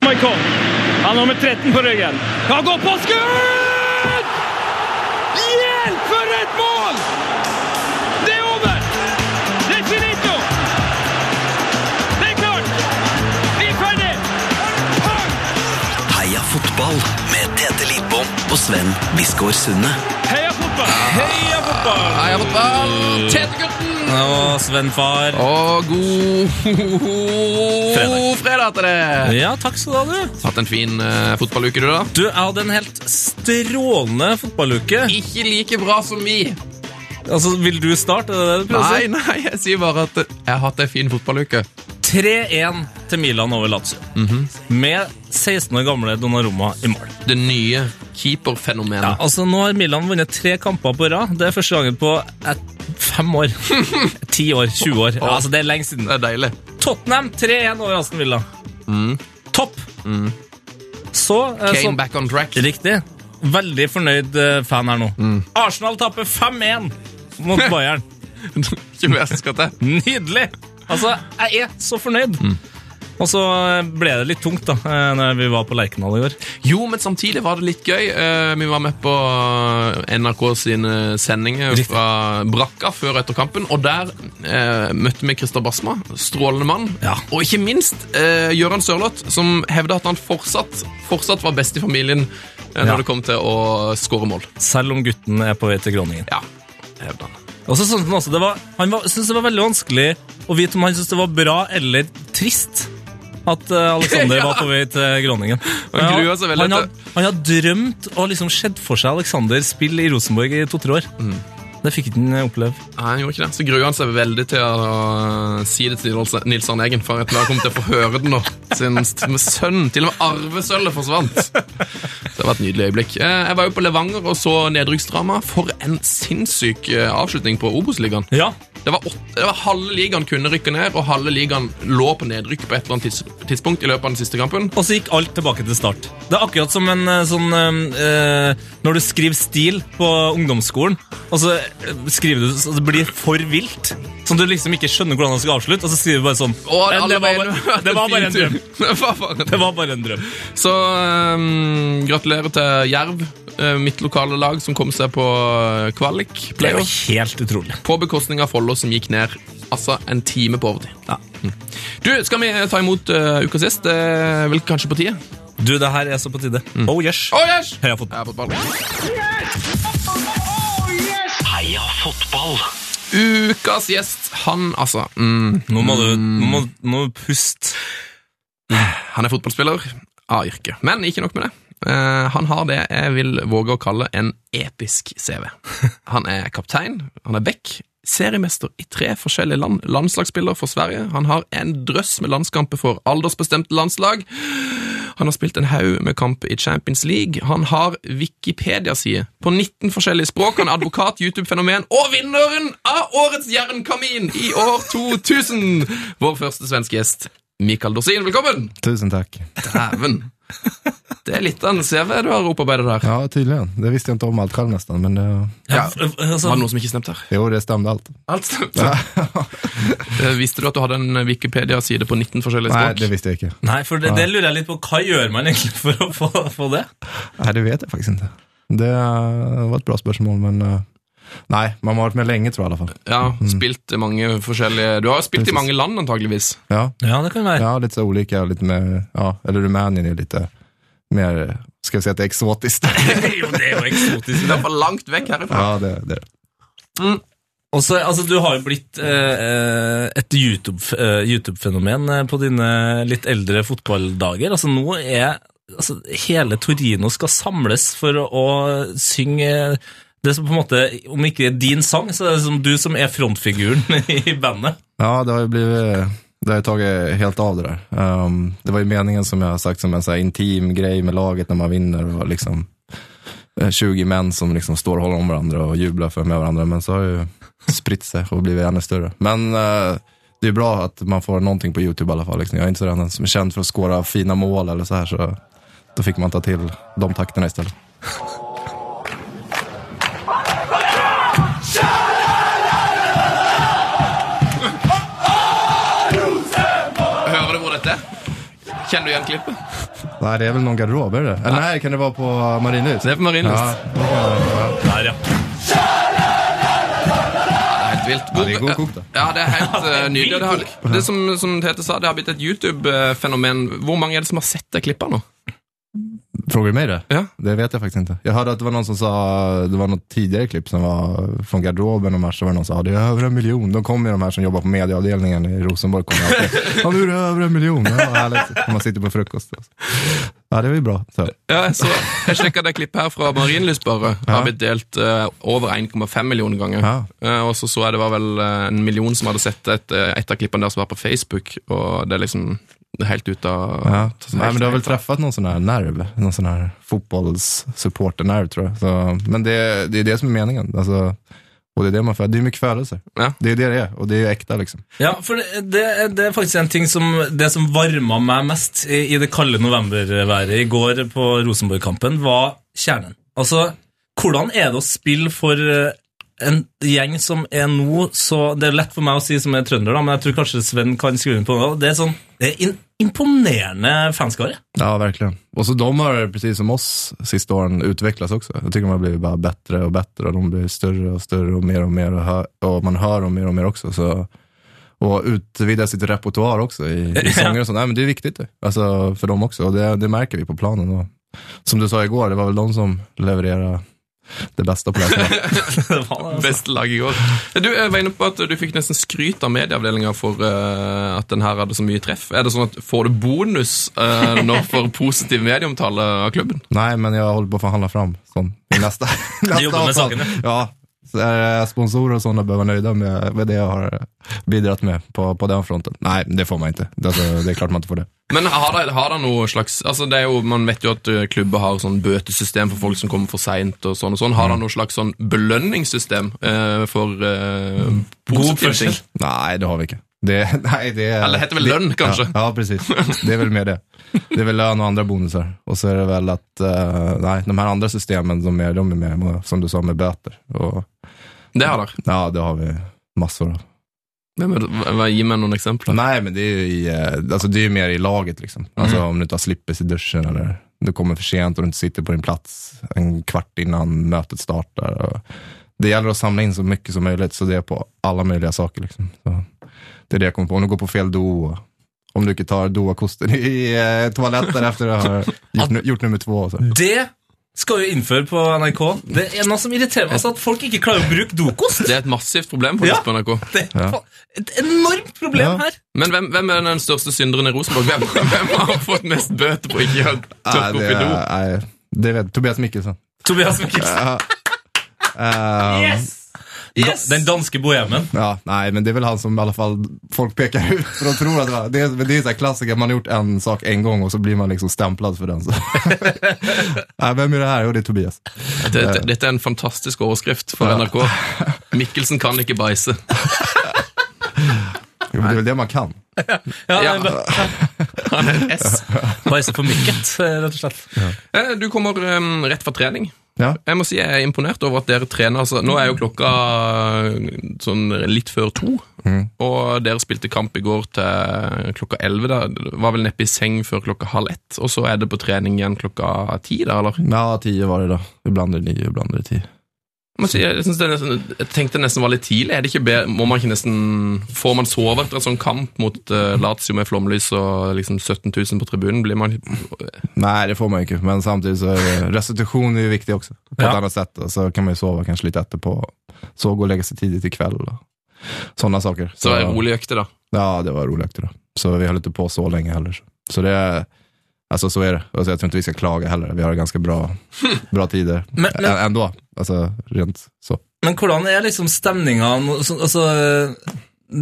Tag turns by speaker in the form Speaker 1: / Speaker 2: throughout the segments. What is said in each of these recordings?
Speaker 1: Boikott. Han har nummer 13 på ryggen. Han går på skudd! Hjelp, for et mål! Det er over! Det er finito! Det er klart! Vi er ferdig!
Speaker 2: Heia fotball med Tete Lidbom og Sven Biskår Sunne.
Speaker 1: Heia fotball!
Speaker 3: Heia fotball!
Speaker 4: Heia fotball! Tetegutten!
Speaker 3: Og Sven-far.
Speaker 4: Og god
Speaker 3: Fredag.
Speaker 4: fredag til deg!
Speaker 3: Ja, takk skal du ha, du.
Speaker 4: Hatt en fin eh, fotballuke, du, da?
Speaker 3: Du, jeg hadde en helt strålende fotballuke.
Speaker 4: Ikke like bra som vi.
Speaker 3: Altså, Vil du starte? Er det det du prøver å
Speaker 4: Nei,
Speaker 3: si?
Speaker 4: nei, jeg sier bare at jeg har hatt en fin fotballuke.
Speaker 3: 3-1 til Milan over Lazio. Med 16 år gamle Donnarumma i mål.
Speaker 4: Det nye keeperfenomenet.
Speaker 3: Ja, altså Nå har Milan vunnet tre kamper på rad. Det er første gangen på et, fem år. Ti år, 20 år. Ja, altså Det er lenge siden.
Speaker 4: Det er deilig.
Speaker 3: Tottenham 3-1 over Aston Villa. Topp! Så, eh,
Speaker 4: Came
Speaker 3: så
Speaker 4: back on track.
Speaker 3: Riktig. Veldig fornøyd eh, fan her nå. Arsenal taper 5-1 mot Bayern.
Speaker 4: Ikke mer som skal til.
Speaker 3: Nydelig! Altså, jeg er så fornøyd. Og så eh, ble det litt tungt da eh, Når vi var på Lerkendal i går.
Speaker 4: Jo, men samtidig var det litt gøy. Eh, vi var med på eh, NRK sine sendinger
Speaker 3: Riktig.
Speaker 4: fra Brakka før og etter kampen, og der eh, møtte vi Christer Basma, strålende mann,
Speaker 3: Ja.
Speaker 4: og ikke minst uh, Gøran Sørloth, som hevda at han fortsatt, fortsatt var best i familien eh, når
Speaker 3: Ja.
Speaker 4: det kom til å skåre mål.
Speaker 3: Selv om gutten er på vei til Groningen.
Speaker 4: Ja, hevda han.
Speaker 3: Og så syntes han også det var Han var, syntes det var veldig vanskelig å vite om han syntes det var bra eller trist at eh, Alexander var på vei til Groningen.
Speaker 4: Han grua seg veldig
Speaker 3: han,
Speaker 4: til-
Speaker 3: hadde, han hadde drømt og liksom sett for seg Alexander spille i Rosenborg i to-tre år.
Speaker 4: Mm.
Speaker 3: Det fikk ikke han eh, oppleve.
Speaker 4: Nei, han gjorde ikke det. Så gruer han seg veldig til å eh, si det til Nils- Nils Arne Eggen, for jeg tror han kommer til å få høre det nå. Sin st- sønn, til og med arvesølvet, forsvant. Det var et nydelig øyeblikk. Eh, Jeg var jo på Levanger og så nedrykksdrama. For en sinnssyk eh, avslutning på Obos-ligaen.
Speaker 3: Ja,
Speaker 4: Det, var åtte- det var halve ligaen kunne rykke ned, og halve ligaen lå på nedrykk på et eller annet tids- tidspunkt i løpet av den siste kampen.
Speaker 3: Og så gikk alt tilbake til start. Det er akkurat som en eh, sånn eh, eh, Når du skriver stil på ungdomsskolen, og så eh, skriver du så det blir for vilt. Sånn at du liksom ikke skjønner hvordan det skal avslutte, og så skriver du bare sånn
Speaker 4: Og
Speaker 3: «Eh,
Speaker 4: alle
Speaker 3: det, var,
Speaker 4: var
Speaker 3: bare- det var bare en drøm.
Speaker 4: Det var bare en drøm.
Speaker 3: Det var bare en drøm.
Speaker 4: Så ehm, gratulerer til Jerv, eh, mitt lokale lag, som kom seg på eh, kvalik.
Speaker 3: Det er jo
Speaker 4: Playoff.
Speaker 3: helt utrolig.
Speaker 4: På bekostning av Follo, som gikk ned altså en time på overtid. Mm.
Speaker 3: Ja.
Speaker 4: Du, skal vi ta imot eh, uka sist? Det er vel kanskje på tide?
Speaker 3: Du, det her er så på tide. Oh yes!
Speaker 4: Oh, yes!
Speaker 3: Heia fotball.
Speaker 4: Heia fotball.
Speaker 2: Heia fotball.
Speaker 4: Ukas gjest, han altså mm,
Speaker 3: Nå må du nå må, nå må du puste.
Speaker 4: Han er fotballspiller av yrke. Men ikke nok med det. Eh, han har det jeg vil våge å kalle en episk CV. Han er kaptein, han er back, seriemester i tre forskjellige land, landslagsspiller for Sverige. Han har en drøss med landskamper for aldersbestemte landslag. Han har spilt en haug med kamp i Champions League. Han har Wikipedia-side på 19 forskjellige språk. Han er advokat, YouTube-fenomen og vinneren av Årets Jernkamin i år 2000! Vår første svenske gjest, Mikael Dorsin. Velkommen!
Speaker 5: Tusen takk.
Speaker 4: Dæven. Det er litt av en CV du har opparbeidet der.
Speaker 5: Ja, tydeligen. Det visste jag inte om allt själv nästan, men det,
Speaker 3: Ja,
Speaker 4: Ja.
Speaker 3: f- altså,
Speaker 4: Var det noe som ikke stemte her?
Speaker 5: jo, det stämde allt.
Speaker 4: Alt stemte. Eh, Visste du at du hadde en Wikipedia-side på 19 forskjellige
Speaker 5: Nej, det
Speaker 4: språk?
Speaker 5: visste jag inte.
Speaker 3: Nei, for det, det lurer jeg litt på. Hva gjør man egentlig for å få, få det?
Speaker 5: Nej, det vet jag faktiskt inte. Det eh, var ett bra spörsmål, men eh, nej, man har varit med länge tror jag i alla fall.
Speaker 4: Ja, spilt i mange forskjellige Du har jo spilt i
Speaker 5: Precis.
Speaker 4: mange land, antageligvis.
Speaker 5: Ja,
Speaker 3: Ja, det kan være.
Speaker 5: ja lite så olika och lite mer, ja, eller Rumänien är lite mer, ska vi säga att det är exotiskt.
Speaker 3: Jo, det er jo eksotisk.
Speaker 4: Det er for langt vekk herifra.
Speaker 5: ja, det, det.
Speaker 3: Mm. Og så, altså, du har jo blitt eh, eh, et YouTube- eh, YouTube-fenomen eh, på dine litt eldre fotballdager. Altså, nå er altså, hele Torino skal samles for å, å synge eh, det som på en måte, om ikke er din sang, så er det som du som er frontfiguren i bandet.
Speaker 5: Ja, det har ju blivit, det har ju tagit helt av det där. Ehm, det var ju meningen som jag har sagt som en så här intim grej med laget när man vinner och liksom eh, 20 män som liksom står och håller om varandra och jublar för med varandra. Men så har det ju spritt sig och blivit ännu större. Men eh, det är bra att man får någonting på YouTube i alla fall. Liksom. Jag är inte sådär som är känd för att skåra fina mål eller så här så då fick man ta till de takterna istället.
Speaker 4: Hører du hvor dette er? Kjenner du igjen klippet?
Speaker 5: Nej, det är väl någon garderob, är det Eller nej, kan det vara på Marienlyst?
Speaker 4: Det er på
Speaker 5: Ja,
Speaker 4: Marienlyst.
Speaker 5: det kan det vara.
Speaker 3: Der, ja.
Speaker 4: Det er helt vilt.
Speaker 5: Ja, det er god kokt, da.
Speaker 4: Ja, det er helt eh, nydelig. Det, har, det som, som Tete sa, det har blitt et YouTube-fenomen. Hvor mange er det som har sett det klippet nå?
Speaker 5: Frågar du mig det?
Speaker 4: Ja.
Speaker 5: Det vet jag faktiskt inte. Jag hörde att det var någon som sa, det var något tidigare klipp som var från garderoben och match, så var det någon som sa, det är över en miljon. De kommer ju de här som jobbar på medieavdelningen i Rosenborg. Kommer alltid, ja, nu är det över en miljon. Ja, vad härligt. Om man sitter på frukost. Ja, det var ju bra. Så.
Speaker 4: Ja, jeg så jeg sjekka det klippet her fra Marienlyst, bare. Det har blitt delt eh, over 1,5 millioner ganger.
Speaker 5: Ja.
Speaker 4: Eh, og så så jeg det var vel eh, en million som hadde sett et, eh, et av klippene der som var på Facebook, og det er liksom det er helt ut av
Speaker 5: Ja. Nej, men du har väl träffat någon sån här nerv, någon sån här fotbollssupporternerv tror jag. Så, men det, det är det som är meningen. Alltså, och det är det man får, det är mycket födelser.
Speaker 4: Ja.
Speaker 5: altså. Det är det det är, och det är äkta liksom.
Speaker 3: Ja, for det, det, det er faktisk en ting som Det som varma meg mest i, i det kalde novemberværet i går på Rosenborg-kampen, var kjernen. Altså, hvordan er det å spille for eh, en gjeng som er nå så Det er lett for meg å si som er trønder, da, men jeg tror kanskje Sven kan skrive under på det. Det er sånn, det er in, imponerende fanskare.
Speaker 5: Ja, verkligen. Och så de har, precis som oss, sista åren utvecklats också. Jag tycker de har blivit bara bättre och bättre och de blir större och större och mer och mer och, hö- och man hör dem mer och mer också. Så, och utvidgar sitt repertoar också i, i sånger och sånt. Nej, men det är viktigt det. Alltså, för dem också och det, det märker vi på planen. Och, som du sa igår, det var väl de som levererade det bästa på det här. sättet.
Speaker 3: Det var det, altså.
Speaker 4: Beste lag i går. Eh, Du jeg var inne på at du fikk nesten skryt av medieavdelinga for eh, at den her hadde så mye treff. Er det sånn at Får du bonus uh, nå for positiv medieomtale av klubben?
Speaker 5: Nej, men jag håller på att förhandla fram sån, i nästa,
Speaker 3: jobbar
Speaker 5: nästa
Speaker 3: med
Speaker 5: avtal.
Speaker 3: sakerna.
Speaker 5: Ja, så är det sponsorer och sådana behöver vara nöjda med, med det jag har bidragit med på, på den fronten. Nej, det får man inte. Det, alltså, det är klart man inte får det.
Speaker 4: Men har det, har det noe slags altså det er jo, Man vet jo at eh, klubber har sånn bøtesystem for folk som kommer for seint. Og sånn og sånn. Har
Speaker 5: Mm.
Speaker 4: det noe slags sånn belønningssystem eh, for eh, positive ting?
Speaker 5: Nej, det har vi inte. Det, nej, det,
Speaker 4: Eller heter det väl lön, kanske?
Speaker 5: Ja, ja, precis. Det är väl mer det. Det är väl lön och andra bonusar. Och så är det väl att, eh, nej, de här andra systemen, de är, de är med, som du sa, med böter. Och,
Speaker 4: Det har det.
Speaker 5: ja, det har vi massor av.
Speaker 4: Hvem er det? Hva- hva- Gi meg noen eksempler.
Speaker 5: Nej, men det är ju i, eh, alltså, det är ju mer i laget liksom.
Speaker 4: Mm.
Speaker 5: Alltså om du inte har slippes i duschen eller du kommer för sent och du inte sitter på din plats en kvart innan mötet startar. Och det gäller att samla in så mycket som möjligt, så det är på alla möjliga saker liksom. Så det är det jag kommer på. Om du går på fel do, och om du inte tar doakosten i eh, toaletten efter att ha gjort, nu- gjort nummer två. och Så.
Speaker 3: det skal vi innføre på NRK. Det er noe som irriterer meg, altså at folk ikke klarer å bruke dokost.
Speaker 4: Det er et massivt problem for oss
Speaker 3: Ja.
Speaker 4: på NRK.
Speaker 3: Det er faen- et enormt problem
Speaker 5: Ja.
Speaker 3: her.
Speaker 4: Men hvem, hvem er den største synderen i Rosenborg? Hvem, hvem har fått mest bøter på ikke å tørke
Speaker 5: Nej,
Speaker 4: opp
Speaker 5: det,
Speaker 4: i do?
Speaker 5: nej, det vet Tobias Mikkelsen.
Speaker 3: Tobias Mikkelsen.
Speaker 5: Ja. Ehm,
Speaker 3: Yes! yes! Um, Den danske bohemen.
Speaker 5: Ja, nej, men det är väl han som i alla fall folk pekar ut för de tror att det var- det är, men det är så här klassiker, man har gjort en sak en gång og så blir man liksom stämplad för den. Så. nej, vem är det här? Jo, det är Tobias.
Speaker 4: Dette, dette er en fantastisk overskrift for NRK. Mikkelsen kan ikke bæsje.
Speaker 5: Jo, men det är väl det man kan.
Speaker 3: Ja,
Speaker 4: Ja.
Speaker 3: nei, men-
Speaker 4: Han er et S.
Speaker 3: Bare så for mykket, eh, rett og slett.
Speaker 4: Eh, Du kommer eh, rett fra trening.
Speaker 5: Ja,
Speaker 4: Jeg må si jeg er imponert over at dere trener. Altså, nå er jo klokka eh, sånn litt før to, og dere spilte kamp i går til klokka elleve. da. Var vel neppe i seng før klokka halv ett, og så er det på trening igjen klokka ti, da, eller?
Speaker 5: ja tio var det då. Ibland är det nio, ibland är det tio.
Speaker 4: Jeg må si, jeg, synes det er nesten, jeg tenkte nesten var litt tidlig. Er det ikke bedre, må man ikke nesten, får man sove etter en sånn kamp mot eh, Lazio med flomlys og liksom 17 000 på tribunen? Blir man,
Speaker 5: Nej, det får man ju inte, men samtidigt så är det- restitution är ju viktig också. På
Speaker 3: Ja.
Speaker 5: ett annat sätt, och så kan man ju sova kanske lite efterpå. Så gå och lägga sig tidigt ikväll och sådana saker.
Speaker 4: så er det rolig økte, da.
Speaker 5: Ja, det var roligt då. Så vi höll inte på så länge heller. Så det är, alltså så är det. Alltså, jag tror inte vi ska klaga heller. Vi har ganska bra, bra tider
Speaker 3: Men- men-
Speaker 5: Ä- ändå. Alltså rent så.
Speaker 3: Men hvordan er liksom stemninga nå? Så- Altså,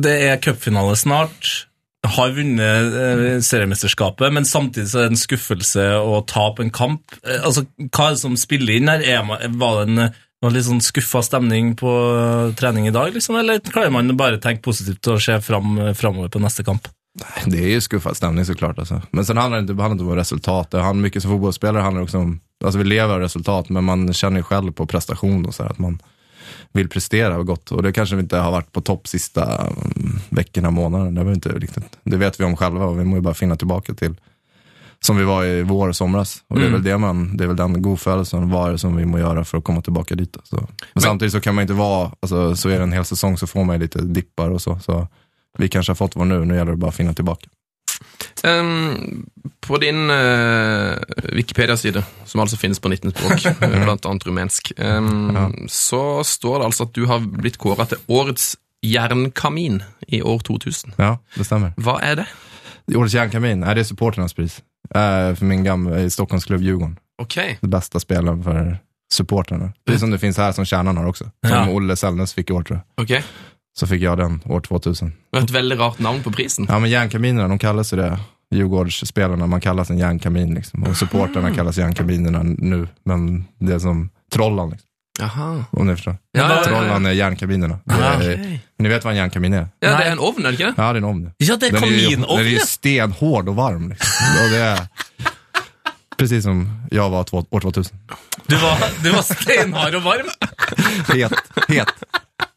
Speaker 3: det er cupfinale snart. Har vunnet eh, seriemesterskapet, men samtidig så er det en skuffelse å tape en kamp. Eh, Altså, Hva er det som spiller inn her? Er man, var det en eh, var det litt sånn skuffa stemning på eh, trening i dag, liksom? Eller klarer man bare å tenke positivt og se fram, framover på neste kamp?
Speaker 5: Det är ju skuffad stämning såklart. Alltså. Men sen handlar det inte, det handlar inte om resultat. Det handlar mycket som fotbollsspelare handlar det också om, alltså vi lever av resultat, men man känner ju själv på prestation och så här, att man vill prestera och gott. Och det kanske vi inte har varit på topp sista mm, veckorna, månaderna. Det, var inte riktigt, det vet vi om själva och vi må ju bara finna tillbaka till som vi var i vår och somras. Och det, är väl det, man, det är väl den godfödelsen, vad är det som vi må göra för att komma tillbaka dit. Alltså. Men, samtidigt så kan man inte vara, alltså, så är det en hel säsong så får man ju lite dippar och så. så vi kanske har fått vår nu, nu gäller det bara att finna tillbaka.
Speaker 4: Ehm, på din eh, Wikipedia-side, som altså finnes på 19 språk, eh, blant annet rumensk, ehm, så står det altså at du har blitt kåra til årets jernkamin i år 2000.
Speaker 5: Ja, det stämmer.
Speaker 4: Hva er det?
Speaker 5: Årets järnkamin, är det supporternas pris? Eh, för min gamla, i Stockholmsklubb Djurgården.
Speaker 4: Ok.
Speaker 5: Det bästa spelaren för supporterna. Precis som det finns här som kärnan har også Som
Speaker 3: Ja.
Speaker 5: Olle Selnes fick i år tror jag.
Speaker 4: ok.
Speaker 5: Så fick jeg den år 2000.
Speaker 4: Det er et veldig rart navn på prisen.
Speaker 5: Ja, men järnkaminerna, de kallas ju det. Djurgårdsspelarna, man kallas en järnkamin liksom. Och supporterna kallas järnkaminerna nu. Men det är som trollan, liksom,
Speaker 4: Jaha.
Speaker 5: om ni förstår.
Speaker 4: Ja, ja, ja, ja.
Speaker 5: Trollan är järnkaminerna. Det
Speaker 4: Ja,
Speaker 5: är,
Speaker 4: ok.
Speaker 5: Ni vet vad en järnkamin är?
Speaker 4: ja, det er en ovn, er det ikke det?
Speaker 5: Ja, det är en ovn.
Speaker 3: Ja, det er
Speaker 5: Den är, ju, den är
Speaker 3: kaminovn!
Speaker 5: ju
Speaker 3: ja.
Speaker 5: stenhård och varm. Liksom. Och det är, precis som jag var två, år 2000.
Speaker 3: Du var, du var steinhard og varm.
Speaker 5: Het, het,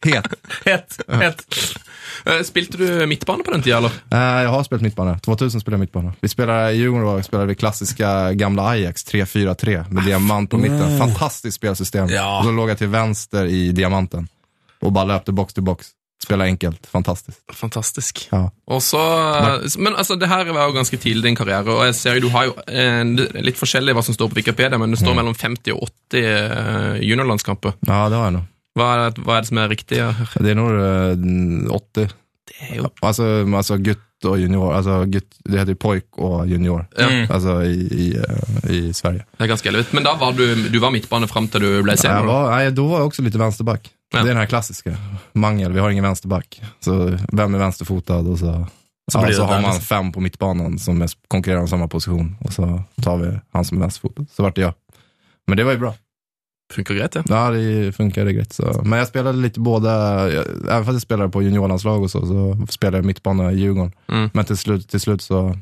Speaker 5: het.
Speaker 3: Het. het.
Speaker 4: Eh, Spilte du midtbane på den tida, eller?
Speaker 5: Eh, jag har spelat mittbana. 2000 spelade jag mittbana. Vi spelade i Djurgården då, vi spelade det klassiska gamla Ajax 3-4-3 med diamant på mitten. Fantastiskt spelsystem.
Speaker 3: Mm. Ja.
Speaker 5: Och så låg jag till vänster i diamanten och bara löpte box till box. Spelade enkelt, fantastiskt.
Speaker 4: Fantastisk.
Speaker 5: Ja.
Speaker 4: Og så, men altså, det her var jo ganske tidlig i din karriere, og jeg ser jo du har jo en, litt forskjellig hva som står på Wikipedia, men det står mellom 50 og 80 eh, juniorlandskamper.
Speaker 5: Ja, det har jag nog.
Speaker 4: Hva er, det- hva er det som er riktig? her?
Speaker 5: Det är nog eh, 80.
Speaker 4: Det er jo
Speaker 5: Alltså, alltså gutt och junior. Alltså, gutt, det heter ju pojk och junior.
Speaker 4: Ja.
Speaker 5: Alltså i, i, eh, i Sverige.
Speaker 4: det er ganske elvitt. Men da var du, du var midtbane fram til du ble
Speaker 5: Ja, jag
Speaker 4: senior? da.
Speaker 5: var, nej, då var jag också lite vänsterback.
Speaker 4: Ja.
Speaker 5: Det är den här klassiska. Mangel, vi har ingen vänsterback. Så vem är vänsterfotad och så,
Speaker 3: Så
Speaker 5: så,
Speaker 3: blir
Speaker 5: ja,
Speaker 3: det
Speaker 5: så
Speaker 3: där
Speaker 5: har man
Speaker 3: liksom.
Speaker 5: fem på mittbanan som är, konkurrerar om samma position. Och så tar vi han som är vänsterfotad. Så vart det jag. Men det var ju bra.
Speaker 4: Funker greit, det.
Speaker 5: Ja, det funkade grejt. Så. Men jag spelade lite båda, jag- även fast jag spelade på juniorlandslag och så, så spelade jag mittbana i Djurgården.
Speaker 4: Mm.
Speaker 5: Men till slut, till slut så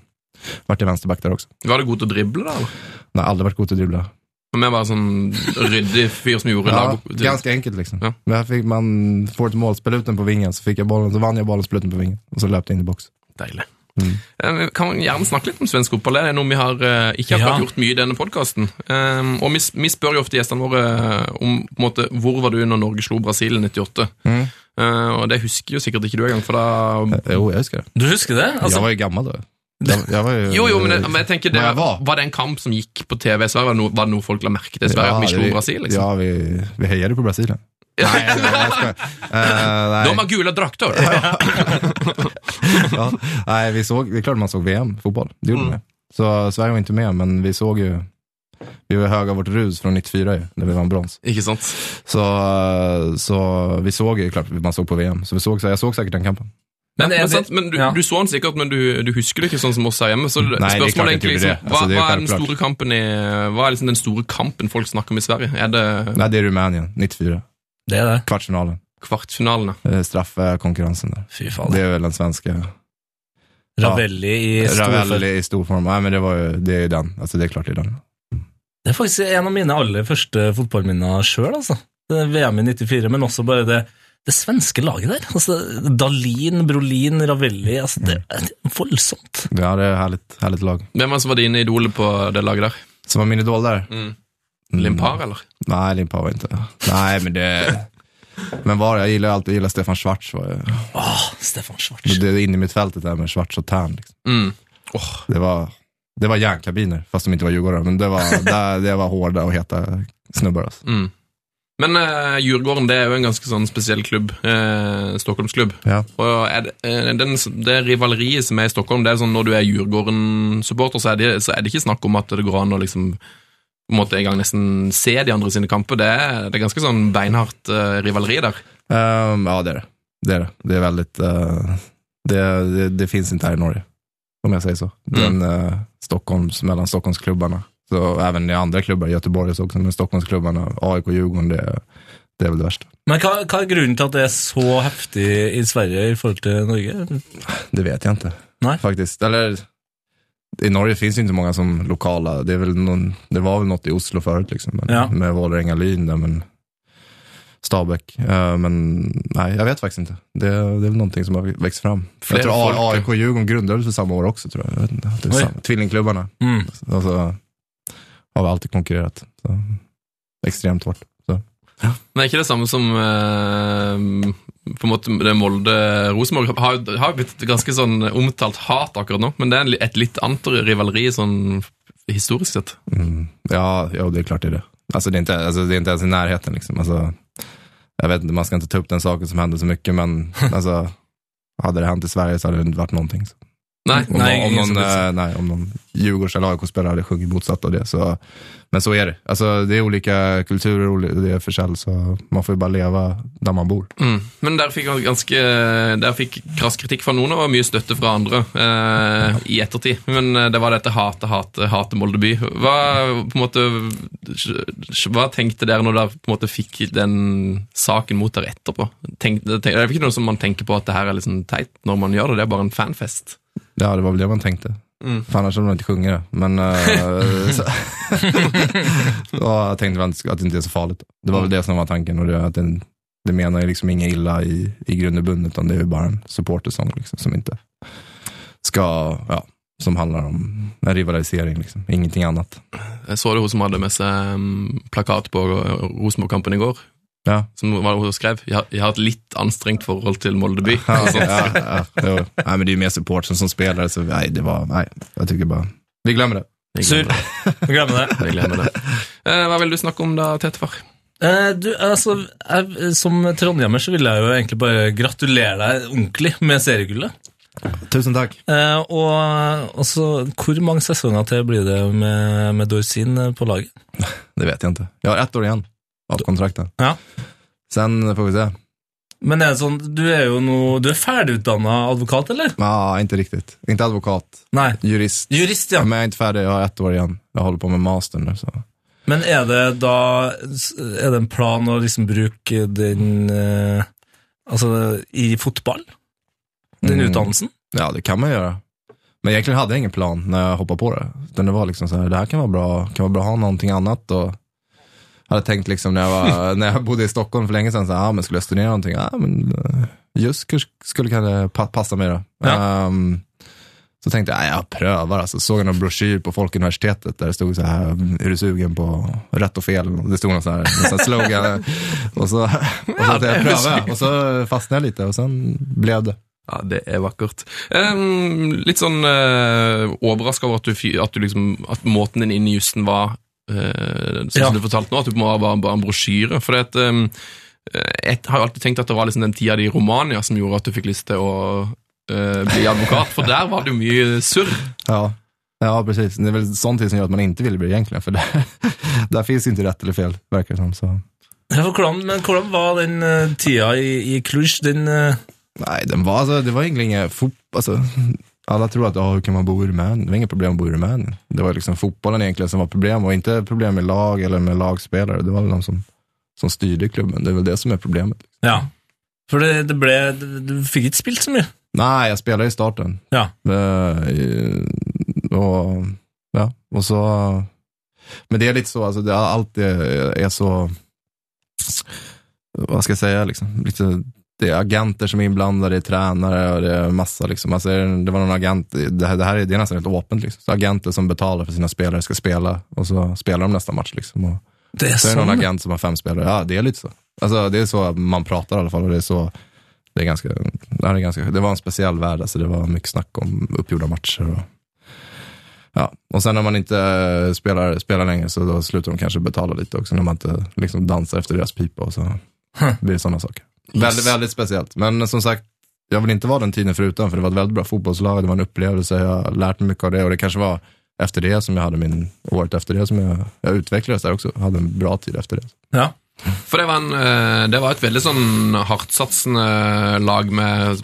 Speaker 5: vart jag vänsterback där också.
Speaker 4: Var du god til å drible, da? eller?
Speaker 5: Nej, aldrig varit god til att dribbla.
Speaker 4: Men jeg var sånn ryddig fyr som gjorde
Speaker 5: Ja,
Speaker 4: lag.
Speaker 5: ganska enkelt liksom.
Speaker 4: Ja.
Speaker 5: Men här fick man, får ett mål, spela ut den på vingen, så, fick jag bollen, så vann jag bollen, spelade ut den på vingen och så löpte jag in i box.
Speaker 4: Deilig. Eh, Kan man gjerne snakke litt om svensk fotball? Det er noe vi har eh, ikke akkurat
Speaker 3: Ja.
Speaker 4: gjort mye i denne podkasten. og vi, s- vi spør jo ofte gjestene våre eh, om på en måte, hvor var du når Norge slo Brasil i 98?
Speaker 5: Mm.
Speaker 4: Eh, og det husker jo sikkert ikke du engang, for da
Speaker 5: Eh, Jo, jag huskar det.
Speaker 3: Du husker det?
Speaker 5: jag
Speaker 3: Altså,
Speaker 5: var ju gammal då. Jag, jeg var ju,
Speaker 4: Jo, jo, men, det, men jeg tenker det,
Speaker 5: Men jeg var.
Speaker 4: var det en kamp som gikk på TV i Sverige? Var det noe, var det noe folk la merke til i Sverige? at vi slo Brasil, liksom?
Speaker 5: Ja, vi, vi hejade på Brasilien. nej, nej, jag skojar. Eh, nej.
Speaker 4: De har gule drakter! Ja.
Speaker 5: ja. Nej, vi såg, det är klart man såg VM-fotboll. Det gjorde man ju. Så Sverige var inte med, men vi såg ju, vi var höga av vårt rus från 94 ju, när vi vann brons.
Speaker 4: Ikke sant?
Speaker 5: Så, så vi såg ju, klart man såg på VM, så, vi såg, så jeg såg säkert den kampen.
Speaker 4: Men,
Speaker 3: er
Speaker 4: men,
Speaker 3: det-
Speaker 4: sant, men du,
Speaker 3: ja.
Speaker 4: du så den sikkert, men du, du husker det ikke sånn som oss her hjemme. Så
Speaker 5: Nei, det er klart
Speaker 4: spørsmålet er
Speaker 5: jeg ikke
Speaker 4: egentlig
Speaker 5: gjorde det.
Speaker 4: liksom, hva,
Speaker 5: Altså, det er
Speaker 4: hva
Speaker 5: jo
Speaker 4: er den
Speaker 5: helt klart.
Speaker 4: store kampen i Hva er liksom den store kampen folk snakker om i Sverige? Er det
Speaker 5: Nej, det är Rumänien, 94,
Speaker 3: det er det.
Speaker 5: kvartsfinalen.
Speaker 4: kvartfinalene?
Speaker 5: Eh, straffkonkurrensen där.
Speaker 3: Fy
Speaker 5: Det
Speaker 3: faen.
Speaker 5: är väl den svenska.
Speaker 3: Ravelli i storfelt.
Speaker 5: Ravelli i stor form. Nej, men det, var ju, det är ju den. Alltså det är klart det är den.
Speaker 3: Det er faktisk en av mine aller første fotballminner sjøl, altså. Det er VM i 94, men også bare det, det svenske laget der. Altså, Dalin, Brolin, Ravelli altså, Det er voldsomt.
Speaker 5: Ja, det är ett härligt, härligt lag.
Speaker 4: Hvem var det som var dine idoler på det laget der?
Speaker 5: Som var min idol där?
Speaker 4: Mm.
Speaker 5: Mm.
Speaker 4: Limpar, eller?
Speaker 5: Nej, Limpar var inte. Nej, men det... Men var det? Jag gillar alltid, jag gillar Stefan Schwarz. Var ju-
Speaker 3: Åh, Stefan Schwartz.
Speaker 5: det är inne i mitt fältet där med Schwarz och Tern. Liksom.
Speaker 4: Mm.
Speaker 5: Det var, det var järnkabiner, fast de inte var djurgårdare. Men det var, där, det var hårda och heta snubbar. Alltså.
Speaker 4: Mm. Men eh, Djurgården det er jo en ganske sånn spesiell klubb. Uh, Stockholmsklubb.
Speaker 5: Ja.
Speaker 4: Og er det, eh, den, det rivaleriet som er i Stockholm, det er sånn når du er Djurgården-supporter, så, er det- så er det ikke snakk om at det går an å liksom på en måte en gang nesten se de andre sine kamper. Det er, det er ganske sånn beinhardt eh, rivaleri der.
Speaker 5: Ehm, ja, det är det. Det är det. Det är väldigt... eh, det, det, det finns inte här i Norge, om jag säger så. Den, eh, Stockholms, mellan Stockholmsklubbarna. Så även i andra klubbar, Göteborg och så också, men Stockholmsklubbarna, AIK och Djurgården, det, det är väl det värsta.
Speaker 3: Men hva, hva er grunnen til at det er så heftig i Sverige i forhold til Norge?
Speaker 5: Det vet jag inte.
Speaker 3: Nej.
Speaker 5: Faktiskt. Eller, i Norge finns ju inte många som lokala. Det, är väl någon, det var väl något i Oslo förut, liksom, men,
Speaker 3: Ja.
Speaker 5: med Vålerenga-Lyn där, men Stabäck. Eh, men nej, jag vet faktiskt inte. Det, det är väl någonting som har växt fram.
Speaker 4: Fler
Speaker 5: jag tror A-
Speaker 4: folk.
Speaker 5: AIK och Djurgården grundades för samma år också, tror jag. jag vet inte. Det är
Speaker 3: Oj.
Speaker 5: samma. Tvillingklubbarna.
Speaker 3: Mm.
Speaker 5: Alltså, Altså, har vi alltid konkurrerat. Så, extremt hårt. Så.
Speaker 4: Men er ikke det samme som eh, på en måte det Molde Rosenborg har, har blitt ganske sånn omtalt hat akkurat nå, men det er en li- et litt annet rivaleri sånn historisk sett.
Speaker 5: Mm. Ja, ja, det är klart det är det. Alltså det är inte, alltså, det är inte ens i närheten liksom. Alltså, jag vet inte, man ska inte ta upp den saken som hände så mycket, men alltså, hade det hänt i Sverige så hade det inte varit någonting. Så.
Speaker 4: Nei,
Speaker 5: Om,
Speaker 3: Nej,
Speaker 5: någon, om,
Speaker 3: ingen som
Speaker 5: någon,
Speaker 3: vill se.
Speaker 5: eh, nej, om någon Djurgårds eller AIK-spelare hade sjungit motsatt av det. Så, men så är det. Alltså, det är olika kulturer, oli- det är försäljning, så man får ju bara leva där man bor.
Speaker 4: Mm. Men der fikk han ganske Der fikk krass kritikk fra noen og mye støtte fra andre eh, i ettertid. Men eh, det var dette hate, hate, hate Molde by. Hva, på en måte, hva tenkte dere når dere på en måte fikk den saken mot dere etterpå? Tenk, det er ikke noe som man tenker på at det her er liksom teit når man gjør det, det er bare en fanfest.
Speaker 5: Ja, det var väl det man tänkte.
Speaker 4: Mm.
Speaker 5: För annars hade man inte sjungit det. Men eh, så, ja, jag tänkte väl att att det inte är så farligt. Det var väl det som var tanken. Och det, att den, det menar ju liksom inget illa i, i grund och bunden, utan det är ju bara en supportersång liksom, som inte ska, ja, som handlar om en rivalisering, liksom. ingenting annat.
Speaker 4: Jeg så det hun som hadde med seg mm, plakat på Rosenborg-kampen i går.
Speaker 5: Ja.
Speaker 4: Som var det hun skrev. Jeg har, jeg har et litt anstrengt forhold til Molde by.
Speaker 5: Ja, ja, ja, jo. nej, men det är ju mer support som, som spelare, så nej, det var, nej, jag tycker bara, vi glömmer det.
Speaker 4: Jeg
Speaker 3: Sur.
Speaker 4: glemmer det.
Speaker 3: Glem det.
Speaker 4: Jeg glemmer det. Eh, Hva vil du snakke om da, Tetefar?
Speaker 3: Eh, Du, altså, jeg, som trondhjemmer så vil jeg jo egentlig bare gratulere deg ordentlig med seriegullet.
Speaker 5: Tusen tack.
Speaker 3: Eh, og og så, hvor mange sesonger til blir det med, med Dorsin eh, på laget?
Speaker 5: Det vet jag inte. Jag har ett år igen av kontrakten.
Speaker 3: Ja.
Speaker 5: Sen får vi se.
Speaker 3: Men er det sånn, du er jo nå Du er ferdigutdanna advokat, eller?
Speaker 5: Ja, inte riktigt. Inte advokat,
Speaker 3: Nei.
Speaker 5: jurist.
Speaker 3: Jurist, ja.
Speaker 5: Men jag är inte färdig, jag har ett år igen. Jag håller på med mastern nu. Så.
Speaker 3: Men er det da Er det en plan å liksom bruke den eh, Altså i fotball? Den
Speaker 5: Mm.
Speaker 3: utdannelsen?
Speaker 5: Ja, det kan man göra. Men egentligen hade jag ingen plan när jag hoppade på det. Utan det var liksom så här, det här kan vara bra, kan vara bra att ha någonting annat. Och jag hade tänkt liksom när jag, var, när jag bodde i Stockholm för länge sedan, så här, ah, men skulle jag studera någonting? Ja, men eh, Juskus skulle kanske pa- passa mig då.
Speaker 3: Ja.
Speaker 5: Ehm, så tänkte jag, "Ah, jag prövar alltså. Såg jag någon broschyr på Folkuniversitetet där det stod så här, är du sugen på rätt och fel? Det stod någon så här, någon så här slogan. och så, och så tänkte jag pröva och så fastnade jag lite och sen blev det.
Speaker 4: Ja, det er vakkert. Em, litt sånn uh, overraska over at du, fy- at du liksom At måten din inn i jussen var eh, sånn
Speaker 3: Ja.
Speaker 4: som du fortalte nå, at du på en måte var bare en brosjyre. For det at, em, eh, jeg har jo alltid tenkt at det var liksom den tida di i Romania som gjorde at du fikk lyst til å eh, bli advokat, for der var det jo mye surr.
Speaker 5: Ja. ja, precis. Det är väl sånt som gör att man inte vill bli egentligen, för där, där finns inte rätt eller fel, verkar det som. Så.
Speaker 3: Ja, for hvordan, men hvordan var den eh, tida i, i Cluj? Den eh,
Speaker 5: Nej, den var, alltså, det var egentligen inget fot, alltså, alla tror att, ah hur kan man bo i Rumänien? Det var inget problem att bo i Rumänien. Det var liksom fotbollen egentligen som var problem, och inte problem med lag eller med lagspelare. Det var väl de som, som styrde klubben. Det är väl det som är problemet.
Speaker 3: Ja. For det, det ble Du fikk ikke spilt så mye.
Speaker 5: Nej, jag spelade i starten.
Speaker 3: Ja.
Speaker 5: Eh, i- och, eh, ja, och så... Men det är lite så, alltså, det, allt är, är så... Vad ska jag säga? Liksom, lite, det är agenter som är inblandade, det är tränare och det är massa. Liksom. Alltså, är det det var någon agent, det här, det här är, det är nästan helt åpent. Liksom. Så agenter som betalar för sina spelare ska spela och så spelar de nästa match. Liksom, och,
Speaker 3: Det er
Speaker 5: så är det
Speaker 3: sånn.
Speaker 5: någon agent som har fem spelare. Ja, det är lite så. Alltså, det är så man pratar i alla fall. Och det, är så, det, är ganska, det, här är ganska, det var en speciell värld. Alltså, det var mycket snack om uppgjorda matcher. Och, ja. och sen när man inte eh, spelar, spelar längre så då slutar de kanske betala lite också. När man inte liksom, dansar efter deras pipa och så blir det sådana saker. Väldigt, väldigt speciellt. Men som sagt, jag vill inte vara den tiden förutan, för det var ett väldigt bra fotbollslag, det var en upplevelse, jag har lärt mig mycket av det och det kanske var efter det som jag hade min, året efter det som jag, jag utvecklades där också, hade en bra tid efter det.
Speaker 3: Ja.
Speaker 4: For det var, en, eh, det var et veldig sånn hardtsatsende lag med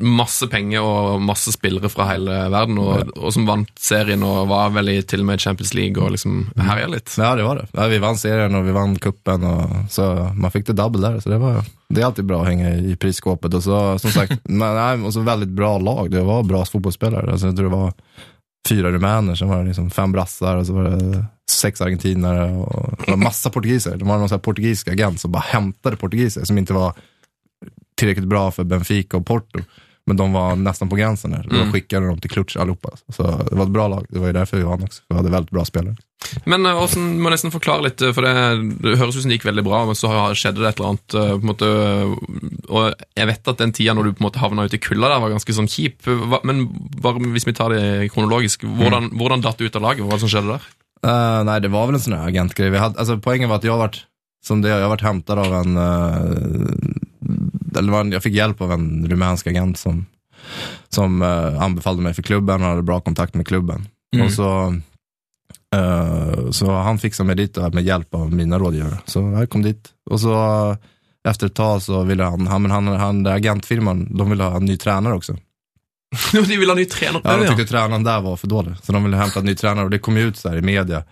Speaker 4: masse penger og masse spillere fra hele verden, og, og som vant serien og var vel i til og med Champions League og liksom herja litt.
Speaker 5: Ja, det var det. Ja, vi vann serien och vi vann kuppen och så man fick det double där, så det var, det är alltid bra att hänga i prisskåpet och så, som sagt, men, nej, och så väldigt bra Altså, lag, det var bra fotbollsspelare, alltså, jag tror det var fyra rumäner, sen var det liksom fem brassar och så var det sex argentinare och det var massa portugiser. De var någon så här portugisisk agent som bara hämtade portugiser som inte var tillräckligt bra för Benfica och Porto. Men de var nästan på gränsen där. Då skickade de till Klutsch allihopa. altså. Så det var ett bra lag. Det var ju därför vi vann också. Vi hade väldigt bra spelare.
Speaker 4: Men eh, hvordan, må nesten forklare litt, eh, for det, det høres ut som det gikk veldig bra, men så har- skjedde det et eller annet. eh, På en måte, eh, og jeg vet at den tida når du på en måte havna ute i kulda der, var ganske sånn kjip. Hva- Men bare, hvis vi tar det kronologisk, hvordan, hvordan datt du ut av laget? Hva var det som skjedde der?
Speaker 5: Eh, nej, det var väl en sån här agentgrej. Vi hade, alltså, poängen var att jag varit, som det, jag varit hämtad av en, eh, eller var en, jag fick hjälp av en rumänsk agent som, som eh, anbefallde mig för klubben och hade bra kontakt med klubben.
Speaker 3: Mm.
Speaker 5: Och så, eh, så han fixade mig dit och med hjälp av mina rådgivare. Så jag kom dit. Och så eh, efter ett tag så ville han, han, men han, han den agentfirman, de ville ha en ny tränare också.
Speaker 4: Jo, de ville ha ny trener.
Speaker 5: Ja, de tyckte tränaren där var för dålig, så de ville hämta en ny tränare och det kom ju ut så här i media.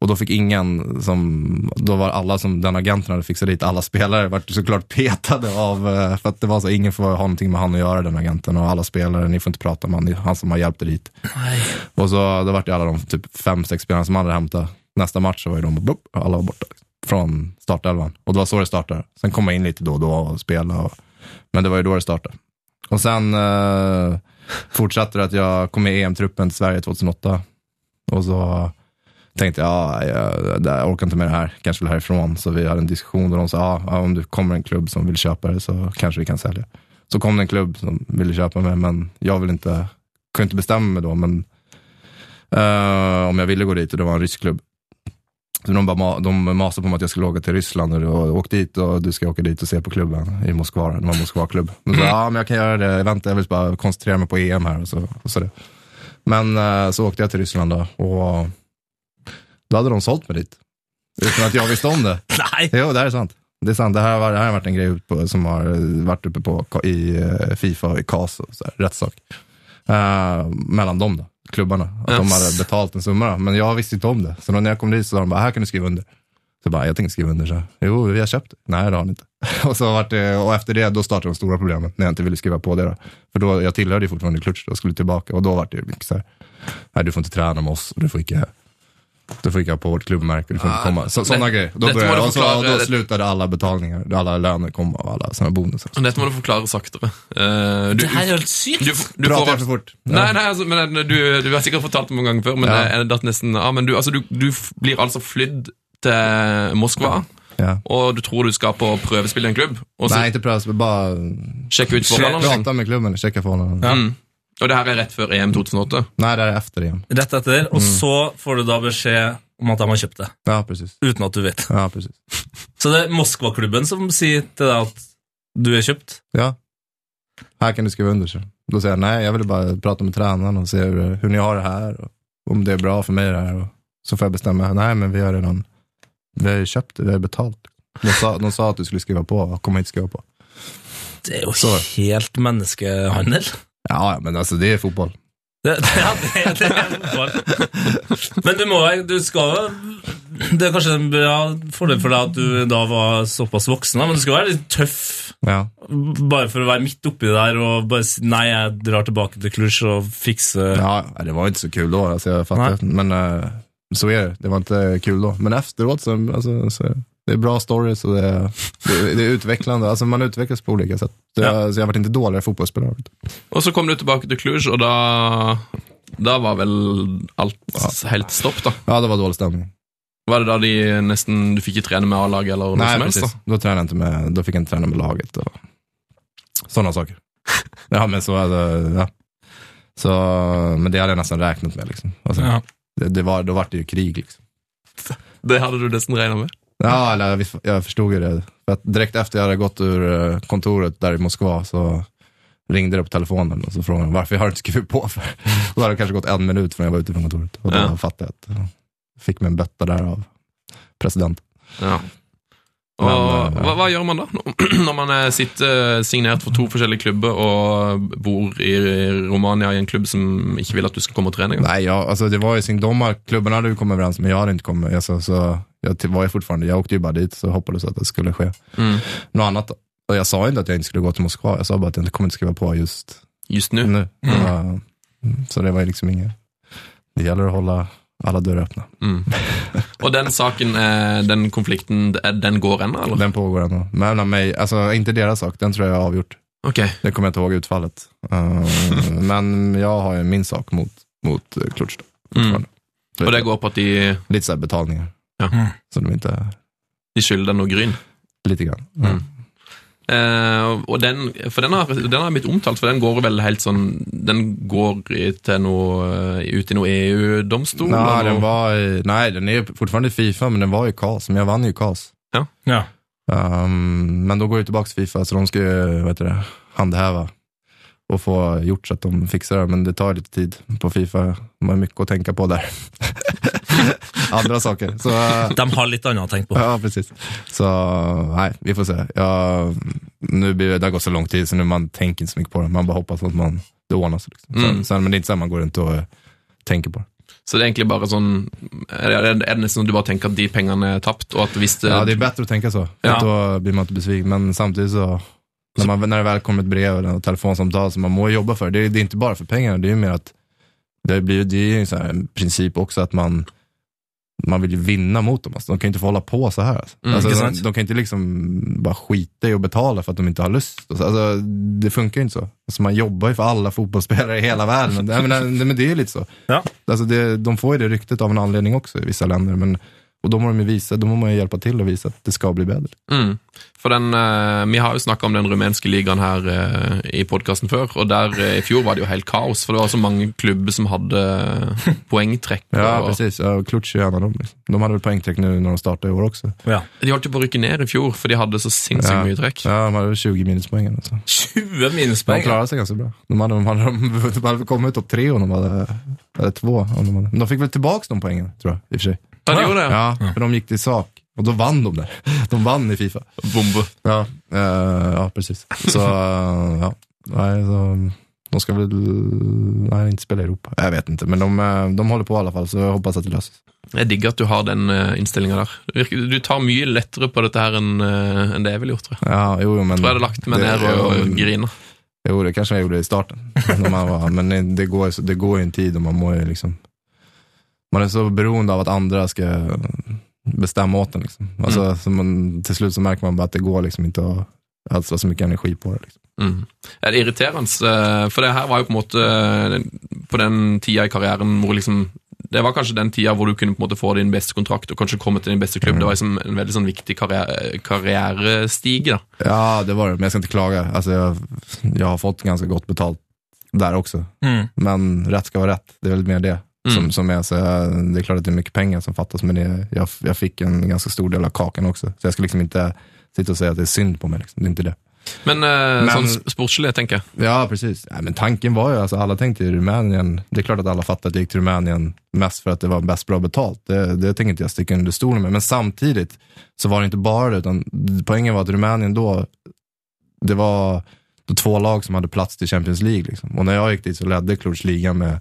Speaker 5: Och då fick ingen som, då var alla som den agenten hade fixat dit, alla spelare vart såklart petade av, eh, för att det var så, ingen får ha någonting med han att göra den agenten och alla spelare, ni får inte prata med han, det är han som har hjälpt er dit. Och så då vart ju alla de typ fem, sex spelarna som han hade hämtat, nästa match så var ju de blop, alla var borta från startelvan. Och det var så det startade. Sen kom man in lite då och då och spelade, och, men det var ju då det startade. Och sen eh, fortsatte det att jag kom med i EM-truppen till Sverige 2008. Och så tänkte jag, ja, jag, jag orkar inte med det här, kanske vill härifrån. Så vi hade en diskussion och de sa, ja, ja, om det kommer en klubb som vill köpa det så kanske vi kan sälja. Så kom det en klubb som ville köpa mig, men jag vill inte, kunde inte bestämma mig då men, eh, om jag ville gå dit och det var en rysk klubb. Så de, bara, ma- de masade på mig att jag skulle åka till Ryssland och, och åk dit och du ska åka dit och se på klubben i Moskva. Det var en Moskva-klubb. Men så, ja, men jag kan göra det. Jag väntar, jag vill bara koncentrera mig på EM här och så, och så det. Men eh, så åkte jag till Ryssland då och då hade de sålt mig dit. Utan att jag visste om det.
Speaker 3: Nei!
Speaker 5: Jo, det här är sant. Det är sant. Det här, var, det här har varit en grej ut på, som har eh, varit uppe på, Ka- i eh, Fifa och i CAS och så här, rättssak. Eh, mellan dem då, klubbarna. Att de
Speaker 4: Yes.
Speaker 5: hade betalt en summa då. Men jag visste inte om det. Så då när jag kom dit så sa de bara, här kan du skriva under. Så bara, jag tänker skriva under. Så här, jo, vi har köpt det. Nej, det har ni inte. och, så vart det, och efter det, då startade de stora problemen. När jag inte ville skriva på det då. För då, jag tillhörde ju fortfarande Klutch och skulle tillbaka. Och då var det mycket så här, nej du får inte träna med oss och du får inte du får inte ha på vårt klubbmärke, du får inte komma. Så, sådana
Speaker 4: det-
Speaker 5: grejer. Då,
Speaker 4: detta
Speaker 5: började,
Speaker 4: må du
Speaker 5: och så,
Speaker 4: förklara.
Speaker 5: och då slutade alla betalningar, alla löner kom av alla sådana bonusar.
Speaker 4: Dette må du forklare saktere. Eh, du,
Speaker 3: Det her er jo helt sykt!
Speaker 4: du, du
Speaker 5: Pratar
Speaker 4: får,
Speaker 5: jag för fort?
Speaker 4: Nei, nei, altså, men eh, du, du har sikkert fortalt det mange ganger før, men,
Speaker 5: Ja.
Speaker 4: eh, det er nesten, ja, men du, altså, du, du f- blir altså flydd til Moskva,
Speaker 5: Ja.
Speaker 4: og du tror du skal på prøvespill i en klubb, og så
Speaker 5: Nej, inte prövas, men bara
Speaker 4: sjekke ut forholdene. liksom.
Speaker 5: prata altså, med klubben, checka förhållandena.
Speaker 4: Mm. Och det här är rätt för EM 2008.
Speaker 5: Nej, det är efter igen.
Speaker 3: Rett etter, og så får du da beskjed om at de har kjøpt det,
Speaker 5: Ja, precis.
Speaker 3: uten at du vet.
Speaker 5: Ja, precis.
Speaker 3: Så det er Moskva-klubben som sier til deg at du er kjøpt.
Speaker 5: Ja. Här kan du skriva under. Så. Då säger jag nej, jag vill bara prata med tränaren och se hur, hur ni har det här och om det är bra för mig det här. Och så får jag bestämma, nej men vi har redan, vi har ju köpt det, vi har betalt. De sa, de sa att du skulle skriva på, kommer inte skriva på.
Speaker 3: Det er jo
Speaker 5: Så.
Speaker 3: helt menneskehandel.
Speaker 5: Ja, ja, men alltså det är fotboll.
Speaker 3: Det, det, ja, det, det er fotball. Men du må du skal jo Det er kanskje en bra fordel for deg at du da var såpass voksen, da, men du skal være litt tøff
Speaker 5: Ja.
Speaker 3: bare for å være midt oppi det der og bare si nei, jeg drar tilbake til Cluj og fikser
Speaker 5: Ja, det var inte så kul då, alltså jag fattar. Men eh, så är det. Det var inte kul då. Men efteråt så, alltså, så det är bra stories och det är, det, det är utvecklande. Alltså man utvecklas på olika sätt. Så jag, så jag har varit inte dåligare fotbollsspelare.
Speaker 4: Och så kom du tillbaka till Cluj, och då, då var väl allt helt stopp då?
Speaker 5: Ja, det var dålig stämning.
Speaker 4: Var det då de nästan, du fick ju träna med A-lag eller något
Speaker 5: Nej,
Speaker 4: som helst? Då?
Speaker 5: precis. Då, tränade jag inte med, då fick jag inte träna med laget och sådana saker. ja, men så, alltså, ja. så, men det hade jeg nesten räknat med. Liksom. Alltså,
Speaker 3: Ja.
Speaker 5: det, det var, då var det ju krig. Liksom.
Speaker 4: Det hade du nästan räknat med?
Speaker 5: Ja, eller jag vis- jag förstod ju det. För att direkt efter jag hade gått ur eh, kontoret där i Moskva så ringde det på telefonen och så frågade de varför jag har du inte skrivit på för. Och Då hade det kanske gått en minut från jag var ute från kontoret. Och då
Speaker 4: Ja.
Speaker 5: fattade jag att jag fick mig en bötta där av president.
Speaker 4: Ja.
Speaker 5: Men,
Speaker 4: Och
Speaker 5: eh,
Speaker 4: vad, vad gör man då? När man eh, sitter signerat för två olika klubbar och bor i Romania i en klubb som inte vill att du ska komma och träna?
Speaker 5: Nej, jag, alltså altså, det var ju sin domar, klubbarna hade ju kommit överens men jag hade inte kommit. Alltså, altså, så jag t- var ju fortfarande, jag åkte ju bara dit så hoppades att det skulle ske
Speaker 4: Mm.
Speaker 5: något annat. Och jag sa ju inte att jag inte skulle gå till Moskva, jag sa bara att jag inte kommer inte skriva på just
Speaker 4: Just nu?
Speaker 5: nu. Ja, mm, så det var ju liksom inget. Det gäller att hålla alla dörrar öppna.
Speaker 4: Mm. Og den saken, eh, den konflikten, eh, den går ennå, eller?
Speaker 5: Den pågår ännu. Mellan mig, alltså inte deras altså, sak, den tror jag är avgjort.
Speaker 4: Ok.
Speaker 5: Det kommer jag inte ihåg utfallet. Eh, men jag har ju min sak mot, mot eh, Klutch. då,
Speaker 4: Mm.
Speaker 5: fortfarande.
Speaker 4: Og det går på at de,
Speaker 5: Lite så här betalningar.
Speaker 4: Ja.
Speaker 5: Så de inte,
Speaker 4: de skylder noe gryn.
Speaker 5: lite grann.
Speaker 4: Mm. Eh, og den, for den har, den har blitt omtalt, for den går vel helt sånn Den går i- til noe, eh, ut i noe EU-domstol?
Speaker 5: Nej,
Speaker 4: eller
Speaker 5: den
Speaker 4: noe?
Speaker 5: var i, nej, den är ju fortfarande i Fifa, men den var i KAS. Men jag vann ju KAS.
Speaker 3: Ja.
Speaker 5: Ehm, men då går det tillbaka till Fifa, så de ska ju vad heter det, handhäva och få gjort så att de fixar det. Men det tar lite tid på Fifa. De har mycket att tänka på där. Andra saker. Så, eh,
Speaker 3: De har litt annet å tenke på.
Speaker 5: ja, precis. Så nej, vi får se. Ja, nu blir det, det har gått så lång tid, så nu man tänker inte så mycket på det. Man bara hoppas att man, det ordnar sig. Liksom.
Speaker 4: Mm.
Speaker 5: Sen, sen, men det är inte så här man går runt och eh, tänker på det.
Speaker 4: Så det er egentlig bare sånn Er det, er det nesten sånn at du bare tenker at de pengene er tapt, og at hvis det,
Speaker 5: Ja, det er bättre att tänka så.
Speaker 4: Ja.
Speaker 5: Ja. Då blir man inte besviken. Men samtidigt så, när, man, när det väl kommer ett brev eller ett telefonsamtal som man må jobba för, det, är- det är inte bara för pengarna, det är ju mer att det, blir, det är ju en sån här princip också att man, man vill ju vinna mot dem. Alltså, de kan ju inte få hålla på så här. Alltså.
Speaker 4: Mm,
Speaker 5: alltså,
Speaker 3: inte
Speaker 5: de,
Speaker 3: sant?
Speaker 5: de kan inte liksom bara skita i att betala för att de inte har lust. Alltså, det funkar ju inte så. Alltså, man jobbar ju för alla fotbollsspelare i hela världen. Men, men, men det är ju lite så.
Speaker 3: Ja.
Speaker 5: Alltså det, de får ju det ryktet av en anledning också i vissa länder. Men, och då må, de ju visa, då må man ju hjälpa till och visa att det ska bli bättre.
Speaker 4: mm. For den, eh, Vi har jo snakka om den rumenske ligaen her eh, i podkasten før, og der eh, i fjor var det jo helt kaos, for det var så mange klubber som hadde poengtrekk.
Speaker 5: Ja,
Speaker 4: og,
Speaker 5: precis. Ja, och Klutsch är ju en av dem. liksom. De hade väl poängträck nu när de startade i år också.
Speaker 3: Ja.
Speaker 4: de holdt jo på å rykke ned i fjor, for de hadde så sinnssykt
Speaker 5: Ja.
Speaker 4: mye trekk.
Speaker 5: Ja, de hade väl 20 minuspoäng. eller så.
Speaker 3: 20
Speaker 5: De
Speaker 3: minuspoeng! ja.
Speaker 5: klarade sig ganska bra. De hade, de hade, de de hade kommit topp tre om de hade, eller två. Om de, hade. de fick väl tillbaka de poängen, tror jag, i och för sig.
Speaker 4: Ja, de gjorde det.
Speaker 5: Ja, för de gick till sak. Och då vann de där. De vann i Fifa.
Speaker 4: Bombe.
Speaker 5: Ja, eh, ja precis. Så, eh, ja. Nej, så, de ska väl nej, inte spela i Europa. Jag vet inte, men de, eh, de håller på i alla fall, så jag hoppas att det löser sig.
Speaker 4: Jeg digger at du har den innstillinga der. Det virker- Du tar mye lettere på dette her enn eh, enn det jeg ville gjort, tror jeg.
Speaker 5: Ja, jo, jo, men,
Speaker 4: Tror jeg hadde lagt meg ned og, og grina.
Speaker 5: Jo, det kanske jag gjorde i starten. när man var, men det går, ju- det går ju en tid och man mår ju liksom... Man är så beroende av att andra ska bestämma åt en. Liksom. Alltså, så man, till slut så märker man bara att det går liksom inte att alls så mycket energi på det. Liksom.
Speaker 4: Mm. Er det irriterende? eh, For det her var jo på en måte eh, på den tida i karrieren hvor liksom Det var kanskje den tida hvor du kunne på en måte få din beste kontrakt og kanskje komme til din beste klubb.
Speaker 5: Mm.
Speaker 4: Det var liksom en veldig sånn viktig karriere, karrierestige. da.
Speaker 5: Ja, det var det, men jag ska inte klaga. Alltså, jag, jag Altså, har fått ganska gott betalt där också.
Speaker 3: Mm.
Speaker 5: Men rätt ska vara rätt. Det är väl mer det.
Speaker 4: Mm.
Speaker 5: Som, som jag, så jag, det är klart att det är mycket pengar som fattas, men det, jag, jag fick en ganska stor del av kakan också. Så jag ska liksom inte sitta och säga att det är synd på mig. Liksom. Det är inte det.
Speaker 4: Men, eh,
Speaker 5: Men-
Speaker 4: sånn sp- sportslig, tenker jeg.
Speaker 5: Ja, precis. Nej, men tanken var ju, alltså, alla tänkte ju Rumänien. Det är klart att alla fattade att jag gick till Rumänien mest för att det var bäst bra betalt. Det, det tänker inte jag sticka under stolen med. Men samtidigt så var det inte bara det, utan poängen var att Rumänien då, det var två lag som hade plats till Champions League. Liksom. Och när jag gick dit så ledde Cluj ligan med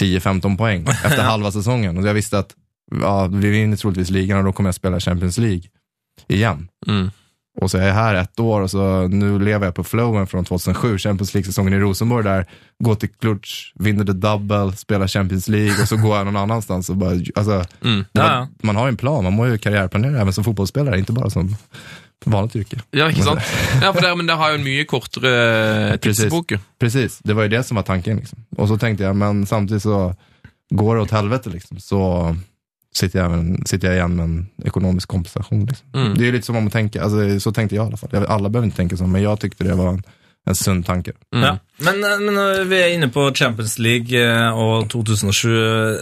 Speaker 5: 10-15 poäng efter halva säsongen. Och jag visste att ja, vi vinner troligtvis ligan och då kommer jag spela Champions League igen.
Speaker 4: Mm.
Speaker 5: Och så är jag här ett år och så nu lever jag på flowen från 2007, Champions League-säsongen i Rosenborg där. Går till Klutsch, vinner the double, spelar Champions League och så går jag någon annanstans och bara, alltså,
Speaker 4: Mm.
Speaker 5: det var,
Speaker 3: Ja, ja.
Speaker 5: man har ju en plan, man må ju karriärplanera även som fotbollsspelare, inte bara som vanligt yrke.
Speaker 4: Ja, ikke sant? Ja, for det, men det har jo en mye kortere eh,
Speaker 5: Precis.
Speaker 4: tidsbok. jo.
Speaker 5: Precis, det var ju det som var tanken liksom. Och så tänkte jag, men samtidigt så går det åt helvete liksom, så sitter jag, även, sitter jag igen med en ekonomisk kompensation. Liksom.
Speaker 4: Mm.
Speaker 5: Det är ju lite som om man tänker, alltså, så tänkte jag i alla fall. Jag- Alla behöver inte tänka så, men jag tyckte det var en, en sund tanke.
Speaker 4: Mm.
Speaker 3: Ja. Men, eh, men når vi er inne på Champions League eh, og 2007. eh,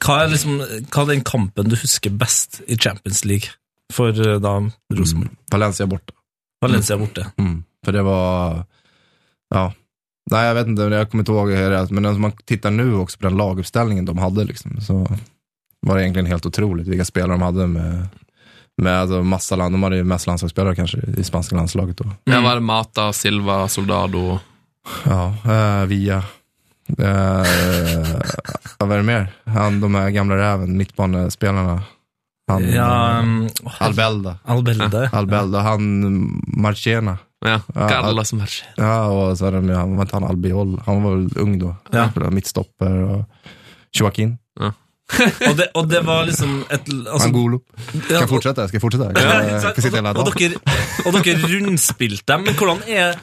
Speaker 3: Hva er, liksom, hva er den kampen du husker best i Champions League for eh, da Rosenborg?
Speaker 5: Valencia borta. Mm.
Speaker 3: Valencia borte.
Speaker 5: För det var, ja. Nej, jag vet inte, jag kommer inte ihåg hur det är, men om man tittar nu också på den laguppställningen de hade, liksom, så var det egentligen helt otroligt vilka spelare de hade med, med alltså massa land, de hade ju mest landslagsspelare kanske i spanska landslaget då.
Speaker 4: Der var det Mata, Silva, Soldado
Speaker 5: Ja, eh, via. Uh, vad är det mer? Han, de här gamla räven, mittbanespelarna. Han,
Speaker 3: Ja, um,
Speaker 5: Albelda.
Speaker 3: Albelde.
Speaker 5: Albelda, han Marchena.
Speaker 4: ja. Hva
Speaker 5: Ja,
Speaker 4: er det
Speaker 5: al-
Speaker 4: da som skjer?
Speaker 5: Ja, och så hade de ju, han var inte han Albiol, han var väl ung då.
Speaker 3: Ja.
Speaker 5: Han spelade mittstopper och Joaquin.
Speaker 4: Ja.
Speaker 3: Og det, og det var liksom et altså,
Speaker 5: Angolo. Skal
Speaker 3: Ja,
Speaker 5: jeg fortsette? Skal jeg fortsette? Skal
Speaker 3: Ja, ikke
Speaker 5: jeg, skal
Speaker 3: sant? Altså,
Speaker 5: jeg sitte hele
Speaker 3: og,
Speaker 5: dagen?
Speaker 3: dere, og dere rundspilte dem, men hvordan er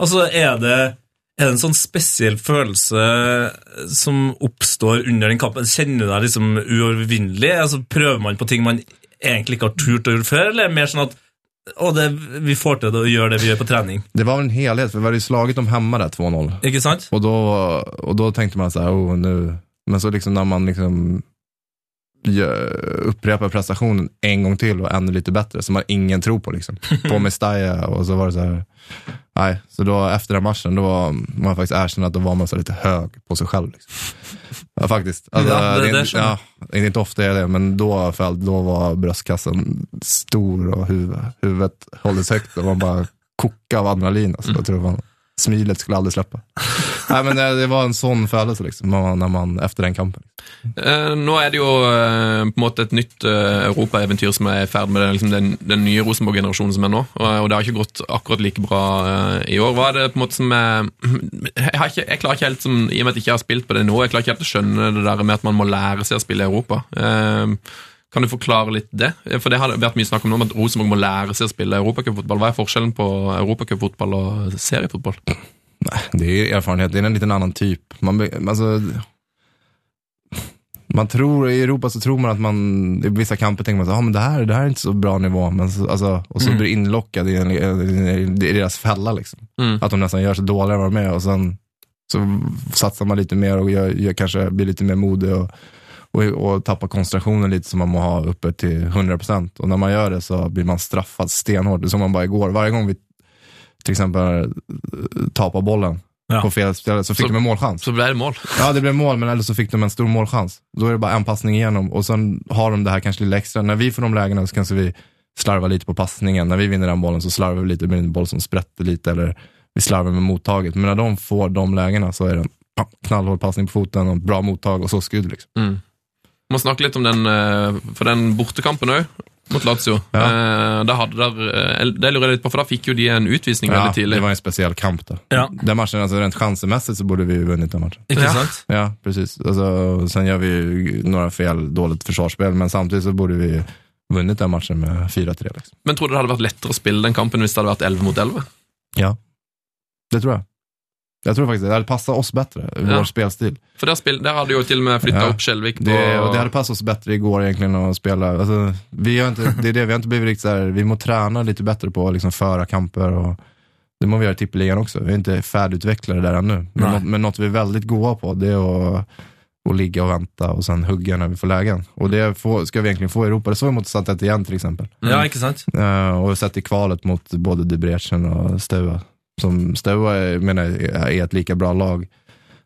Speaker 3: Altså, er det er det en sånn spesiell følelse eh, som oppstår under den kampen? Kjenner du deg liksom uovervinnelig? Altså, prøver man på ting man egentlig ikke har turt å gjøre før, eller er det mer sånn at å, det, vi får til det å gjøre det vi gjør på trening?
Speaker 5: Det var en helhet, for vi hadde slagit dem hemma där 2-0.
Speaker 3: Ikke sant?
Speaker 5: Och då, och då tänkte man så här, oh, nu. Men så liksom när man liksom gör- upprepar prestationen en gång till och ännu lite bättre, som man ingen tror på liksom. På Mestalla och så var det så här, nej. Så då efter den matchen, då var man faktiskt erkänna att då var man så lite hög på sig själv. Liksom. Ja, faktiskt. Alltså,
Speaker 3: Ja, det-
Speaker 5: det,
Speaker 3: det
Speaker 5: är
Speaker 3: är
Speaker 5: inte,
Speaker 3: så.
Speaker 5: ja, det är inte ofta jag gör det, men då, för allt, då var bröstkassen stor och huvud, huvudet hållits högt och man bara kokade av adrenalin. Alltså, jag tror man, smilet skulle aldrig släppa. Nej, men eh, det, det var en sån födelse liksom, när man, när man, efter den kampen.
Speaker 4: Eh, Nå er det jo eh, på en måte et nytt eh, europaeventyr som er i ferd med det, liksom den, den nye Rosenborg-generasjonen som er nå. Og, og det har ikke gått akkurat like bra eh, i år. Hva er det på en måte som er jeg, har ikke, jeg klarer ikke helt, som, I og med at jeg ikke har spilt på det nå, jeg klarer ikke helt å skjønne det der med at man må lære seg å spille i Europa. Eh, Kan du forklare litt det? For det har vært mye snakk om nå om at Rosenborg må lære seg å spille europacupfotball. Hva er forskjellen på europacupfotball og seriefotball?
Speaker 5: Det är ju erfarenhet, det är en liten annan typ. Man, be- altså, alltså, man tror, I Europa så tror man att man, i vissa kamper tänker man så, ah, men det här, det här är inte så bra nivå, men så, alltså, och så blir inlockad i, en, i deras fälla. Liksom.
Speaker 4: Mm.
Speaker 5: Att de nästan gör sig dåligare än vad de är och sen så satsar man lite mer och gör, gör, kanske blir lite mer modig och, och, och tappar koncentrationen lite som man må ha uppe till 100%. Och när man gör det så blir man straffad stenhårt. Det såg man bara igår. Varje gång vi till exempel eh, tappar bollen
Speaker 3: Ja.
Speaker 5: på fel ställe så fick
Speaker 4: Så-
Speaker 5: de en målchans.
Speaker 4: Så ble det mål.
Speaker 5: Ja, det blev mål, men eller så fick de en stor målchans. Då är det bara en passning igenom och sen har de det här kanske lilla extra. När vi får de lägena så kanske vi slarvar lite på passningen. När vi vinner den bollen så slarvar vi lite med en boll som sprätter lite eller vi slarvar med mottaget. Men när de får de lägena så är det en pam, knallhård passning på foten och ett bra mottag og så skudd. Liksom.
Speaker 4: Mm. må snakke litt om den, eh, for den bortekampen òg, mot Lazio. Eh, Da hadde der, eh, det lurer jeg litt på, for da fikk jo de en utvisning
Speaker 5: Ja,
Speaker 4: veldig
Speaker 5: det
Speaker 4: tidlig.
Speaker 5: var en speciell kamp då.
Speaker 3: Ja.
Speaker 5: Den matchen, alltså rent chansemässigt så borde vi ju vunnit den matchen.
Speaker 3: Ikke
Speaker 4: Ja.
Speaker 3: sant?
Speaker 5: Ja, precis. Alltså, sen gör vi ju några fel, dåligt försvarsspel, men samtidigt så borde vi vunnit den matchen med 4-3. Liksom.
Speaker 4: Men tror du det hadde vært lettere å spille den kampen hvis det hadde vært 11 mot 11?
Speaker 5: Ja. Det tror jeg. Jeg tror faktisk det. Det hadde passa oss bedre, vår
Speaker 4: Ja.
Speaker 5: spelstil.
Speaker 4: For der, spill, der hadde jo til og med flytta
Speaker 5: Ja.
Speaker 4: opp Skjelvik på
Speaker 5: Det, og det hadde passa oss bedre i går egentlig å spille altså, vi, har ikke, det er det, vi har ikke blitt riktig sånn Vi må trene litt bedre på å liksom, føre kamper. Og, det må vi gjøre i Tippeligaen også. Vi er ikke ferdigutviklede der ennå. Men,
Speaker 3: Nei.
Speaker 5: något- men noe vi er veldig gode på, det er å å ligge og vente og så hugge når vi får leien. Og det får, skal vi egentlig få i Europa. Det så vi mot Santet igjen, for eksempel.
Speaker 3: Ja, ikke sant?
Speaker 5: Eh, og sett i kvalet mot både Debrecen og Staua. Som Staua er- mener jeg er et like bra lag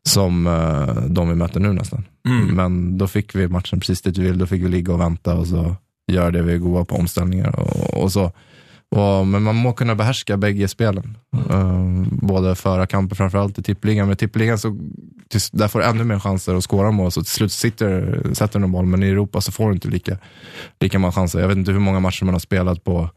Speaker 5: som eh, de vi møter nå, nesten.
Speaker 3: Mm.
Speaker 5: Men da fikk vi matchen precis dit vi ville. Da fikk vi ligge og vente, og så gjøre det vi er gode på omstillinger. Og, og så. Og, men man må kunne beherske begge spillene. Eh, både föra kamper, framförallt i tippeligaen. Men i tippeligaen så till, där får du ännu mer chanser att skåra mål. Så till slut sitter, sätter du någon mål, men i Europa så får du inte lika, lika många chanser. Jag vet inte hur många matcher man har spelat på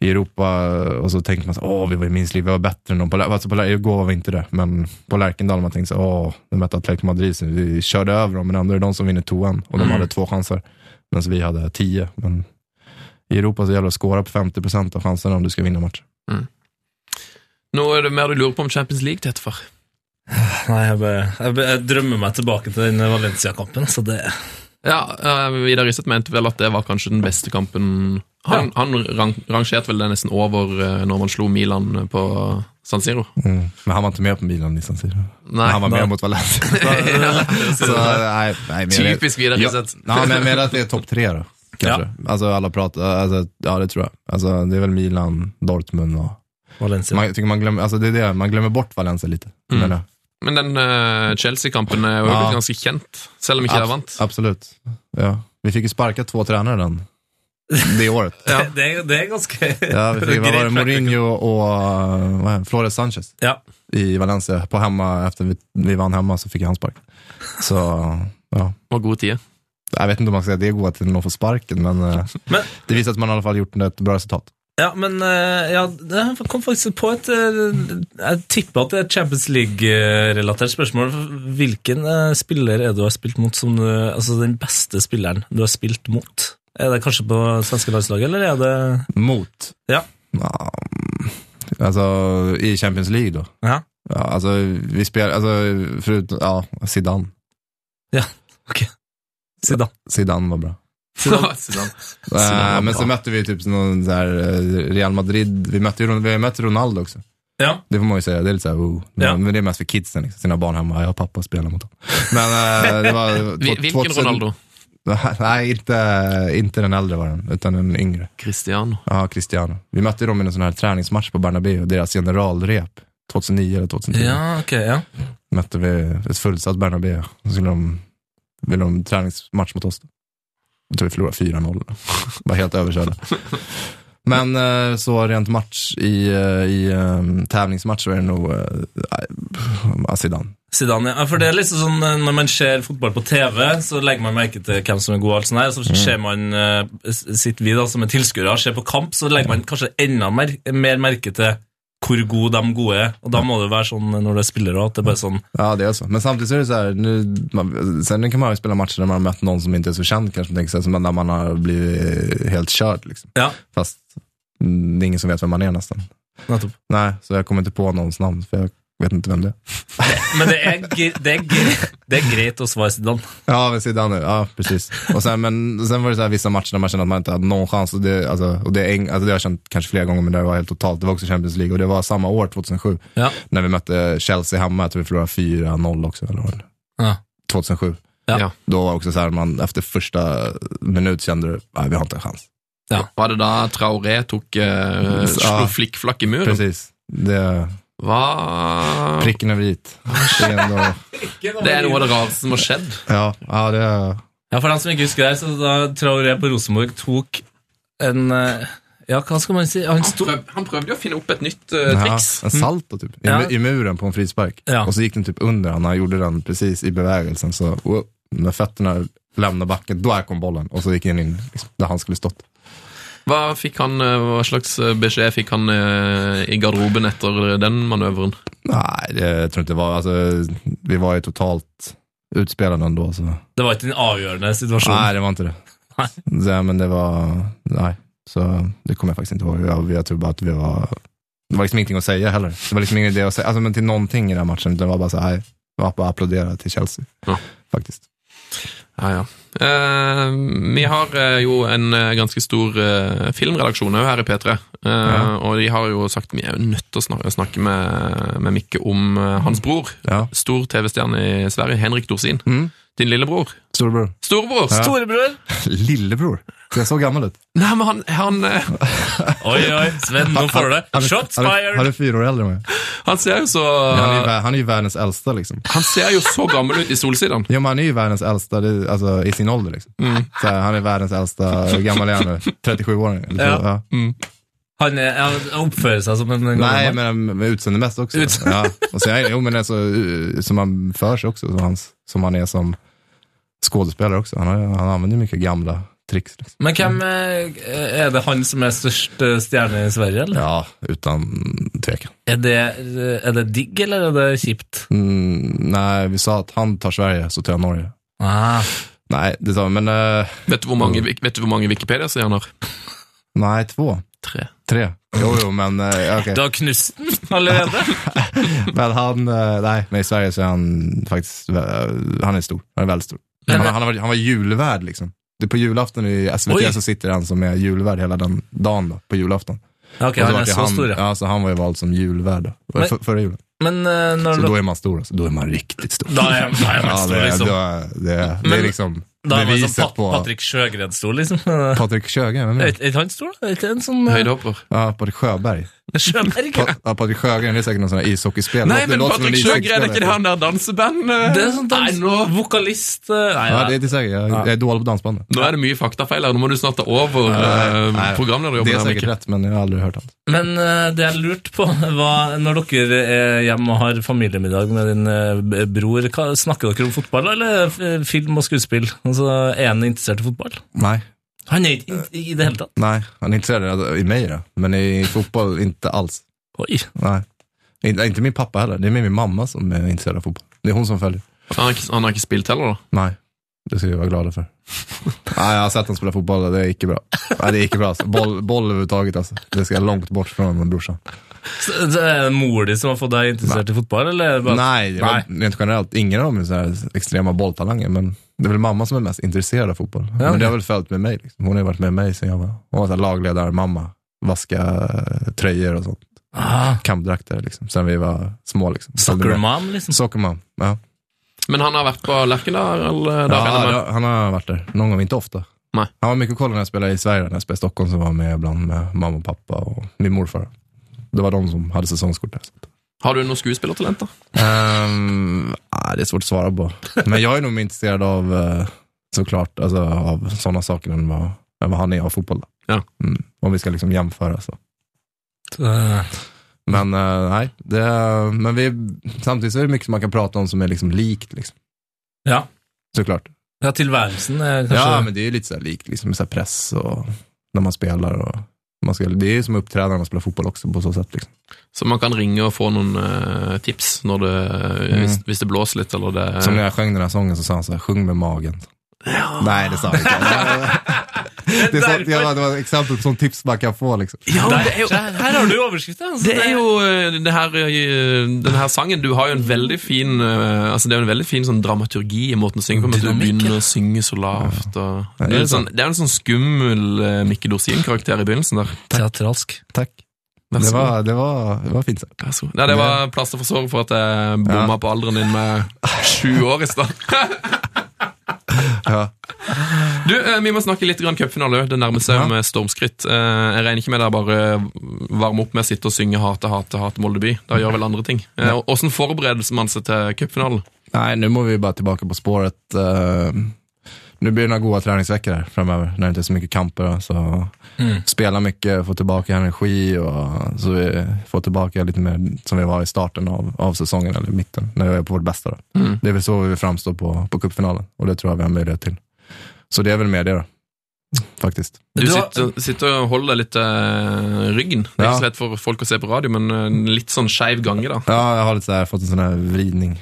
Speaker 5: i Europa och så tänker man så åh, vi var i minst liv, vi var bättre än dem. På, Lär- alltså på, Lär- igår var vi inte det, men på Lärkendal man tänkte så åh, de mötte Atletico Madrid, så vi körde över dem, men ändå är det de som vinner toan och de
Speaker 3: Mm.
Speaker 5: hade två chanser. Medan vi hade tio. Men i Europa så gäller det att skåra på 50% av chanserna om du ska vinna matchen.
Speaker 4: Nå er det mer du lurer på om Champions League til etterfor.
Speaker 3: Nei, jeg, bare, jeg, bare, jeg drømmer meg tilbake til den Valencia-kampen, så det
Speaker 4: Ja, eh, Vidar Risset mente vel at det var kanskje den beste kampen Han, han rang, rangerte vel det nesten over eh, når man slo Milan på San Siro.
Speaker 5: Men han var inte med på Milan, Nissan Siro.
Speaker 4: Nei,
Speaker 5: han var
Speaker 3: Mm. nej.
Speaker 5: med mot Valencia. så, nej, nej, men jag-
Speaker 4: Typisk Vidar Risset.
Speaker 5: Ja, men jag menar att det är topp tre då. Kanske. Alltså alla pratar, alltså, ja det tror jag. Alltså det är väl Milan, Dortmund och
Speaker 3: Valencia.
Speaker 5: Man, jag tycker man, glömmer, alltså det är det, man glömmer bort Valencia lite.
Speaker 4: Mm.
Speaker 5: menar jag.
Speaker 4: Men den eh, Chelsea-kampen er jo
Speaker 5: Ja.
Speaker 4: blitt ganske kjent, selv om ikke
Speaker 5: Abs-
Speaker 4: jeg vant.
Speaker 5: Absolut. Ja. Vi fick ju sparka två tränare den, det året.
Speaker 4: Ja.
Speaker 3: Det, er- det er ganske
Speaker 5: Ja, vi fick, vad var det, Mourinho och vad är han, Flores Sanchez
Speaker 3: Ja.
Speaker 5: i Valencia. På hemma, efter vi, vi vann hemma så fick han spark. Så, ja.
Speaker 4: Og god tid.
Speaker 5: Jag vet inte om man ska säga att det går till någon får sparken, men, eh,
Speaker 3: Men-
Speaker 5: det visar att man i alla fall gjort ett bra resultat.
Speaker 3: Ja, men eh, ja, det kom faktisk på et eh, Jeg tipper at det er et Champions League-relatert spørsmål. Hvilken eh, spiller er du har spilt mot som du Altså den beste spilleren du har spilt mot? Er det kanskje på svenske landslaget, eller er det
Speaker 5: Mot?
Speaker 3: Ja.
Speaker 5: Ja, alltså, I Champions League då?
Speaker 3: Ja.
Speaker 5: Ja, alltså, vi spelar, alltså, förutom, ja, Zidane.
Speaker 3: Zidane.
Speaker 5: Zidane var bra.
Speaker 4: Zidane. Zidane var
Speaker 5: Eh, men
Speaker 4: bra.
Speaker 5: så mötte vi typ någon så här eh, Real Madrid, vi mötte, ju Ron- vi har mött Ronaldo också.
Speaker 3: Ja.
Speaker 5: Det får man ju säga, det är lite såhär, oh. men,
Speaker 3: Ja.
Speaker 5: men det är mest för kidsen, liksom. sina barn hemma, jag och pappa spelar mot dem. Men eh, det
Speaker 4: Vi-
Speaker 5: var...
Speaker 4: Hvilken
Speaker 5: 2000
Speaker 4: Ronaldo?
Speaker 5: Nej, inte, inte eh, den äldre var den, utan den yngre.
Speaker 4: Cristiano.
Speaker 5: Ja, Cristiano. Vi mötte ju dem i en sån här träningsmatch på Bernabéu, deras generalrep. 2009 eller 2010
Speaker 3: Ja, ok, ja.
Speaker 5: mötte vi ett fullsatt Bernabéu. Så skulle de, ville de träningsmatch mot oss. Då. Jag tror vi förlorade 4-0. Var helt överkörda. Men eh, så rent match i, eh, i eh, tävlingsmatch så är det nog eh, Zidane.
Speaker 3: Zidane, ja. For det er liksom sånn eh, Når man ser fotball på TV, så legger man merke til hvem som er god. og alt sånt her, Så ser man, eh, s- sitter vi da som er tilskuere og ser på kamp, så legger man kanskje enda mer, mer merke til hvor gode de gode er. Og da må det jo være sånn når det er spillere at det er bare sånn
Speaker 5: Ja, det är så. Men samtidigt så är det så här, nu, man, sen kan man ju spela matcher där man har mött någon som inte är så känd kanske, man tänker sig, men där man har blivit helt körd. Liksom.
Speaker 3: Ja,
Speaker 5: Fast mm, det är ingen som vet vem man är nästan.
Speaker 3: nettopp.
Speaker 5: Nej, så jag kommer inte på någons namn, för jag vet inte vem det är.
Speaker 3: Men det er, gre- det er, gre- det er greit å svare Zidane.
Speaker 5: Ja, men Zidane, ja precis. Och sen, men, sen var det så här, vissa matcher där man kände att man inte hade någon chans. Och det, alltså, och det, är eng- alltså, det har jag känt kanske flera gånger, men det var helt totalt. Det var också Champions League och det var samma år, 2007,
Speaker 3: Ja.
Speaker 5: när vi mötte Chelsea hemma. Jag tror vi förlorade 4-0 också. Eller vad det var.
Speaker 3: Ja.
Speaker 5: 2007.
Speaker 3: Ja.
Speaker 4: Ja.
Speaker 5: Då var också så här, man efter första minut kände du, nej vi har inte en chans.
Speaker 4: Var det da Traoré tok uh, slo
Speaker 5: Ja.
Speaker 4: flikkflakk i muren?
Speaker 5: Precis. Det,
Speaker 4: Hva
Speaker 5: pricken över dit. Det är ändå,
Speaker 4: Det er noe av det rareste som har skjedd.
Speaker 5: ja, ja, det,
Speaker 3: Ja, For dem som ikke husker det, her, så da Traoré på Rosenborg tok en eh, Ja, hva skal man si? Han sto
Speaker 4: Prøv, han prøvde jo å finne opp et nytt eh,
Speaker 5: ja,
Speaker 4: triks.
Speaker 5: en salto typ. I,
Speaker 3: Mm. Ja.
Speaker 5: I muren på en frispark.
Speaker 3: Ja.
Speaker 5: Och så gick den typ under han, han gjorde den precis i bevägelsen. Så, wow, när fötterna lämnade backen, då här kom bollen. Och så gick den in liksom, där han skulle stått.
Speaker 4: Hva, fikk han, eh, hva slags eh, beskjed fikk han eh, i garderoben etter den manøveren?
Speaker 5: Nej, det, jag tror inte det var, alltså, vi var ju totalt utspelade ändå. Så.
Speaker 3: Det var ikke den avgjørende situasjonen.
Speaker 5: Nej, det var inte det.
Speaker 3: Nej.
Speaker 5: Så, men det var, nej. Så det kommer jag faktiskt inte ihåg. Jag, jag tror bara att vi var, det var liksom ingenting att säga heller. Det var liksom ingen idé att säga, alltså, men till någonting i den här matchen. Det var bara så här, nej, jag bara applådera til Chelsea.
Speaker 4: Ja.
Speaker 5: Faktiskt.
Speaker 4: Ja, ja. Eh, vi har eh, jo en eh, ganske stor eh, filmredaksjon òg her i P3. eh,
Speaker 5: Ja.
Speaker 4: Og de har jo sagt vi er jo nødt til å snakke, snakke med, med Mikke om eh, hans bror.
Speaker 5: Ja.
Speaker 4: Stor TV-stjerne i Sverige, Henrik Dorsin.
Speaker 5: Mm.
Speaker 4: Din lillebror.
Speaker 5: Storebror.
Speaker 4: Storebror!
Speaker 5: Ja.
Speaker 3: Storebror!
Speaker 5: Lillebror? Ser jeg så gammel ut?
Speaker 4: Nei, men han, han, eh,
Speaker 3: Oi, oi, Sven, nå får du det. Shots
Speaker 5: han, er- han
Speaker 3: fired! Ah.
Speaker 5: er fire år eldre enn meg.
Speaker 4: han ser jo så
Speaker 5: Han er, jo ver- han er jo verdens eldste, liksom.
Speaker 4: Han ser jo så gammel ut i Solsiden.
Speaker 5: Ja, men han er jo verdens eldste det, altså, i sin ålder, liksom.
Speaker 3: Mm.
Speaker 5: Så han er verdens eldste Hvor gammel er han nå? 37-åring? eller så,
Speaker 3: Ja.
Speaker 5: Ja.
Speaker 3: Han er, ja, oppfører seg som en
Speaker 5: Nei,
Speaker 3: gammel mann.
Speaker 5: men med utseendemessig også.
Speaker 3: Utse-
Speaker 5: Ja. Og så er, jo, men altså, uh, som han för sig også, som, hans, som han er som skuespiller også. Han, har, han anvender mye gamle triks. Liksom.
Speaker 3: Men hvem eh, er det han som er størst eh, stjerne i Sverige, eller?
Speaker 5: Ja, uten tvil.
Speaker 3: Er, det, eh, er det digg, eller er det kjipt?
Speaker 5: Mm, nei, vi sa at han tar Sverige, så tar jeg Norge.
Speaker 3: Ah,
Speaker 5: Nei, det sa vi, men eh,
Speaker 4: Vet du hvor mange, vet du hvor mange Wikipedia-sider han har?
Speaker 5: Nei, två.
Speaker 4: Tre.
Speaker 5: Tre. Jo, jo, men eh, okej.
Speaker 3: du har knust den allerede?
Speaker 5: Men han, eh, nej, men i Sverige så är han faktiskt, eh, han är stor. Han är väldigt stor. Han, han, har varit- han var julvärd liksom. Det är på julafton i SVT
Speaker 3: Oj.
Speaker 5: så sitter han som är julvärd hela den dagen då, på julafton.
Speaker 3: Ok,
Speaker 5: Och
Speaker 3: han
Speaker 5: vart
Speaker 3: er
Speaker 5: ju
Speaker 3: så stor, ja.
Speaker 5: ja. så han var ju vald som julvärd då,
Speaker 3: Men-
Speaker 5: för, förra julen.
Speaker 3: Men eh,
Speaker 5: Så
Speaker 3: når du
Speaker 5: då är man stor alltså. Då är man riktigt stor.
Speaker 3: Da er da er man
Speaker 5: ja,
Speaker 3: stor,
Speaker 5: det,
Speaker 3: liksom.
Speaker 5: det, är- det, är- det
Speaker 3: Men-
Speaker 5: är liksom
Speaker 3: Da er man som
Speaker 5: beviset
Speaker 3: Pat
Speaker 5: på...
Speaker 3: Patrick Sjøgren stor, liksom. Er
Speaker 5: Patrik Sjögren, vem är det?
Speaker 3: ikke- er ikke han stor, da? Er ikke en sånn eh,
Speaker 4: Høydehopper.
Speaker 5: Ja, Patrik Sjöberg.
Speaker 3: Sjøberg?
Speaker 5: Pa- Ja, Patrik Sjögren, det är säkert någon sån här ishockeyspelare.
Speaker 4: Nei,
Speaker 5: Låter-
Speaker 4: men
Speaker 5: låter som en
Speaker 4: Patrick Sjøgren, er
Speaker 5: ishockeyspelare.
Speaker 4: ikke det han der danseband? eh?
Speaker 3: Det er sånn dans...
Speaker 4: Nei, nå,
Speaker 3: vokalist eh, Nei,
Speaker 5: Ja,
Speaker 3: nei.
Speaker 5: det är inte säkert. Jag, jag är dålig på dansbandet.
Speaker 4: nå er det mye faktafeil her. Nå må du snart ta over
Speaker 5: nei,
Speaker 4: eh,
Speaker 5: nei. Det
Speaker 4: programlederjobben.
Speaker 5: är
Speaker 4: her,
Speaker 5: säkert
Speaker 4: Mikke.
Speaker 5: rätt, men jag har aldrig hört allt.
Speaker 3: Men eh, det jeg lurte på, var når dere er hjemme og har familiemiddag med din eh, b- bror, hva, eh, snakker dere om fotball eller f- film og skuespill? Altså, Er han interessert i fotball?
Speaker 5: Nej.
Speaker 3: Han er ikke i, i det hele tatt.
Speaker 5: Nej, han är intresserad i mig då. Men i fotboll inte alls.
Speaker 3: Oi.
Speaker 5: Nej. Inte, inte min pappa heller. Det är mer min mamma som är intresserad av fotboll. Det är hon som följer.
Speaker 4: Han har ikke, han har ikke spilt heller, da.
Speaker 5: Nej, det ska vi vara glada för. Nej, jag har sett honom spela fotboll. Det är inte bra. Nej, det är inte bra. Alltså. Boll, boll överhuvudtaget alltså. Det ska långt bort från brorsan.
Speaker 3: Så, så er det mor di som har fått deg interessert i fotball, eller? er det Bare...
Speaker 5: Nej, det var, rent generellt. Ingen av dem är så här extrema bolltalanger. Men det är väl mamma som är mest intresserad av fotboll. Men det har väl följt med mig. Liksom. Hon har ju varit med mig sen jag var... Hon var så här lagledarmamma. Vaska eh, tröjor och sånt.
Speaker 3: Ah,
Speaker 5: Kampdrakter liksom. Sen vi var små liksom.
Speaker 3: soccer mom, liksom.
Speaker 5: Soccer mom, ja.
Speaker 4: Men han har vært på Lerkendal? Eller, der,
Speaker 5: Ja,
Speaker 4: regner jeg med.
Speaker 5: det- han har varit där någon gång, inte ofta.
Speaker 4: Nej.
Speaker 5: Han var mycket cool när jag spelade i Sverige, när jag spelade i Stockholm så var han med ibland med mamma och pappa och min morfar. Det var de som hade säsongskort där. så att-
Speaker 4: Har du noen skuespillertalenter?
Speaker 5: Ehm, ah, det är svårt att svara på. Men jag är nog mer intresserad av, eh, såklart, alltså, av sådana saker än vad, än vad han är av fotboll. då.
Speaker 4: Ja.
Speaker 5: Mm, om vi ska liksom jämföra så.
Speaker 3: Eh,
Speaker 5: Men eh, nej, det, men vi, samtidigt så är det mycket som man kan prata om som är liksom likt. Liksom.
Speaker 3: Ja.
Speaker 5: Såklart.
Speaker 3: Ja, tilværelsen er kanskje
Speaker 5: Ja, men det är ju lite så här likt, liksom med så här press och när man spelar. Och man ska, det är ju som uppträdande att spela fotboll också på så sätt. Liksom.
Speaker 4: Så man kan ringe og få noen eh, tips når det, eh, hvis, hvis det blåser litt, eller det
Speaker 5: Mm. Som när jag sjöng den här sången så sa han så här, sjung med magen. Nej, det sa han inte. det, är sånt, ja, det var ett exempel på sånt tips man kan få. Liksom.
Speaker 4: ja,
Speaker 3: Der,
Speaker 4: men det er jo
Speaker 3: der- her har du overskrifta! Altså,
Speaker 4: Det er jo eh, det her, eh, den her sangen Du har jo en veldig fin eh, Altså det er jo en veldig fin sånn dramaturgi i måten å synge på, med at du
Speaker 3: Dynamikk,
Speaker 4: begynner å synge så lavt. Og,
Speaker 5: Ja,
Speaker 4: det,
Speaker 5: det er
Speaker 4: er litt sånn, det er en sånn skummel eh, Mikke Dorsin-karakter i begynnelsen der.
Speaker 3: teatralsk.
Speaker 5: Tack.
Speaker 4: Vær
Speaker 5: Det
Speaker 4: så god.
Speaker 5: var, det var, det var fint. Så.
Speaker 4: Vær så god. Nei, det var plaster for såret for at jeg bomma på alderen din med sju år i stad.
Speaker 5: Ja.
Speaker 4: Du, eh, Vi må snakke litt grann cupfinale. Det nærmer seg
Speaker 5: Ja.
Speaker 4: med stormskritt. Eh, Jeg regner ikke med dere bare varme opp med å sitte og synge 'Hate, hate, hate Molde by'. Da gjør vel andre ting. Eh, og- Hvordan forbereder man seg til cupfinalen?
Speaker 5: Nej, nu må vi bara tillbaka på spåret. Eh, nu blir det några goda träningsveckor här framöver, när det inte är så mycket kamper. Så Spela mycket, få tillbaka energi och så vi får tillbaka lite mer som vi var i starten av, av säsongen, eller mitten, när vi är på vårt bästa. Då. Det är väl så vi vill framstå på, på cupfinalen och det tror jag vi har möjlighet till. Så det är väl mer det då, faktiskt.
Speaker 4: Du,
Speaker 3: Du har-
Speaker 4: sitter, sitter og holder deg litt eh, ryggen. Det er
Speaker 5: Ja.
Speaker 4: ikke så lett for folk å se på radio, men eh, litt sånn skeiv gange, da.
Speaker 5: Ja, jag har lite så här, fått en sån här vridning.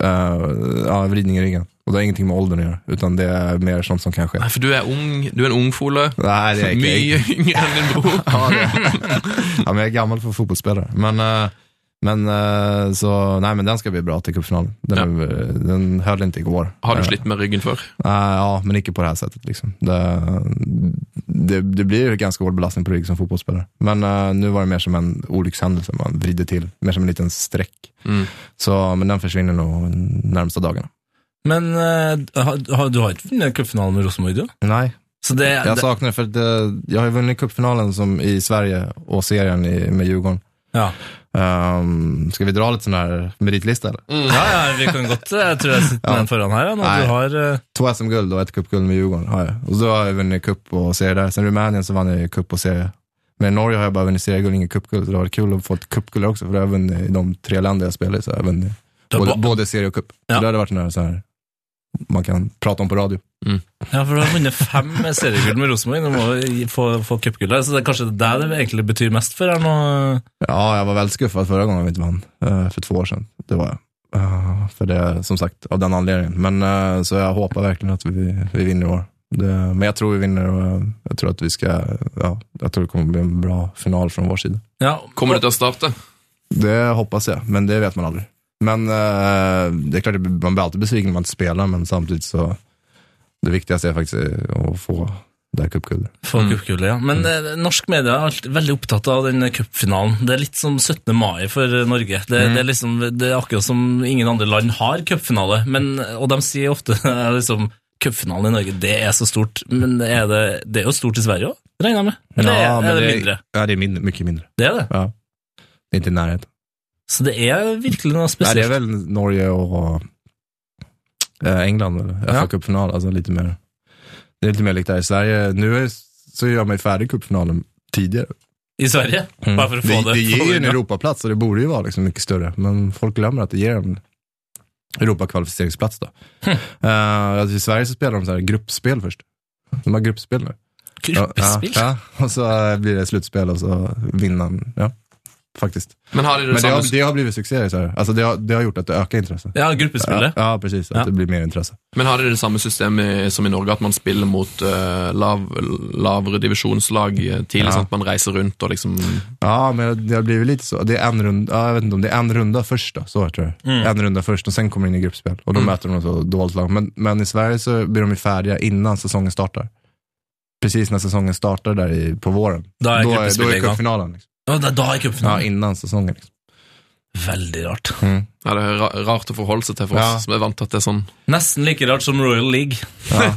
Speaker 5: Eh, ja, vridning i ryggen. Och det har ingenting med åldern att göra, utan det är mer sånt som kan ske.
Speaker 4: Nei, For du er ung. Du er en ungfole.
Speaker 5: Nej, det är
Speaker 4: Mye yngre enn din bror.
Speaker 5: Ja, det ja, men jag är gammal för fotbollsspelare. Men, eh, men, eh, så, nej, men den ska bli bra till cupfinalen. Den, är- den höll inte igår.
Speaker 4: Har du
Speaker 5: Eh,
Speaker 4: slitt med ryggen før?
Speaker 5: eh, ja, men inte på det här sättet. Liksom. Det, det, det blir ju ganska hård belastning på ryggen som fotbollsspelare. Men eh, nu var det mer som en olyckshändelse. Man vrider till, mer som en liten streck.
Speaker 4: Mm.
Speaker 5: Så, men den försvinner nog närmsta dagarna.
Speaker 3: Men eh, har- har- du har ikke vunnet cupfinalen med Rosenborg, du?
Speaker 5: Nej,
Speaker 3: Så det,
Speaker 5: jag
Speaker 4: Eh,
Speaker 3: det
Speaker 5: saknar det för att det, jag har ju vunnit cupfinalen som i Sverige och serien i, med Djurgården.
Speaker 3: ja.
Speaker 5: Um, ska vi dra lite sån här meritlista eller?
Speaker 3: ja, ja, vi kan godt eh, Jeg tror jeg sitter med den foran her. Ja, når
Speaker 5: Nei.
Speaker 3: du har eh,
Speaker 5: Två SM-guld och ett cupguld med Djurgården har jag. Och så har jag vunnit cup och serie där. Sen Rumänien så vann jag ju cup och serie. Men i Norge har jag bara vunnit serieguld, inget cupguld. Så det har varit kul att få ett cupguld också, för det har jag vunnit i de tre länder jag spelar i. Så har jag vunnit
Speaker 3: Du har
Speaker 5: både,
Speaker 3: ba-
Speaker 5: både serie och cup.
Speaker 3: Ja.
Speaker 5: Så det sånn hade varit en så här man kan prata om på radio.
Speaker 3: Ja, for du har vunnet fem seriegull med Rosenborg. Du må gi- få, få cupgull her, så det er kanskje det der det egentlig betyr mest for her nå.
Speaker 5: Ja, jag var väldigt skuffad förra gången vi inte vann, eh, för två år sedan. Det var jag. Eh, För det, som sagt, av den anledningen. Men eh, så jag hoppas verkligen att vi, vi vinner i år. Det, men jag tror vi vinner och eh, jag tror att vi ska, ja, jag tror det kommer bli en bra final från vår sida.
Speaker 3: Ja,
Speaker 4: Kommer du til å starte?
Speaker 5: Det hoppas jag, men det vet man aldrig. Men eh, det är klart, det- man blir alltid besviken när man inte spelar, men samtidigt så, det viktigaste är faktiskt att få det här cupguldet.
Speaker 3: Få cupgullet, ja. Men eh, norsk media er alltid veldig opptatt av den cupfinalen. Det er litt som 17. mai for eh, Norge. Det, det, er liksom, det er akkurat som ingen andre land har cupfinale. Men- Og de sier ofte eh, liksom Cupfinalen i Norge, det er så stort. Men er det, det er jo stort i Sverige òg, regner jeg med? Eller
Speaker 5: Ja,
Speaker 3: er,
Speaker 5: men
Speaker 3: er det mindre?
Speaker 5: Ja, det är mindre, mycket mindre.
Speaker 3: Det er det.
Speaker 5: Ja. Det är inte i närheten.
Speaker 3: Så det er virkelig noe
Speaker 5: Nej, det är
Speaker 3: spesielt.
Speaker 5: väl Norge och eh, England, eller
Speaker 3: Ja.
Speaker 5: FA-cupfinal, alltså lite altså mer. Det är lite mer likt där i Sverige. Nu är, så gör man ju färdig cupfinalen tidigare.
Speaker 3: I Sverige,
Speaker 5: Mm.
Speaker 3: bare for å få
Speaker 5: Det,
Speaker 3: det
Speaker 5: det ger
Speaker 3: på
Speaker 5: ju en
Speaker 3: unna.
Speaker 5: Europaplats och det borde ju vara liksom mycket större, men folk glömmer att det ger en
Speaker 3: Hm.
Speaker 5: altså Europakvalificeringsplats då. Eh, alltså I Sverige så spelar de så här gruppspel först. De har gruppespel nu.
Speaker 3: Gruppespill?
Speaker 5: Ja, ja, ja. Och så eh, blir det slutspel och så vinner ja, faktiskt.
Speaker 4: Men har de det
Speaker 5: Men det
Speaker 4: samme
Speaker 5: har, det har blivit succé, så här. Alltså det, har, det har gjort att det ökar intresset.
Speaker 3: Ja, gruppespillet.
Speaker 5: Ja, ja, precis. Att
Speaker 3: Ja.
Speaker 5: det blir mer intresse.
Speaker 4: Men har de det samme systemet som i Norge, at man spiller mot eh, lav, lavere divisjonslag eh, tidlig,
Speaker 5: Ja.
Speaker 4: sånn at man reiser rundt og liksom
Speaker 5: Ja, men det har blivit lite så. Det är en runda, ja, jag vet inte om det är en runda först då, så tror jag. En runda först och sen kommer de in i gruppspel. Och då möter de något så dåligt lag. Men, men i Sverige så blir de ju färdiga innan säsongen startar. Precis när säsongen startar där i, på våren.
Speaker 3: Da er
Speaker 5: då är,
Speaker 3: gruppespillet
Speaker 5: då
Speaker 3: i
Speaker 5: är
Speaker 3: gang.
Speaker 5: cupfinalen. Liksom.
Speaker 3: Ja, da, da er
Speaker 5: Ja,
Speaker 3: cupfinalen.
Speaker 5: innan säsongen. Liksom.
Speaker 3: Veldig rart.
Speaker 5: Mm.
Speaker 4: Ja, det er ra- rart å forholde seg til for
Speaker 5: Ja.
Speaker 4: oss som er vant til at det er sånn.
Speaker 3: Nesten like rart som Royal League.
Speaker 5: Ja,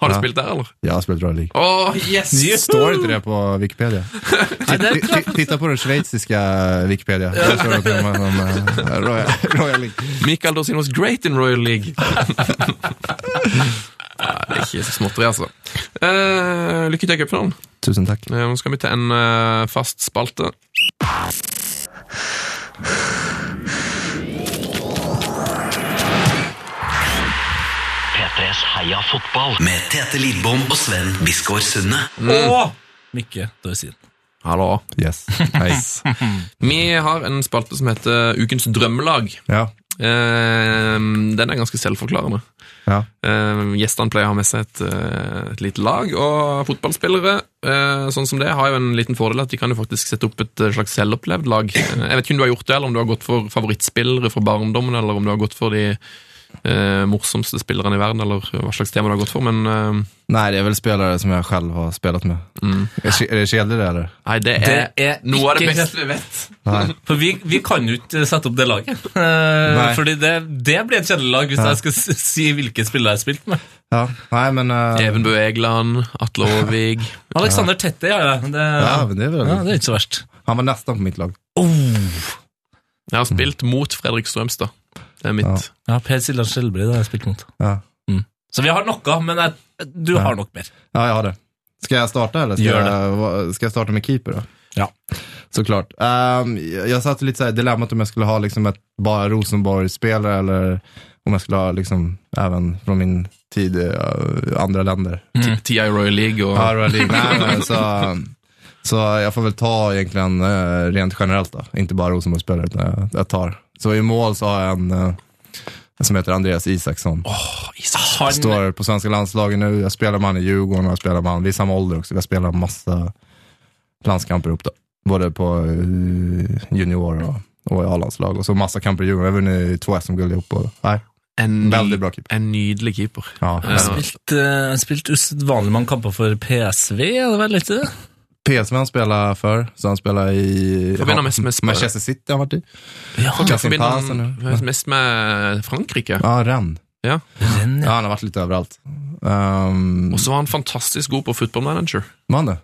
Speaker 4: Har du
Speaker 5: Ja.
Speaker 4: spilt der, eller?
Speaker 5: jag har spelat Royal League.
Speaker 4: Å, yes!
Speaker 5: Står inte det på Wikipedia? Ti- ti- Titta på den schweiziska Wikipedia. Där står det att de har någon, eh, Royal Royal League.
Speaker 4: Michael Dorsin was great in Royal League. Nei, det er ikke så småtteri, altså. Eh, lykke til i cupfinalen.
Speaker 5: Tusen tack.
Speaker 4: Eh, Nå skal vi til en eh, fast spalte.
Speaker 2: P3s Heia fotball med Tete Lidbom og Sven Biskår Sunde.
Speaker 5: Mm.
Speaker 3: Åh! Mikke Dorsin.
Speaker 4: Hallo.
Speaker 5: Yes. Nice.
Speaker 4: Vi har en spalte som heter Ukens drømmelag.
Speaker 5: Ja.
Speaker 4: Eh, den er ganske selvforklarende.
Speaker 5: Ja.
Speaker 4: Eh, gjestene pleier å ha med seg et, eh, et lite lag, og fotballspillere eh, sånn som det har jo en liten fordel at de kan jo faktisk sette opp et eh, slags selvopplevd lag. Eh, Jeg vet ikke om du har gjort det, eller om du har gått for favorittspillere fra barndommen, eller om du har gått for de eh, morsomste spillerne i verden, eller hva slags tema du har gått for, men eh,
Speaker 5: Nej, det är väl spelare som jag själv har spelat med.
Speaker 3: Mm.
Speaker 5: Är, ke- är det kedjor det eller?
Speaker 4: nei, det er,
Speaker 3: Det er
Speaker 4: noe av det
Speaker 3: ikke-
Speaker 4: beste vi vet.
Speaker 5: Nej.
Speaker 3: For vi, vi kan jo ikke sette opp det laget. Uh, fordi det, det blir et kjedelig lag hvis jeg skal s- si hvilke spillere jeg har spilt med.
Speaker 5: Ja. Nej, men... eh,
Speaker 4: Even Bø Egeland, Atle Håvig
Speaker 3: Alexander Tette, ja. ja. Det,
Speaker 5: ja, men det är väl...
Speaker 3: ja, det er ikke så verst.
Speaker 5: Han var nästan på mitt lag. Oh.
Speaker 4: Jeg har spilt mot Fredrik Strømstad. Det er
Speaker 5: Ja.
Speaker 4: mitt.
Speaker 3: Ja, Per Siljan Skjelbred har jeg spilt mot.
Speaker 5: Ja.
Speaker 3: Så vi har noe, men jeg, du
Speaker 5: Ja.
Speaker 3: har nok mer.
Speaker 5: Ja, jag har det. Ska jag starta eller? Ska,
Speaker 3: Gör det.
Speaker 5: jag, va- ska jag starta med keeper då?
Speaker 3: Ja.
Speaker 5: Såklart. Ehm, jag jag satt lite såhär dilemmat om jag skulle ha liksom ett bara Rosenborg-spelare eller om jag skulle ha liksom även från min tid i eh, andra länder.
Speaker 4: T- TI Royal League og
Speaker 5: Ja, Royal League. Nej, men så, så jag får väl ta egentligen eh, rent generellt då. Inte bara Rosenborgsspelare, utan jag, jag tar. Så i mål så har jag en eh, som heter Andreas Isaksson.
Speaker 3: Han,
Speaker 5: Står på svenska landslaget nu. Jag spelar med han i Djurgården och jag spelar med han. Vi är samma ålder också. Vi har spelat massa landskamper ihop då. Både på eh, junior och, och i A-landslag. Och så massa kamper i Djurgården. Vi har vunnit två SM-guld ihop. Och, nej,
Speaker 4: en, ny,
Speaker 5: väldigt bra keeper.
Speaker 4: en nydelig keeper.
Speaker 5: Ja.
Speaker 3: han spilte uh, spilt usedvanlig mange kamper for PSV, er det vel ikke det?
Speaker 5: PSV han spelar för, så han spelar i
Speaker 4: Förbinder mest med spelare.
Speaker 5: Manchester City har han varit i.
Speaker 3: Ja,
Speaker 4: Jeg
Speaker 5: Kassim
Speaker 4: forbinder
Speaker 5: Tarzan,
Speaker 4: han
Speaker 5: ja.
Speaker 4: mest med Frankrike.
Speaker 5: Ja, Rennes.
Speaker 4: Ja.
Speaker 3: den,
Speaker 5: Ja, han har varit lite överallt. Um,
Speaker 4: Og så var han fantastisk god på fotballmanager.
Speaker 5: var han det?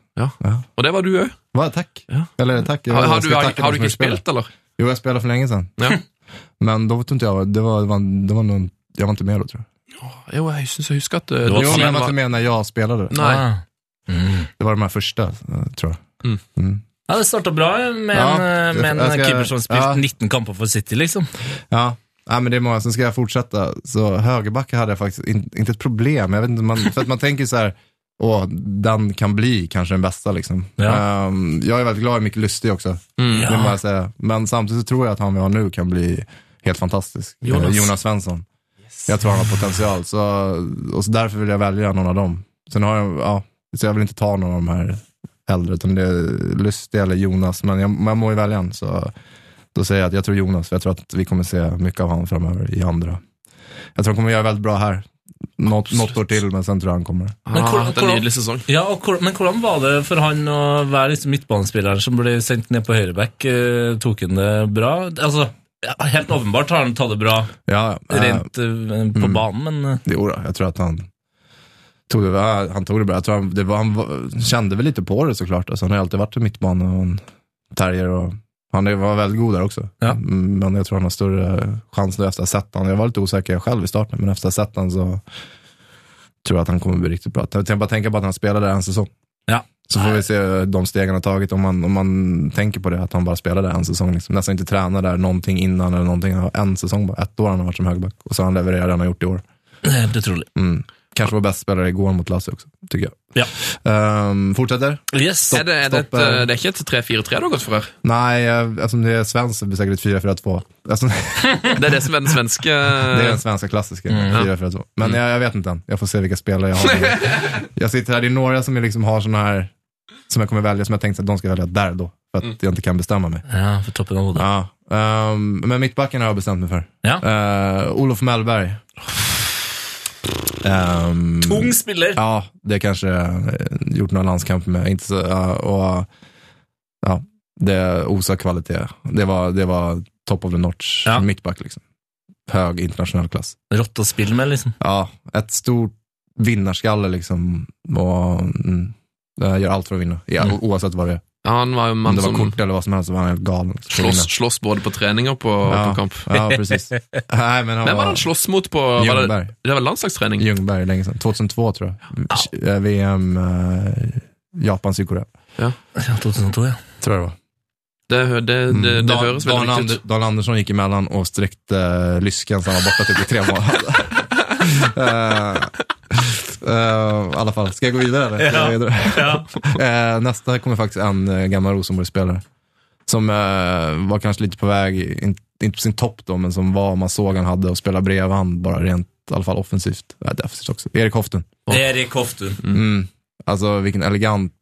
Speaker 4: Og det var du òg.
Speaker 5: Va, tack.
Speaker 4: Ja.
Speaker 5: Eller tack. Jag
Speaker 4: Har, har,
Speaker 5: ska
Speaker 4: du- har,
Speaker 5: tacka
Speaker 4: har du
Speaker 5: de som
Speaker 4: ikke
Speaker 5: spelar.
Speaker 4: spilt, eller?
Speaker 5: Jo, jag spelade för länge sedan.
Speaker 4: Ja.
Speaker 5: Men då tror inte jeg det var, det var, det var noen, jag var inte med då tror jag.
Speaker 4: Jo, jeg syns jeg husker at eh,
Speaker 3: var
Speaker 5: Jo,
Speaker 4: Dorsin
Speaker 5: men jag var
Speaker 4: var-
Speaker 5: inte med när jag spelade.
Speaker 4: Nei.
Speaker 3: Ah.
Speaker 5: Det var de här första, eh, tror jag.
Speaker 3: Ja, det starta bra med
Speaker 5: Ja,
Speaker 3: en, eh, med en
Speaker 5: jeg skal-
Speaker 3: keeper som har spilt
Speaker 5: ja.
Speaker 3: 19 kamper for City, liksom.
Speaker 5: Ja. Nej, men det är många, sen ska jag fortsätta. Så högerbackar hade jag faktiskt in, inte ett problem. Jag vet inte, man, för att man tänker så här, åh, den kan bli kanske den bästa liksom.
Speaker 3: Ja.
Speaker 5: Ehm, jag är väldigt glad i Micke Lustig också,
Speaker 4: Mm.
Speaker 5: det må jag säga. Men samtidigt så tror jag att han vi har nu kan bli helt fantastisk.
Speaker 4: Jonas.
Speaker 5: Jonas, Jonas Svensson. Jag tror han har potential, så, och så därför vill jag välja någon av dem. Sen har jag, ja, så jag vill inte ta någon av de här äldre, utan det är Lustig eller Jonas, men jag, men jag må ju välja en. Så då säger jag att jag tror Jonas, för jag tror att vi kommer se mycket av honom framöver i andra. Jag tror han kommer göra väldigt bra här. Något, något år till, men sen tror jag han kommer.
Speaker 4: Ah,
Speaker 3: Men hvor-
Speaker 4: det er en
Speaker 3: hvor-
Speaker 4: nydelig sesong.
Speaker 3: Ja, og hvor, Men hvordan var det for han å være liksom midtbanespilleren som ble sendt ned på høyreback? Eh, tok han det bra? Altså, ja, Helt åpenbart har han tatt det bra
Speaker 5: Ja, ja. Eh,
Speaker 3: rent eh, på banen, men eh,
Speaker 5: Jo då, jag tror att han tog det, ja, han tog det bra. Jag tror han, det var, han var- kände väl lite på det såklart. Alltså, han har alltid varit en mittbana och en terrier. Och, han är- var väldigt god där också.
Speaker 3: Ja.
Speaker 5: Mm, Men jag tror han har större chans nu efter att ha sett honom. Jag var lite osäker själv i starten, men efter att ha sett honom så tror jag att han kommer bli riktigt bra. Jag tänker bara tänka på att han spelade en säsong.
Speaker 3: Ja.
Speaker 5: Så får vi se de steg han har tagit. Om man, om man tänker på det, att han bara spelade en säsong. Liksom. Nästan inte tränade där någonting innan eller någonting. Han har En säsong bara. Ett år han har varit som högerback. Och så har han levererat det han har gjort i år.
Speaker 3: det er helt utrolig.
Speaker 5: Mm. Kanske var bäst spelare igår mot Lazio också, tycker jag.
Speaker 3: Ja.
Speaker 5: Ehm, fortsätter?
Speaker 3: Yes.
Speaker 4: Er det, er det, et,
Speaker 5: Stopp, eh.
Speaker 4: eh, det er ikke et 3-4-3 du har gått for her?
Speaker 5: Nej, eh, eftersom det är svenskt så blir det säkert ett 4-4-2. Alltså,
Speaker 4: Det er det som er den svenske
Speaker 5: det är den svenska klassiska, 4-4-2. Men jag, jag vet inte än, jag får se vilka spelare jag har. jag sitter här, det är några som jag liksom har såna här, som jag kommer välja, som jag tänkte att de ska välja där då, för att jag inte kan bestämma mig.
Speaker 3: Ja, for toppen av hodet.
Speaker 5: Ja, ehm, men mittbacken har jag bestämt mig för.
Speaker 3: Ja.
Speaker 5: Eh, Olof Mellberg. Ehm,
Speaker 3: Ung spiller.
Speaker 5: Ja, det kanske eh, gjort några landskamper med. Inte så, ja, och, ja, det osar kvalitet. Det var, det var top of the notch
Speaker 3: Ja.
Speaker 5: mittback. Liksom. Hög internationell klass.
Speaker 3: Rått å spille med, liksom.
Speaker 5: Ja, ett stort vinnarskalle liksom. Och, mm, jag gör allt för att vinna, ja,
Speaker 3: Mm.
Speaker 5: oavsett vad det är.
Speaker 4: Han var jo en
Speaker 5: Om
Speaker 4: mann
Speaker 5: det var
Speaker 4: som
Speaker 5: kort eller vad som helst så var han helt galen. liksom, för att
Speaker 4: slåss,
Speaker 5: vinna.
Speaker 4: slåss både på trening og på,
Speaker 5: Ja.
Speaker 4: på kamp.
Speaker 5: Ja, precis. Nej, men han
Speaker 4: Hvem var det han
Speaker 5: var
Speaker 4: slåss mot på var det,
Speaker 5: Ljungberg.
Speaker 4: det var landslagstrening?
Speaker 5: Ljungberg länge sedan. 2002 tror jag. Eh, VM, eh, Japan, Sydkorea.
Speaker 3: Ja, 2002, ja.
Speaker 5: Tror jag det var.
Speaker 4: Det, hø- det, det, det, høres
Speaker 5: Dan,
Speaker 4: veldig
Speaker 5: Ander,
Speaker 4: riktig ut.
Speaker 5: Dan Andersson gick emellan och sträckte eh, lysken så han var borta typ i tre månader. Eh, eh, I alla fall, ska jag gå vidare eller? Ska jag gå vidare? Eh, nästa kommer faktiskt en eh, gammal Rosenborg-spelare. Som eh, var kanske lite på väg, in, inte på sin topp då, men som var, man såg han hade och spela bredvid han bara rent, i alla fall offensivt. Äh, defensivt också. Erik Hoften.
Speaker 3: Erik Hoftun.
Speaker 5: Mm. Alltså vilken elegant,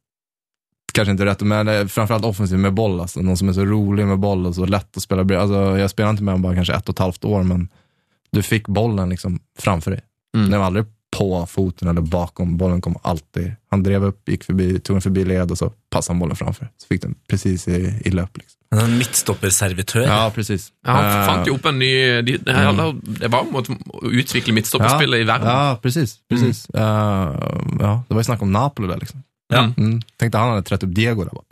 Speaker 5: kanske inte rätt, men eh, framförallt offensiv med boll. Alltså. Någon som är så rolig med boll och så lätt att spela bredvid. Alltså, jag spelade inte med honom bara kanske ett och ett halvt år, men du fick bollen liksom framför dig.
Speaker 4: Mm.
Speaker 5: Den var aldrig på foten eller bakom, bollen kom alltid. Han drev upp, gick förbi, tog den förbi led och så passade han bollen framför. Så fick den precis i, i löp. Liksom.
Speaker 3: En midtstopperservitør.
Speaker 5: Ja, precis.
Speaker 4: Ja, han
Speaker 5: Eh, mm.
Speaker 4: fant jo opp en ny de, det, her, det var mot å utvikle midtstopperspillet i verden.
Speaker 5: Ja, precis. precis. Eh, ja, det var ju snack om Napoli där liksom.
Speaker 3: Ja.
Speaker 5: Mm. Tänkte han hade trätt upp Diego där bara.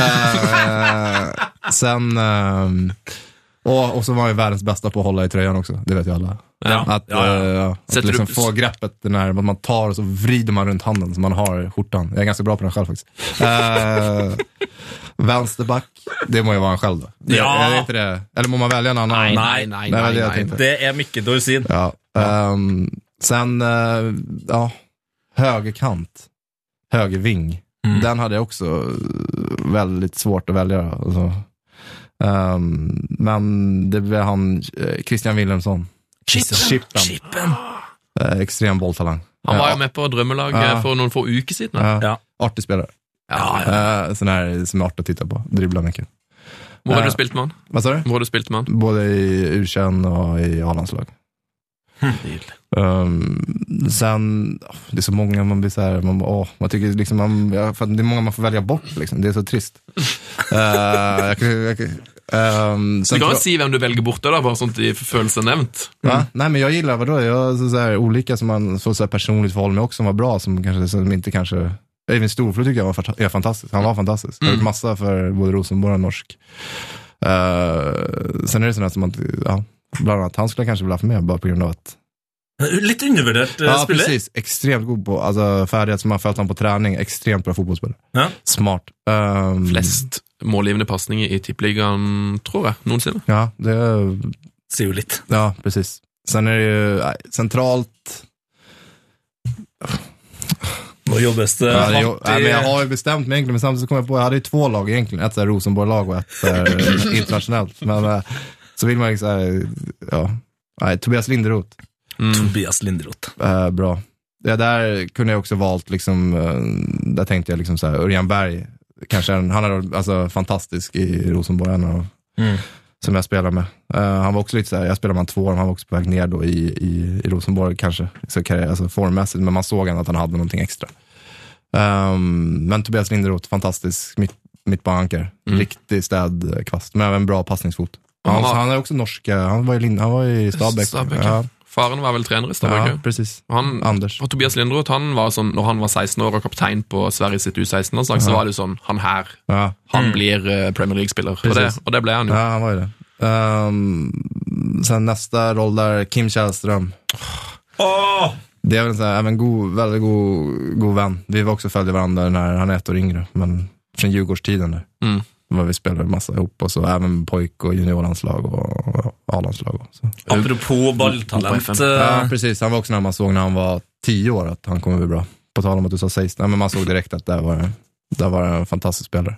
Speaker 5: Eh, sen, ehm, och, och så var han ju världens bästa på att hålla i tröjan också, det vet ju alla.
Speaker 4: Ja.
Speaker 5: Att,
Speaker 3: Ja, ja.
Speaker 5: eh, ja, att
Speaker 4: Sätter
Speaker 5: liksom
Speaker 4: du-
Speaker 5: få greppet, den här, att man tar och så vrider man runt handen så man har skjortan. Jag är ganska bra på den själv faktiskt. Eh, vänsterback, det må ju vara han själv då. Det-
Speaker 3: Ja.
Speaker 5: Jag vet inte det. Eller må man välja en annan?
Speaker 4: Nei,
Speaker 5: Nej,
Speaker 4: nei,
Speaker 5: det var
Speaker 4: nei.
Speaker 5: det jag
Speaker 4: nei.
Speaker 5: tänkte.
Speaker 3: Det er Mikke Dorsin.
Speaker 5: Ja. ehm, sen, eh, ja, högerkant, högerving.
Speaker 3: Mm.
Speaker 5: Den hade jag också eh, väldigt svårt att välja. Alltså. Ehm, men det blev han, eh, Christian Wilhelmsson. Chippen.
Speaker 3: Chippen.
Speaker 5: Eh, extrem bolltalang.
Speaker 4: Han var
Speaker 5: Ja.
Speaker 4: jo med på drømmelaget
Speaker 5: Ja.
Speaker 4: for noen få uker siden.
Speaker 5: Ja.
Speaker 3: Ja.
Speaker 5: Artig spelare.
Speaker 4: Ja,
Speaker 5: Eh, sån här som är artig att titta på. Dribblar mycket.
Speaker 4: Hvor har
Speaker 5: Ja.
Speaker 4: du spilt med han?
Speaker 5: Vad sa du?
Speaker 4: Hvor har du spilt med han?
Speaker 5: Både i u och i A-landslag. Ehm, sen, åh, det är så många man blir så här, man, bara, åh, man tycker liksom, man, ja, för att det är många man får välja bort liksom. Det är så trist. Eh, jag, kan- jag, kan- ehm,
Speaker 4: Du
Speaker 5: sen
Speaker 4: kan
Speaker 5: tror-
Speaker 4: jo si hvem du velger bort, da, bare sånn at de følelser er nevnt.
Speaker 3: Mm.
Speaker 5: Va? Nej men jag gillar, vadå, jag, så, så här, olika som man så, så här, personligt förhåller mig också som var bra, som kanske som inte kanske, Eivind Storflod tycker jag var fanta- är fantastisk, han var fantastisk. Jag har gjort massa för både Rosenborg och norsk. Eh, sen är det sådana som man, ja, bland annat han skulle jag kanske vilja ha med bara på grund av att
Speaker 3: Litt undervurdert eh,
Speaker 5: Ja,
Speaker 3: spiller.
Speaker 5: precis. Extremt god på alltså, färdighet som man följt han på träning. Extremt bra fotbollsspelare.
Speaker 3: Ja.
Speaker 5: Smart. Ehm,
Speaker 4: Flest målgivende pasninger i tippeligaen, tror jeg, noensinne.
Speaker 5: Ja, det,
Speaker 3: Sier jo litt.
Speaker 5: ja, precis. Sen är det ju nej, centralt.
Speaker 3: Nå jobbes det
Speaker 5: Ja, det, är ju-
Speaker 3: hardt
Speaker 5: nej, men jag
Speaker 3: i
Speaker 5: har ju bestämt mig egentligen, men samtidigt så kom jag på jag hade ju två lag egentligen. Ett så här Rosenborg-lag och ett eh, internationellt. Men eh, så vill man ju så här, ja. Nej, Tobias Linderoth.
Speaker 3: Mm.
Speaker 5: Mm.
Speaker 3: Tobias Lindroth.
Speaker 5: Eh, bra. Ja, där kunde jag också valt, liksom, eh, där tänkte jag liksom så här, Örjan Berg, kanske en, han är alltså, fantastisk i Rosenborg, en av,
Speaker 3: Mm.
Speaker 5: som jag spelar med. Eh, han var också lite så här, jag spelade med han två år, men han var också på väg ner då i, i, i Rosenborg kanske, så karriär, alltså formmässigt, men man såg ändå att han hade någonting extra. Ehm, men Tobias Linderoth, fantastisk mitt, mittbankare, riktig städkvast, men även bra passningsfot. Han,
Speaker 4: Han var-
Speaker 5: han är också norsk, eh, han var i, Lin- han var i Stabæk.
Speaker 4: Stabæk, ja.
Speaker 5: ja,
Speaker 4: Faren var vel trener i
Speaker 5: ja,
Speaker 4: Stabæk.
Speaker 5: precis.
Speaker 4: Ja. Han,
Speaker 5: Anders.
Speaker 4: og Tobias Lindroth, han var sånn, når han var 16 år og kaptein på Sverige sitt U16-landslag, så var det jo sånn Han her,
Speaker 5: Ja.
Speaker 4: han blir eh, Premier League-spiller. Og, det- og det ble han jo.
Speaker 5: Mm. Ja, han var ju det. Ehm, sen nästa roll där, Kim Källström.
Speaker 3: Åh!
Speaker 5: Det är väl en sån här, även god, väldigt god, god vän. Vi var också följde varandra när han är ett år yngre, men från Djurgårdstiden där.
Speaker 4: Mm.
Speaker 5: Var vi spelade massa ihop och så även pojk och juniorlandslag och och A-landslag. och så.
Speaker 3: Apropos
Speaker 4: Opa
Speaker 3: balltalent.
Speaker 4: FM.
Speaker 5: Ja,
Speaker 3: eh,
Speaker 5: precis. Han var också när man såg när han var tio år att han kommer bli bra. På tal om att du sa Seis, nej men man såg direkt att där var, det- där var det en fantastisk spelare.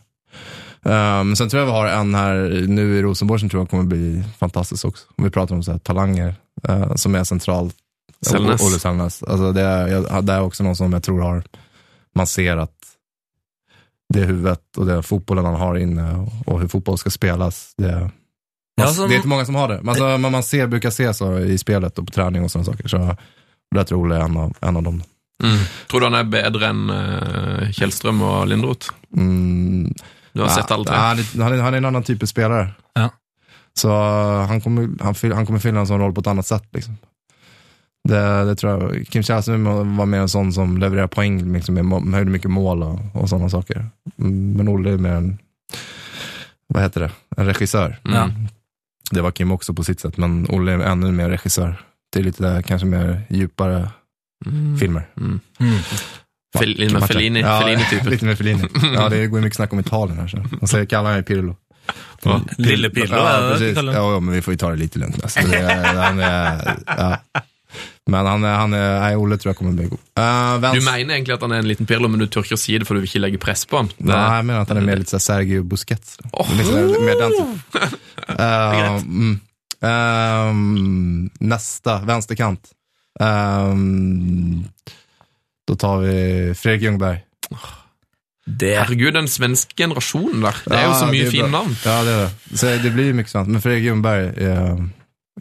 Speaker 5: Ehm, sen tror jag vi har en här nu i Rosenborg som tror jag kommer bli fantastisk också. Om vi pratar om så här, talanger eh, som är centralt.
Speaker 4: Selnes.
Speaker 5: Olle Selnes. Alltså det, är, jag, det är också någon som jag tror har, man ser att det huvudet och det fotbollen han har inne och, och hur fotboll ska spelas. Det, man,
Speaker 3: Ja, sånn- alltså,
Speaker 5: det är inte många som har det. Men Alltså, man, man ser, brukar se så i spelet och på träning och sådana saker. Så där tror jag är en av, en av dem.
Speaker 4: Tror du han er bedre enn eh, Kjellstrøm og Lindroth?
Speaker 5: Mm,
Speaker 4: Du har
Speaker 5: ja,
Speaker 4: sett alle tre.
Speaker 5: Han är, han, är, han är en annan typ av spelare.
Speaker 3: Ja.
Speaker 5: Så han kommer, han, fyll- han kommer fylla en sån roll på ett annat sätt. Liksom. Det, det tror jag. Kim Källström var mer en sån som levererar poäng, liksom, med, må- höjde mycket mål och, och sådana saker. Mm, Men Olle är mer en, vad heter det, en regissör.
Speaker 3: Ja.
Speaker 5: Det var Kim också på sitt sätt, men Olle är ännu mer regissör. Det är lite kanske mer djupare
Speaker 4: Mm.
Speaker 5: filmer.
Speaker 4: Mm.
Speaker 3: Mm.
Speaker 4: Fel-
Speaker 5: Kan man säga.
Speaker 4: Fellini,
Speaker 5: Ja,
Speaker 4: Fellini-typen.
Speaker 5: lite mer Fellini. Ja, det går ju mycket snack om Italien här. Så. Och så kallar han ju Pirlo. Mm.
Speaker 4: Ja,
Speaker 3: Lille Pirlo, är det
Speaker 5: Ja,
Speaker 3: det vi
Speaker 5: precis.
Speaker 3: kallar
Speaker 5: Ja,
Speaker 3: den?
Speaker 5: ja, men vi får ju ta det lite lugnt. Alltså, det, är- han är, ja. Men han, är- han är, nej, Olle tror jag kommer bli god. Eh,
Speaker 4: Du
Speaker 5: vänster-
Speaker 4: mener egentlig at han er en liten pirlo, men du tør ikke å si det, for du vil ikke legge press på han. Det-
Speaker 5: Nej, jag menar att han är mer lite så här sånn Sergio Busquets. Liksom, mer den typen. Eh, mm. Ehm, nästa, vänsterkant. Ehm, då tar vi Fredrik Ljungberg.
Speaker 3: Det er
Speaker 4: Herregud, den svenske generasjonen der. Det er jo så mye
Speaker 5: det
Speaker 4: fine
Speaker 5: bra.
Speaker 4: navn.
Speaker 5: Ja, det är det. Så det blir ju mycket sånt. Men Fredrik Ljungberg, eh,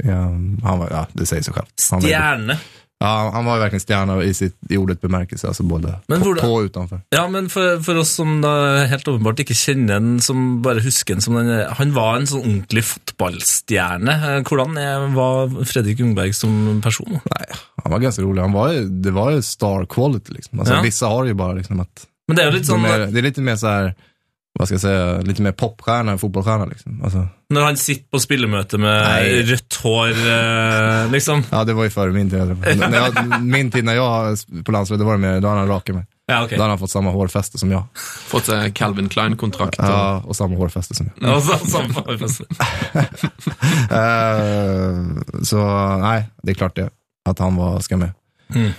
Speaker 5: eh, han var, ja, det säger sig självt. Han var, ju-
Speaker 3: stjerne.
Speaker 5: ja, han var ju verkligen stjärna i, sitt, i ordet bemärkelse, alltså både
Speaker 3: Men
Speaker 5: på,
Speaker 3: borde-
Speaker 5: på och utanför.
Speaker 3: Ja, men for, for oss som da helt åpenbart ikke kjenner den, som bare husker den som den Han var en sånn ordentlig fotballstjerne. Eh, Hvordan er, var Fredrik Ungberg som person?
Speaker 5: Han var ganska rolig. Han var ju, det var ju star quality liksom. Alltså,
Speaker 3: Ja.
Speaker 5: Vissa har ju bara liksom att,
Speaker 3: Men det er jo litt sånn
Speaker 5: de är, det är lite mer så här, vad skal jeg si, litt mer popstjärna än fotbollsstjärna. Liksom. Alltså,
Speaker 3: når han sitter på spillemøte med
Speaker 5: Nei.
Speaker 3: rødt hår, eh, liksom.
Speaker 5: ja, det var ju före min tid. jag tror. när jag, min tid när jag på landslaget, då var det mer, då hade han rakat mig.
Speaker 3: Ja, ok.
Speaker 5: Då hade han fått samma hårfäste som jag.
Speaker 4: Fått seg Calvin Klein-kontrakt. og- Altså,
Speaker 5: Ja, och samma hårfäste som jag.
Speaker 3: Ja, så, samme farfest.
Speaker 5: Eh, så nej, det är klart det. Att han var, ska med.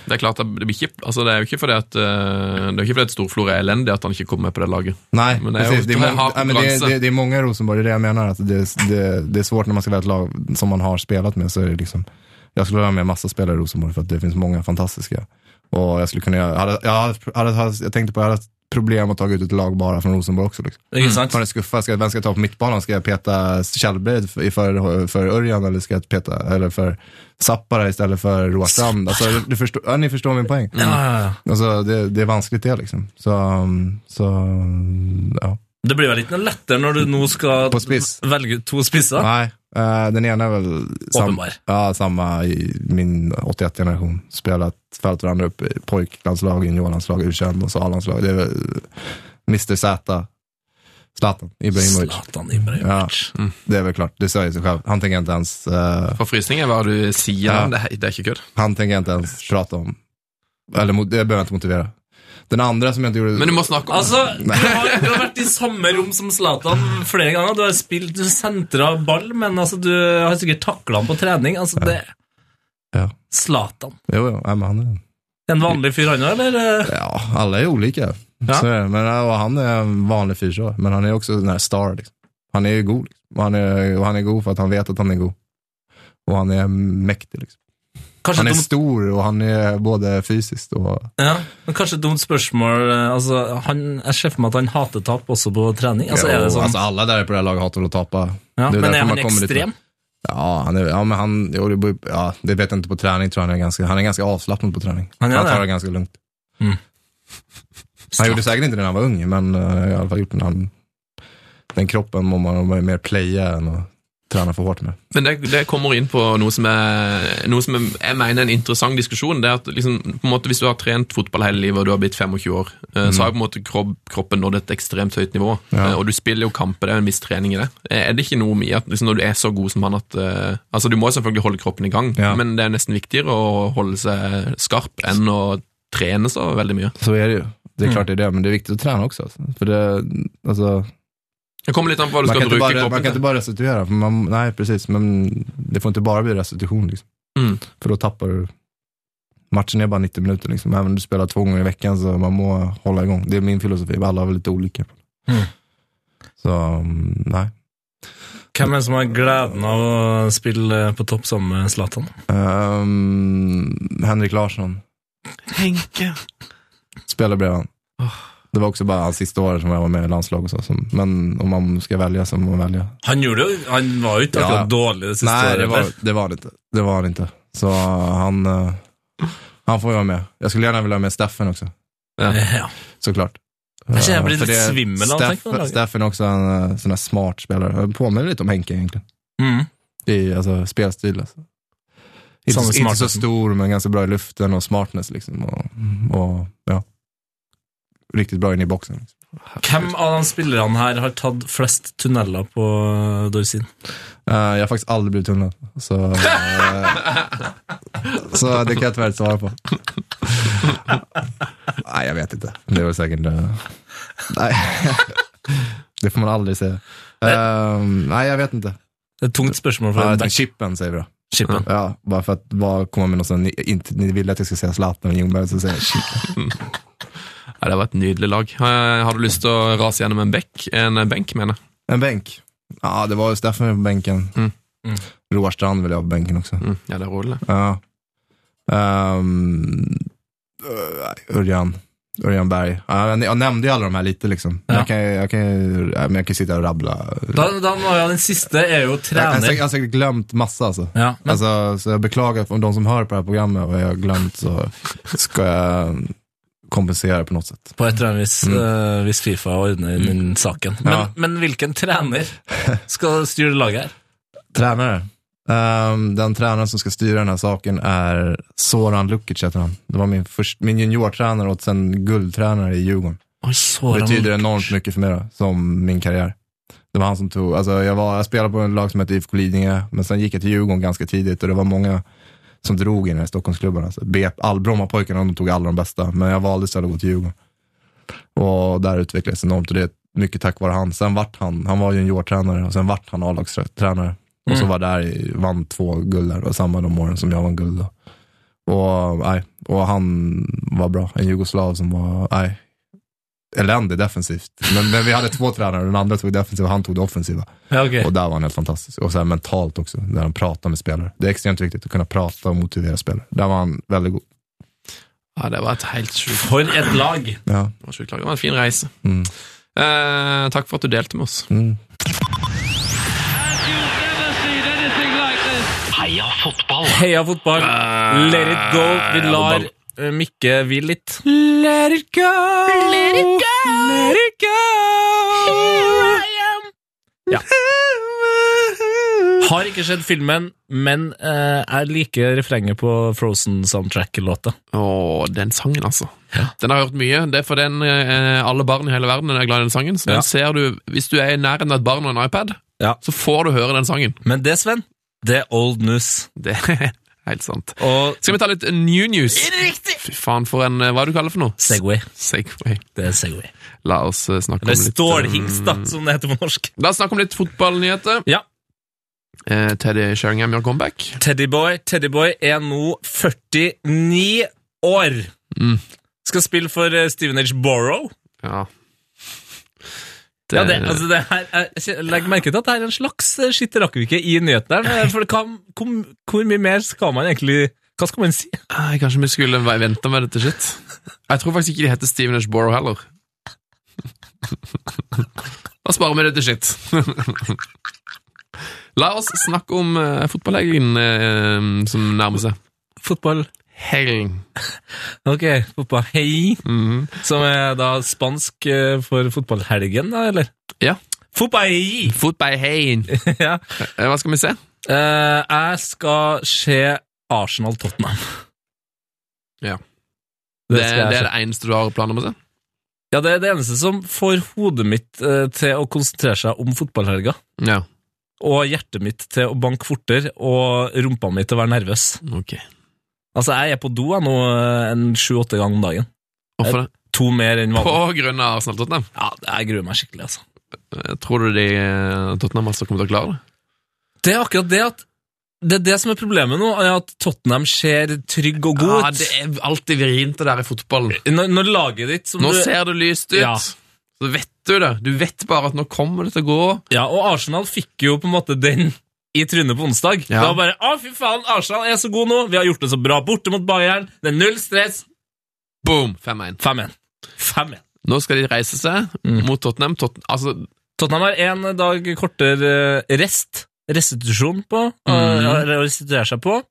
Speaker 4: Det er klart, det, blir ikke, altså, det er jo ikke fordi at, eh, det er ikke fordi at Storflor er elendig at han ikke kommer med på det laget.
Speaker 5: Nej,
Speaker 4: Men det är
Speaker 5: precis. Det är,
Speaker 4: också-
Speaker 5: många,
Speaker 4: har
Speaker 5: nej, men det,
Speaker 4: konkurrensen.
Speaker 5: är, det, är, det är många i Rosenborg, det är det jag menar. Att det, det, det är svårt när man ska välja ett lag som man har spelat med. Så är det liksom, jag skulle vilja ha med massa spelare i Rosenborg för att det finns många fantastiska. Och jag skulle kunna göra, jag, hade, jag, hade, jag, hade, jag tänkte på, jag hade ett problem att ta ut ett lag bara från Rosenborg också. Liksom.
Speaker 3: Ikke sant?
Speaker 5: Har en skuffa, ska, vem ska jag ta på mittbanan? Ska jag peta Källbred för, för, för Örjan eller ska jag peta eller för Zappara istället för Roastrand? Alltså, du förstår, ja, ni förstår min poäng.
Speaker 3: Ja, Ah, ja, ja.
Speaker 5: Alltså, Altså, det, det är vanskligt det liksom. Så, um, så um, ja.
Speaker 3: Det blir vel ikke noe lettere når du nå skal
Speaker 5: På spiss.
Speaker 3: velge ut to spisser?
Speaker 5: Nej, eh, den ena är väl sam,
Speaker 3: Åpenbar.
Speaker 5: ja, samma i min 81-generation. Spelat, följt varandra upp i pojklandslag, juniorlandslag, U21 och så A-landslag. Det är väl Mr Z, Zlatan Ibrahimovic.
Speaker 3: Zlatan Ibrahimovic.
Speaker 4: Mm.
Speaker 5: Det är väl klart, det säger sig själv. Han tänker jag inte ens, eh,
Speaker 4: For frysning er hva du sier,
Speaker 5: Ja.
Speaker 4: men det, er- det er ikke kødd.
Speaker 5: han tänker jag inte ens prata om. Eller mot- det behöver jag inte motivera. Den andra som jag inte gjorde...
Speaker 4: Men du må snakke om
Speaker 3: Altså, du har, du har vært i samme rom som Zlatan flere ganger. Du har spilt, du sentra ball, men altså, du har sikkert takla han på trening. Altså, det
Speaker 5: Ja.
Speaker 3: Zlatan.
Speaker 5: Jo, jo, nej, men han är...
Speaker 3: En vanlig fyr, han òg, eller?
Speaker 5: Ja, alla är olika.
Speaker 3: Ja.
Speaker 5: Så är det. Men, ja, och han är en vanlig fyrsår, men han är också den här star. Liksom. Han är ju god. Liksom. Och Han, är, och han är god för att han vet att han är god. Och han är mäktig. Liksom.
Speaker 3: Kanskje
Speaker 5: Han är
Speaker 3: et dumt,
Speaker 5: stor og han er både fysiskt og
Speaker 3: ja, men kanskje et dumt spørsmål. eh, Altså, han, jeg ser for meg at han hater tap også på trening. Altså, er det
Speaker 5: Ja,
Speaker 3: sånn?
Speaker 5: alltså, alla där på det här laget hatar väl att tappa.
Speaker 3: Ja,
Speaker 5: det
Speaker 3: men
Speaker 5: är därför
Speaker 3: er
Speaker 5: man
Speaker 3: han
Speaker 5: kommer lite-
Speaker 3: ekstrem?
Speaker 5: Ja, han är, ja, men han, jo, det, beror- ja, det vet jag inte på träning tror jag han är ganska, han är ganska avslappnad på träning.
Speaker 3: Han
Speaker 5: Han,
Speaker 3: är det?
Speaker 5: tar det ganska lugnt.
Speaker 3: Mm.
Speaker 5: Han gjorde säkert inte det när han var ung, men eh, i alla fall gjort när han, den kroppen må man vara mer playa än att träna för hårt med.
Speaker 4: Men det, det kommer inn på noe som, er, noe som er- jeg mener er en interessant diskusjon. det er at liksom, på en måte Hvis du har trent fotball hele livet og du har blitt 25 år, eh, så har jo på en måte kropp, kroppen nådd et ekstremt høyt nivå.
Speaker 5: Mm. Ja.
Speaker 4: Eh, Og du spiller jo kamper, det er jo en viss trening i det. Eh, Er det ikke noe med at liksom, når du er så god som han at eh, altså Du må jo selvfølgelig holde kroppen i gang,
Speaker 5: Ja.
Speaker 4: men det er nesten viktigere å holde seg skarp enn å trene så veldig mye.
Speaker 5: Så är det ju. Det är klart det er det, men det är viktigt att träna också. Alltså. För altså. det, altså, alltså,
Speaker 4: Det kommer litt an på hva du
Speaker 5: man, kan
Speaker 4: skal
Speaker 5: inte
Speaker 4: bruke
Speaker 5: bara, man kan
Speaker 4: kroppen
Speaker 5: inte
Speaker 4: til.
Speaker 5: bara restituera, för man, nej precis, men det får inte bara bli restitution. Liksom.
Speaker 4: Mm.
Speaker 5: För då tappar du matchen är bara 90 minuter liksom. Även om du spelar två gånger i veckan så man må hålla igång. Det är min filosofi, alla är väl lite olika.
Speaker 4: Mm.
Speaker 5: Så, mm, nej.
Speaker 3: Hvem er det som har gleden av å spille på topp sammen med Zlatan?
Speaker 5: Ehm, Henrik Larsson
Speaker 4: Henke.
Speaker 5: spelar bredvid han. Det var också bara hans sista år som jag var med i landslag och så. som- Men om man ska välja så må man välja
Speaker 3: Han, gjorde, jo- han var jo ikke
Speaker 5: Ja.
Speaker 3: akkurat dårlig det siste
Speaker 5: Nej,
Speaker 3: året.
Speaker 5: det var,
Speaker 3: eller?
Speaker 5: det var han inte. Det var han inte. Så han, eh, han får ju vara med. Jag skulle gärna vilja ha med Steffen också,
Speaker 3: Ja.
Speaker 5: såklart.
Speaker 3: känner jag
Speaker 5: Eh,
Speaker 3: blir
Speaker 5: för
Speaker 3: lite
Speaker 5: det-
Speaker 3: svimmel av
Speaker 5: Steff-
Speaker 3: tanken på laget.
Speaker 5: Steffen är också en eh, sån här smart spelare. Han påminner lite om Henke egentligen.
Speaker 3: Mm.
Speaker 5: I altså, alltså, spelstil. Alltså. Inte,
Speaker 3: Samma
Speaker 5: inte så
Speaker 3: smartness.
Speaker 5: stor, men ganska bra i luften och smartness liksom. Och, och ja. Riktigt bra in i boxen. Liksom.
Speaker 3: Hvem av de spillerne her har tatt flest tunneler på Dorsin?
Speaker 5: Eh, jag har faktiskt aldrig blivit tunnlad. Så, eh, så det kan jag tyvärr inte svara på. Nej, jag vet inte. Det var säkert... eh, nej. det får man aldrig säga. Eh, nej, jag vet inte.
Speaker 3: Det er et tungt spørsmål
Speaker 5: Ja,
Speaker 3: fra
Speaker 5: jag
Speaker 3: en
Speaker 5: tänkte
Speaker 3: back-
Speaker 5: chippen säger vi då.
Speaker 3: Chippen.
Speaker 5: Ja, bara för att bara komma med sånn något som ni, inte, ni ville att jag skulle säga Zlatan och Ljungberg, så säger jag chip.
Speaker 4: Ja, det var et nydelig lag. Eh, Har du lyst til å rase gjennom en bekk? En eh, benk, mener jeg.
Speaker 5: En bänk. Ja, det var ju Steffen på bänken.
Speaker 4: Mm.
Speaker 3: Mm.
Speaker 5: Roar Strand vill jag ha på bänken också.
Speaker 4: Mm, ja, det er rolig.
Speaker 5: Ja. Ehm, eh, Örjan. Örjan Berg. Ja, jag- jag nämnde ju alla de här lite liksom.
Speaker 3: Ja.
Speaker 5: Jag, kan, ju- jag, kan, ju- ja, men jeg kan sitta och rabbla.
Speaker 3: Da, da må jeg, den siste er jo
Speaker 5: Jag, jag, har säkert- jag
Speaker 3: trener.
Speaker 5: har säkert glömt massa alltså.
Speaker 3: Ja, men
Speaker 5: alltså. Så jag beklagar om de som hör på det här programmet och jag har glömt så ska jag kompensera på något sätt.
Speaker 3: på et eller annet vis,
Speaker 5: Mm.
Speaker 3: eh, hvis Fifa ordner den saken. Men,
Speaker 5: Ja.
Speaker 3: men hvilken trener skal styre laget her?
Speaker 5: Tränare. Ehm, den tränaren som ska styra den här saken är Soran Lukic heter han. Det var min, först, min juniortränare och sen guldtränare i Djurgården.
Speaker 3: Oi, Soran
Speaker 5: betyder enormt mycket för mig då, som min karriär. Det var han som tog, alltså jag, var, jag spelade på en lag som hette IFK Lidingö, men sen gick jag till Djurgården ganska tidigt och det var många som drog i den här Stockholmsklubben. Alltså. B- all, Brommapojkarna de tog alla de bästa, men jag valde istället att gå till Djurgården. Och där utvecklades enormt och det är mycket tack vare han. Sen vart han, han var ju juniortränare och sen vart han A-lagstränare. Och så
Speaker 3: Mm.
Speaker 5: var där, i- vann två guld där, och samma de åren som jag vann guld då. Och, nej, och han var bra, en jugoslav som var, nej, eländig defensivt. Men, men vi hade två tränare, den andra tog defensiva, han tog det offensiva.
Speaker 3: Ja, ok.
Speaker 5: Och där var han helt fantastisk. Och sen mentalt också, när han pratar med spelare. Det är extremt viktigt att kunna prata og motivera spelare. Där var han väldigt god.
Speaker 4: Ja, det var et helt sjukt
Speaker 3: For et lag!
Speaker 5: Ja.
Speaker 4: det var sjukt lag. Det var en fin reise.
Speaker 5: Mm.
Speaker 4: Eh, takk for at du delte med oss.
Speaker 5: Mm.
Speaker 1: You've never seen anything like this.
Speaker 2: Heia fotball!
Speaker 3: Heia fotball! Let it go! Vi
Speaker 4: Heia
Speaker 3: lar
Speaker 4: fotball.
Speaker 3: eh, Mikke hvile litt. Let it go! Let it go! Let it go! Here I am! Ja. Har ikke sett filmen, men eh, jeg liker refrenget på Frozen-soundtrack-låta.
Speaker 4: Åh, den sangen, altså. Den har jeg hørt mye. Det er for den eh, alle barn i hele verden er glad i den sangen. Så
Speaker 3: Ja.
Speaker 4: den ser du, Hvis du er i nærheten av et barn og en iPad,
Speaker 3: Ja.
Speaker 4: så får du høre den sangen.
Speaker 3: Men det, Sven, det er old news.
Speaker 4: Det er helt sant.
Speaker 3: Og
Speaker 4: Skal vi ta litt new news? Fy faen, for en eh, Hva er det du kaller for noe?
Speaker 3: Segway.
Speaker 4: Segway.
Speaker 3: Det er Segway.
Speaker 4: La oss eh, snakke om
Speaker 3: Eller
Speaker 4: litt
Speaker 3: stålhingst, da,
Speaker 4: um,
Speaker 3: som det heter på norsk.
Speaker 4: La oss snakke om litt fotballnyheter.
Speaker 3: Ja.
Speaker 4: Eh, Teddy Sheringham gjør comeback.
Speaker 3: Teddyboy Teddyboy er nå 49 år.
Speaker 4: Mm.
Speaker 3: Skal spille for eh, Stevenage Borough.
Speaker 4: Ja.
Speaker 3: Ja, det, altså det her, er- jeg legger merke til at det er en slags eh, skitt rakkevikke i nyheten her. For det kan, kom, hvor mye mer skal man egentlig Hva skal man si?
Speaker 4: Nei, Kanskje vi skulle vente med dette shit. Jeg tror faktisk ikke de heter Steven Ashborough heller. Da sparer vi dette shit. La oss snakke om uh, fotballhelgen eh, som nærmer seg.
Speaker 3: Fotball.
Speaker 4: Helgen.
Speaker 3: Ok, fotball. Hei.
Speaker 4: Mhm.
Speaker 3: Som er da spansk eh, for fotballhelgen, da, eller?
Speaker 4: Ja.
Speaker 3: Fotball! hei.
Speaker 4: Fotballhelgen.
Speaker 3: ja.
Speaker 4: Eh, Hva skal vi se?
Speaker 3: Eh, jeg skal se Arsenal-Tottenham.
Speaker 4: Ja.
Speaker 3: Det,
Speaker 4: Det,
Speaker 3: skal jeg
Speaker 4: det
Speaker 3: se.
Speaker 4: er det eneste du har planer om å se?
Speaker 3: Ja, det er det eneste som får hodet mitt eh, til å konsentrere seg om fotballhelga,
Speaker 4: Ja,
Speaker 3: og hjertet mitt til å banke fortere, og rumpa mi til å være nervøs.
Speaker 4: ok.
Speaker 3: Altså, jeg er på do jeg, nå eh, en sju-åtte ganger om dagen.
Speaker 4: Hvorfor det?
Speaker 3: To mer enn
Speaker 4: På
Speaker 3: vanlig.
Speaker 4: grunn av Arsenal Tottenham.
Speaker 3: Ja, jeg gruer meg skikkelig, altså.
Speaker 4: Eh, Tror du de eh, Tottenham altså kommer til å klare det?
Speaker 3: Det er akkurat det at Det er det som er problemet nå, er at Tottenham ser trygg og god
Speaker 4: Ja,
Speaker 3: ut.
Speaker 4: det er alltid vrient det der i fotballen.
Speaker 3: når, når laget ditt som
Speaker 4: Nå
Speaker 3: du,
Speaker 4: ser det lyst ut.
Speaker 3: Ja.
Speaker 4: Så vet du det. Du vet bare at nå kommer det til å gå.
Speaker 3: Ja, og Arsenal fikk jo på en måte den i trynet på onsdag.
Speaker 4: Ja.
Speaker 3: Da bare Å, fy faen, Arsenal er så god nå! Vi har gjort det så bra borte mot Bayern. Det er null stress.
Speaker 4: Boom! 5-1.
Speaker 3: 5-1. 5-1.
Speaker 4: Nå skal de reise seg
Speaker 3: Mm.
Speaker 4: mot Tottenham. Totten, altså,
Speaker 3: Tottenham har én dag kortere eh, rest, restitusjon på, å-
Speaker 4: Mm.
Speaker 3: å restituere seg på.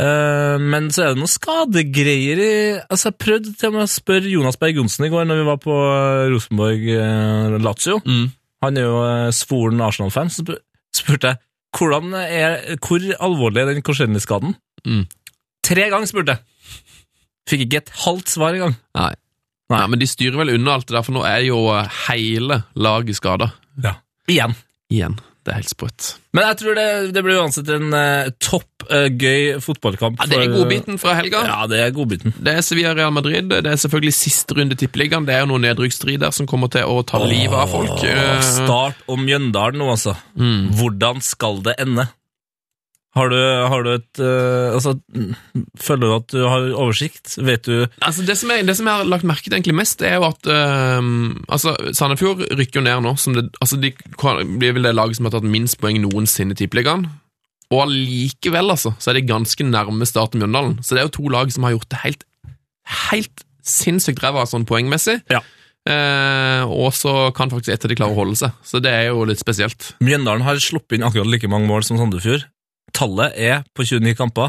Speaker 3: Eh, men så er det noen skadegreier i Altså, jeg prøvde til og med å spørre Jonas Berg Johnsen i går når vi var på eh, Rosenborg-Lazio.
Speaker 4: Mm.
Speaker 3: Han er jo eh, svoren Arsenal-fan. Så spur- spurte jeg hvordan er, hvor alvorlig er den Korsenli-skaden.
Speaker 4: Mm.
Speaker 3: Tre ganger spurte jeg! Fikk ikke et halvt svar engang.
Speaker 4: Nei. Nei. men de styrer vel unna alt det der, for nå er jo eh, hele laget skada.
Speaker 3: Igjen.
Speaker 4: Igjen. Det er helt sprøtt.
Speaker 3: Men jeg tror det, det blir uansett en eh, topp eh, gøy fotballkamp.
Speaker 4: Ja, det er
Speaker 3: for-
Speaker 4: godbiten fra helga.
Speaker 3: Ja, det er godbiten.
Speaker 4: Det er Sevilla Real Madrid. Det er selvfølgelig siste runde i tippeligaen. Det er jo noen nedrykksstrid der som kommer til å ta livet av folk.
Speaker 3: Åh,
Speaker 4: Eh,
Speaker 3: start om Mjøndalen nå, altså.
Speaker 4: Mm.
Speaker 3: Hvordan skal det ende? Har du, har du et eh, Altså, mm, føler du at du har oversikt? Vet du
Speaker 4: Altså, det, som jeg, det som jeg har lagt merke til egentlig mest, er jo at ehm, altså, Sandefjord rykker jo ned nå. Som det, altså, de blir vel det laget som har tatt minst poeng noensinne i Tippeligaen. Og allikevel altså, så er de ganske nærme starten Mjøndalen. Så det er jo to lag som har gjort det helt, helt sinnssykt ræva sånn poengmessig.
Speaker 3: Ja.
Speaker 4: Eh, og så kan faktisk ett av de klare å holde seg. Så det er jo litt spesielt.
Speaker 3: Mjøndalen har sluppet inn akkurat like mange mål som Sandefjord. Tallet er, på 29 kamper,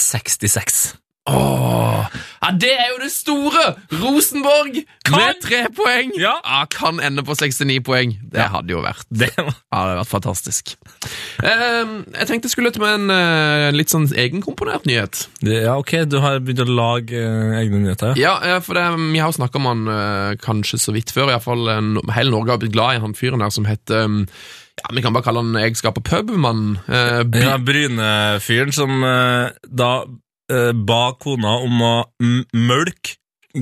Speaker 3: 66.
Speaker 4: Åh, ja, det er jo det store! Rosenborg
Speaker 3: Kan-
Speaker 4: med tre poeng!
Speaker 3: Ja.
Speaker 4: Kan ende på 69 poeng. Det hadde jo vært
Speaker 3: Det var
Speaker 4: Ja, det hadde vært fantastisk. Ehm, jeg tenkte jeg skulle ta med en eh, litt sånn egenkomponert nyhet.
Speaker 3: Ja, ok, du har begynt å lage eh, egne nyheter. ja.
Speaker 4: Ja, eh, for det, Vi har jo snakka om han eh, kanskje så vidt før. I hvert fall, eh, no- Hele Norge har blitt glad i han fyren her som heter eh, ja, Vi kan bare kalle han Jeg skaper pub-mannen. Eh, by-
Speaker 3: Ja, Bryne-fyren som eh, da eh, ba kona om å m- mølke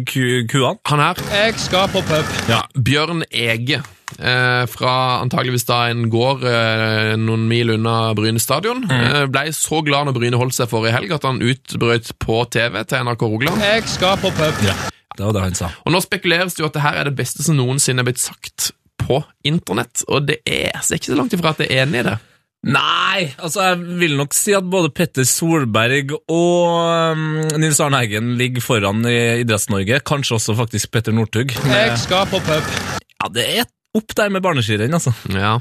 Speaker 3: ku kuene.
Speaker 4: Han her,
Speaker 1: Jeg skal på pub.
Speaker 4: Bjørn Ege, eh, fra antageligvis da en gård eh, noen mil unna Bryne stadion, eh, ble så glad når Bryne holdt seg for i helg at han utbrøt på TV til NRK Rogaland.
Speaker 1: Jeg skal på pub.
Speaker 3: Det var det han sa.
Speaker 4: Og nå spekuleres det jo at det her er det beste som noensinne er blitt sagt på internett, og det er, altså, ikke så langt ifra at jeg er enig i det.
Speaker 3: Nei, altså jeg vil nok si at både Petter Solberg og mm, Nils Arne Eggen ligger foran i Idretts-Norge. Kanskje også faktisk Petter Northug.
Speaker 1: Jeg skal på pub.
Speaker 3: Ja, det er opp der med barneskirenn, altså.
Speaker 4: Ja.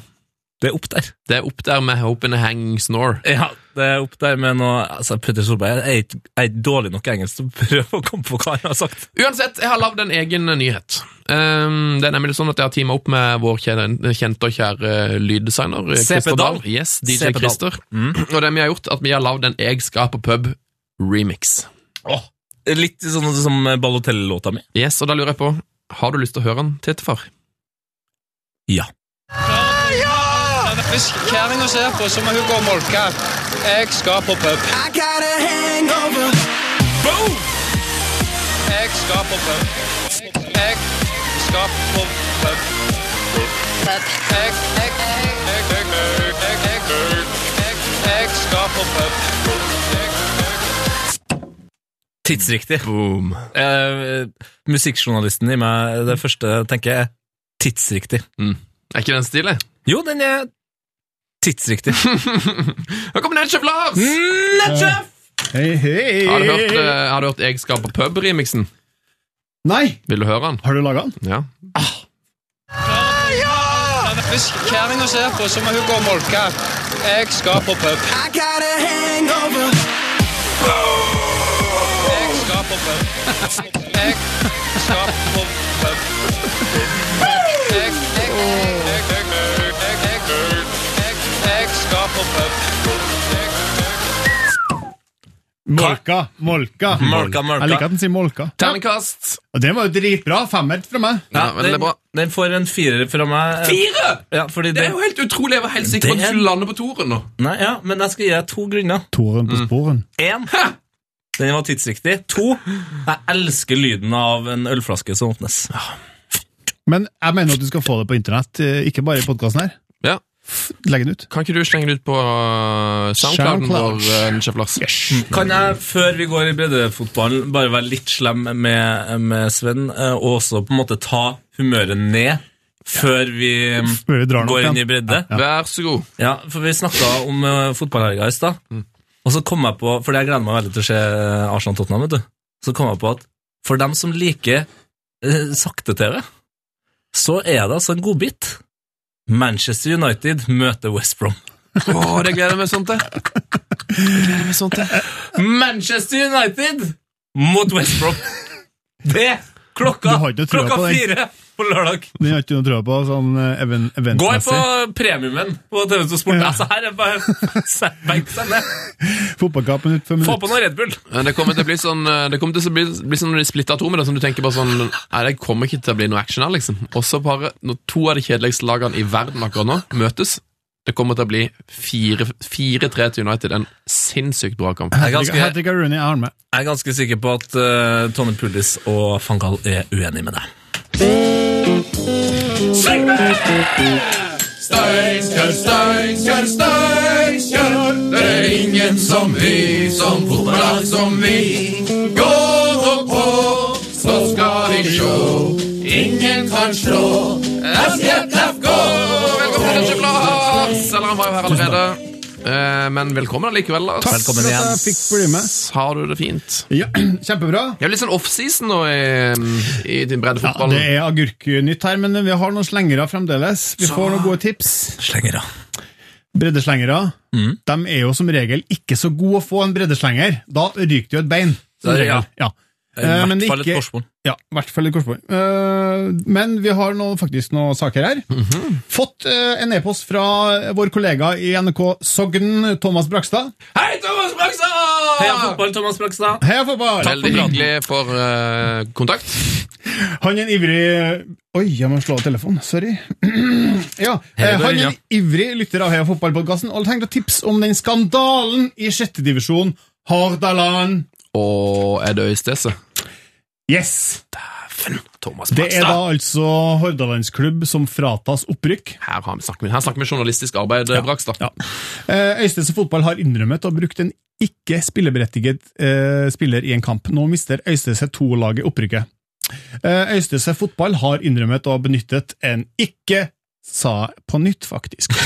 Speaker 3: Det er opp der.
Speaker 4: Det er opp der med Hope and Hang Snore.
Speaker 3: Ja, det er opp der med noe altså, Petter Solberg er ikke er ikke dårlig nok i engelsk til å prøve å komme på hva han har sagt.
Speaker 4: Uansett, jeg har lagd en egen nyhet. Ehm, det er nemlig sånn at jeg har teamet opp med vår kjære- kjente og kjære lyddesigner eh,
Speaker 3: CP
Speaker 4: Christer
Speaker 3: Dahl.
Speaker 4: Dahl. Yes, DJ
Speaker 3: CP Dahl.
Speaker 4: Christer. Og det vi har gjort, at vi har lagd en Jeg skal på pub remix.
Speaker 3: Litt sånn som Balotelli-låta mi.
Speaker 4: Yes, og da lurer jeg på, har du lyst til å høre den, Tittefar?
Speaker 3: Ja.
Speaker 1: Hvis kjerringa ser på, så må hun gå og molke. Jeg skal på pub. Jeg skal på pub. Jeg skal på pub. Jeg, jeg, jeg, jeg, jeg, jeg, jeg, jeg, jeg, jeg skal på pub. Jeg, jeg,
Speaker 3: Tidsriktig.
Speaker 4: Boom.
Speaker 3: Eh, musikkjournalisten i meg, det første jeg tenker, er tidsriktig.
Speaker 4: Er ikke den stilig?
Speaker 3: Jo, den er tidsriktig.
Speaker 4: Nå kommer Nedchef Lars!
Speaker 3: Netchef!
Speaker 6: Hei, hei!
Speaker 4: Har du hørt, eh, har du hørt Jeg skal på pub-remixen?
Speaker 6: Nei!
Speaker 4: Vil du høre den?
Speaker 6: Har du laga den?
Speaker 4: Ja.
Speaker 1: Hvis kjerringa ser på, så må hun gå og molke. Jeg skal på pub. Jeg skal på pub. Jeg skal på pub. Jeg, jeg, jeg, jeg, jeg, jeg, jeg, jeg, jeg skal på pub. Jeg, jeg,
Speaker 6: Molka. Molka.
Speaker 3: Molka, molka.
Speaker 6: Jeg liker at den sier molka.
Speaker 4: Terningkast!
Speaker 6: Og den var jo dritbra. Femmer fra meg.
Speaker 4: Ja, men det er bra.
Speaker 3: Den får en firer fra meg.
Speaker 4: Fire!
Speaker 3: Ja, fordi
Speaker 4: Det
Speaker 3: det,
Speaker 4: er jo helt utrolig. Jeg var helt sikker på at
Speaker 3: Det er-
Speaker 4: du skulle lande på toren nå.
Speaker 3: Nei, ja, Men jeg skal gi deg to grunner.
Speaker 6: Toren
Speaker 3: Mm.
Speaker 6: på sporen.
Speaker 3: Én Den var tidsriktig. To Jeg elsker lyden av en ølflaske som åpnes.
Speaker 6: Men jeg mener at du skal få det på internett, eh, ikke bare i podkasten her.
Speaker 4: Ja.
Speaker 6: f- legge den ut.
Speaker 4: Kan ikke du slenge det ut på uh, soundclouden
Speaker 6: Soundcloud.
Speaker 4: vår, eh, Chef Lars?
Speaker 3: Kan jeg, før vi går i breddefotballen, bare være litt slem med, med Sven, eh, og også på en måte ta humøret ned før vi um,
Speaker 6: Før vi drar den opp
Speaker 3: går Mm. inn
Speaker 6: igjen.
Speaker 3: i bredde?
Speaker 4: Vær så god.
Speaker 3: Ja, for vi snakka om uh, fotballhelga i stad, og så kom jeg på Fordi jeg gleder meg veldig til å se eh, Arsenal-Tottenham, vet du. Så kom jeg på at for dem som liker eh, sakte-TV, så er det altså en godbit. Manchester United møter West Brom.
Speaker 4: Å, det gleder jeg meg sånn til. Det gleder jeg meg sånn til.
Speaker 3: Manchester United mot West Brom. Det klokka,
Speaker 6: Du har ikke trua
Speaker 3: klokka
Speaker 6: på den.
Speaker 3: fire på lørdag.
Speaker 6: Den har ikke noe trua på, sånn eh, even-
Speaker 3: Gå inn på
Speaker 6: eventmessig.
Speaker 3: premiumen på TV2 Sport. Altså, her er bare sett benk seg ned.
Speaker 6: Fotballkampen ut før
Speaker 3: Få
Speaker 6: minutt.
Speaker 3: på noe Red Bull.
Speaker 4: Men Det kommer til å bli sånn eh, Det kommer til å bli, bli sånn splitta atomer. Sånn, du tenker bare sånn Nei, det kommer ikke til å bli noe action her, liksom. Og så bare Når to av de kjedeligste lagene i verden akkurat nå møtes Det kommer til å bli 4-3 til United. En sinnssykt bra kamp.
Speaker 3: Jeg er ganske,
Speaker 6: Hattrick Rooney, jeg har den med.
Speaker 3: jeg er ganske sikker på at eh, Tony Pulis og Fangal er uenig med deg.
Speaker 4: Steinkjer, Steinkjer, Steinkjer. Det er ingen som vi, som fotballag som vi. Gå nå på, så skal vi sjå. Ingen kan slå SJFK. Velkommen til Lars. Eller han var jo her allerede. Eh, Men velkommen allikevel, Lars.
Speaker 6: Takk for at jeg fikk bli med.
Speaker 4: Har du det fint?
Speaker 6: Ja, kjempebra.
Speaker 4: Det er jo litt sånn offseason nå i, i din bredde
Speaker 6: Ja,
Speaker 4: fotball.
Speaker 6: det er agurknytt her, men vi har noen slengere fremdeles. Vi får noen gode tips.
Speaker 3: Slenger av.
Speaker 6: Breddeslengere
Speaker 3: Mm.
Speaker 6: de er jo som regel ikke så gode å få en breddeslenger. Da ryker det jo et bein. som
Speaker 3: Det er- ja.
Speaker 6: regel. Ja.
Speaker 3: I
Speaker 6: Eh, men
Speaker 3: hvert
Speaker 6: det
Speaker 3: fall et
Speaker 6: ikke-
Speaker 3: korsbånd.
Speaker 6: Ja, i hvert fall et korsbånd. Eh, men vi har nå faktisk noen saker her.
Speaker 3: Mhm.
Speaker 6: Fått eh, en e-post fra vår kollega i NRK Sogn, Thomas Brakstad.
Speaker 4: Hei, Thomas Brakstad!
Speaker 3: Heia fotball, Thomas Brakstad.
Speaker 6: Heia fotball!
Speaker 4: Veldig hyggelig for eh, kontakt.
Speaker 6: Han er en ivrig Oi, jeg må slå av telefonen. Sorry. ja, eh,
Speaker 3: Hei,
Speaker 6: Han er
Speaker 3: Dørja.
Speaker 6: en ivrig lytter av Heia Fotballpodkasten og tenkte å tipse om den skandalen i sjette divisjon. Hordaland.
Speaker 4: Og er det Øystese?
Speaker 6: Yes!
Speaker 4: Thomas
Speaker 6: Det er
Speaker 4: Brakstad.
Speaker 6: da altså Hordalandsklubb som fratas opprykk.
Speaker 4: Her, har vi snakker, her snakker vi journalistisk arbeid, Brakstad.
Speaker 6: Ja. Eh, Øystese Fotball har innrømmet å ha brukt en ikke spilleberettiget eh, spiller i en kamp. Nå mister Øystese 2-laget opprykket. Eh, Øystese Fotball har innrømmet å ha benyttet en ikke sa på nytt, faktisk.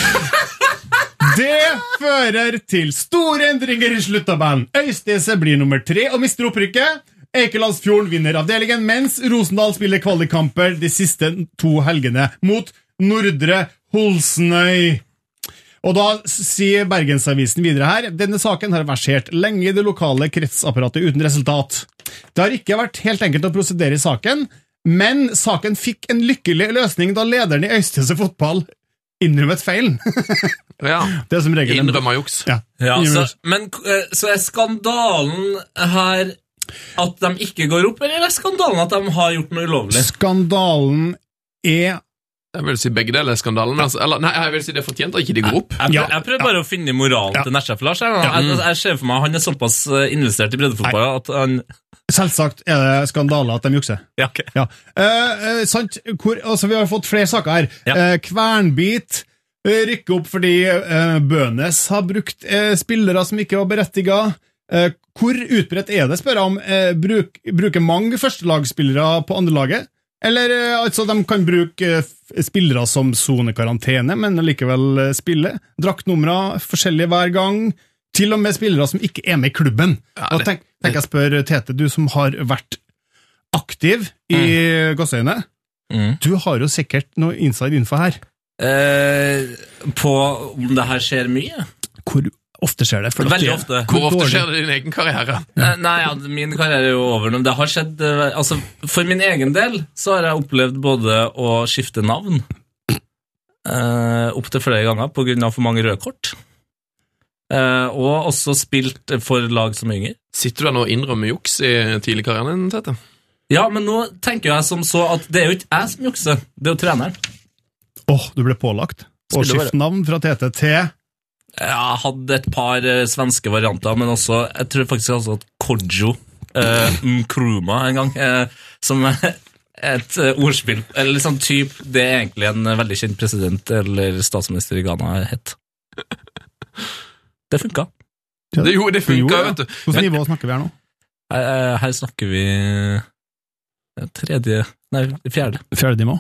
Speaker 6: Det fører til store endringer i sluttarbeidet. Øystese blir nummer tre og mister opprykket. Eikelandsfjorden vinner avdelingen, mens Rosendal spiller kvalikkamper de siste to helgene mot Nordre Holsnøy. Og da sier Bergensavisen videre her Denne saken har versert lenge i det lokale kretsapparatet uten resultat. Det har ikke vært helt enkelt å prosedere i saken, men saken fikk en lykkelig løsning da lederen i Øystese fotball innrømmet feilen.
Speaker 4: Ja.
Speaker 6: Det er som regel en-
Speaker 4: Innrømmer juks.
Speaker 6: Ja.
Speaker 3: Ja, så,
Speaker 6: innrømmer-
Speaker 3: men eh, så er skandalen her at de ikke går opp, eller er skandalen at de har gjort noe ulovlig?
Speaker 6: Skandalen er
Speaker 4: Jeg vil si begge deler skandalen. men Altså, eller, nei, jeg vil si det fortjente at ikke de går opp.
Speaker 3: Jeg,
Speaker 6: Ja.
Speaker 3: prøv, jeg prøver bare å finne moralen til Nesjef Lars. Jeg, jeg, jeg, ser for meg Han er såpass eh, investert i breddefotball at han
Speaker 6: Selvsagt er det skandaler at de jukser.
Speaker 3: ja, ok.
Speaker 6: Ja. Eh, eh, sant? Hvor, altså, vi har fått flere saker her.
Speaker 3: Ja.
Speaker 6: Eh, Kvernbit eh, rykker opp fordi eh, Bønes har brukt eh, spillere som ikke var berettiga. Eh, hvor utbredt er det, spør jeg om, eh, bruk, bruker mange førstelagsspillere på andrelaget? Eller eh, altså, de kan bruke eh, f- spillere som sonekarantene, men likevel eh, spille. Draktnumre forskjellige hver gang. Til og med spillere som ikke er med i klubben.
Speaker 4: Ja,
Speaker 6: og
Speaker 4: det-
Speaker 6: tenk, tenk jeg spør Tete, du som har vært aktiv i mm.
Speaker 3: Mm.
Speaker 6: Du har jo sikkert noe inside info her.
Speaker 3: Eh, på om det her skjer mye?
Speaker 6: Hvor ofte skjer det? For at
Speaker 3: Veldig
Speaker 6: det-
Speaker 3: ofte.
Speaker 4: Hvor ofte
Speaker 6: dårlig.
Speaker 4: skjer det i din egen karriere?
Speaker 3: Eh, Nei, ja, min karriere er jo over nå. men Det har skjedd eh, Altså, for min egen del så har jeg opplevd både å skifte navn eh, opptil flere ganger på grunn av for mange røde kort, eh, og også spilt for lag som er yngre.
Speaker 4: Sitter du der nå og innrømmer juks i tidlig karrieren din, Tete?
Speaker 3: Ja, men nå tenker jeg som så at det er jo ikke jeg som jukser, det er jo treneren.
Speaker 6: Åh, du ble pålagt å
Speaker 3: Skulle
Speaker 6: skifte navn fra TT til
Speaker 3: Jeg hadde et par eh, svenske varianter, men også Jeg tror faktisk jeg hadde hatt Kodjo eh, Nkrumah en gang, eh, som eh, et eh, ordspill. Eller sånn typ det er egentlig en eh, veldig kjent president eller statsminister i Ghana het. Det funka.
Speaker 4: Det, jo, det
Speaker 6: Jo,
Speaker 4: funka,
Speaker 6: ja.
Speaker 4: vet du.
Speaker 6: Hvilket nivå snakker vi her nå?
Speaker 3: Her, eh, her snakker vi eh, tredje Nei, fjerde.
Speaker 6: Fjerde nivå?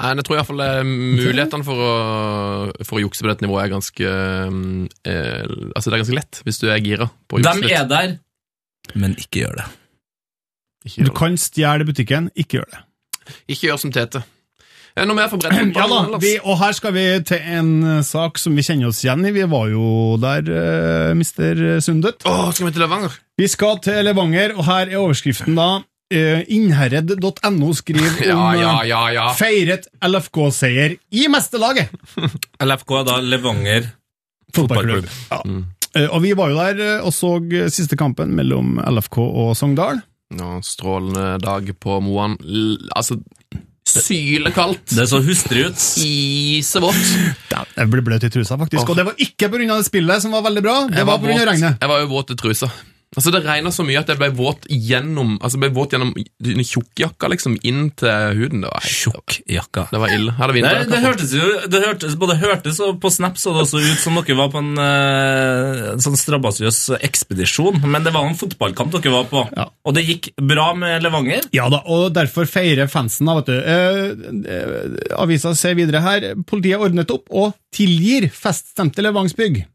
Speaker 4: Nei, jeg tror iallfall eh, mulighetene for å, for å jukse på dette nivået er ganske mm, eh, Altså, det er ganske lett hvis du er gira på å
Speaker 3: De
Speaker 4: jukse
Speaker 3: er
Speaker 4: litt.
Speaker 3: der, men ikke gjør det.
Speaker 4: Ikke
Speaker 6: Du
Speaker 4: gjør,
Speaker 6: kan stjele butikken, ikke gjør det.
Speaker 4: det. ikke gjør som Tete. Er det noe mer for bredden?
Speaker 6: Ja da, vi, og her skal vi til en eh, sak som vi kjenner oss igjen i. Vi var jo der, uh, mister Sundet.
Speaker 4: Åh, skal vi til Levanger?
Speaker 6: Vi skal til Levanger, og her er overskriften da. eh, Innherred.no skriver
Speaker 4: Ja,
Speaker 6: om
Speaker 4: ja,
Speaker 6: eh,
Speaker 4: ja, ja.
Speaker 6: feiret LFK-seier i mesterlaget.
Speaker 3: LFK er da Levanger fotballklubb.
Speaker 6: Ja. Eh, og vi var jo der eh, og så eh, siste kampen mellom LFK og Sogndal.
Speaker 4: Nå, strålende dag på Moan. L altså, sylekaldt.
Speaker 3: Det så hustrig ut.
Speaker 4: Isevått.
Speaker 6: Jeg ble bløt i trusa, faktisk. Og det var ikke pga. det spillet, som var veldig bra. Det
Speaker 4: Jeg
Speaker 6: var
Speaker 4: var
Speaker 6: pga.
Speaker 4: våt-
Speaker 6: regnet.
Speaker 4: Jeg var jo våt i trusa. Altså Det regna så mye at jeg ble våt gjennom Altså jeg ble våt gjennom den tjukkjakka, liksom, inn til huden. Det var,
Speaker 3: Tjukkjakka.
Speaker 4: det var ille. Jeg hadde
Speaker 3: Det, det
Speaker 4: vinterjakke. på.
Speaker 3: hørtes jo det hørtes, Både hørtes og på Snap så det også ut som dere var på en eh, sånn strabasiøs ekspedisjon, men det var en fotballkamp dere var på,
Speaker 6: Ja.
Speaker 3: og det gikk bra med Levanger.
Speaker 6: Ja da, og derfor feirer fansen da, vet du. Eh, eh, avisa ser videre her. Politiet ordnet opp og tilgir feststemte Levangsbygg.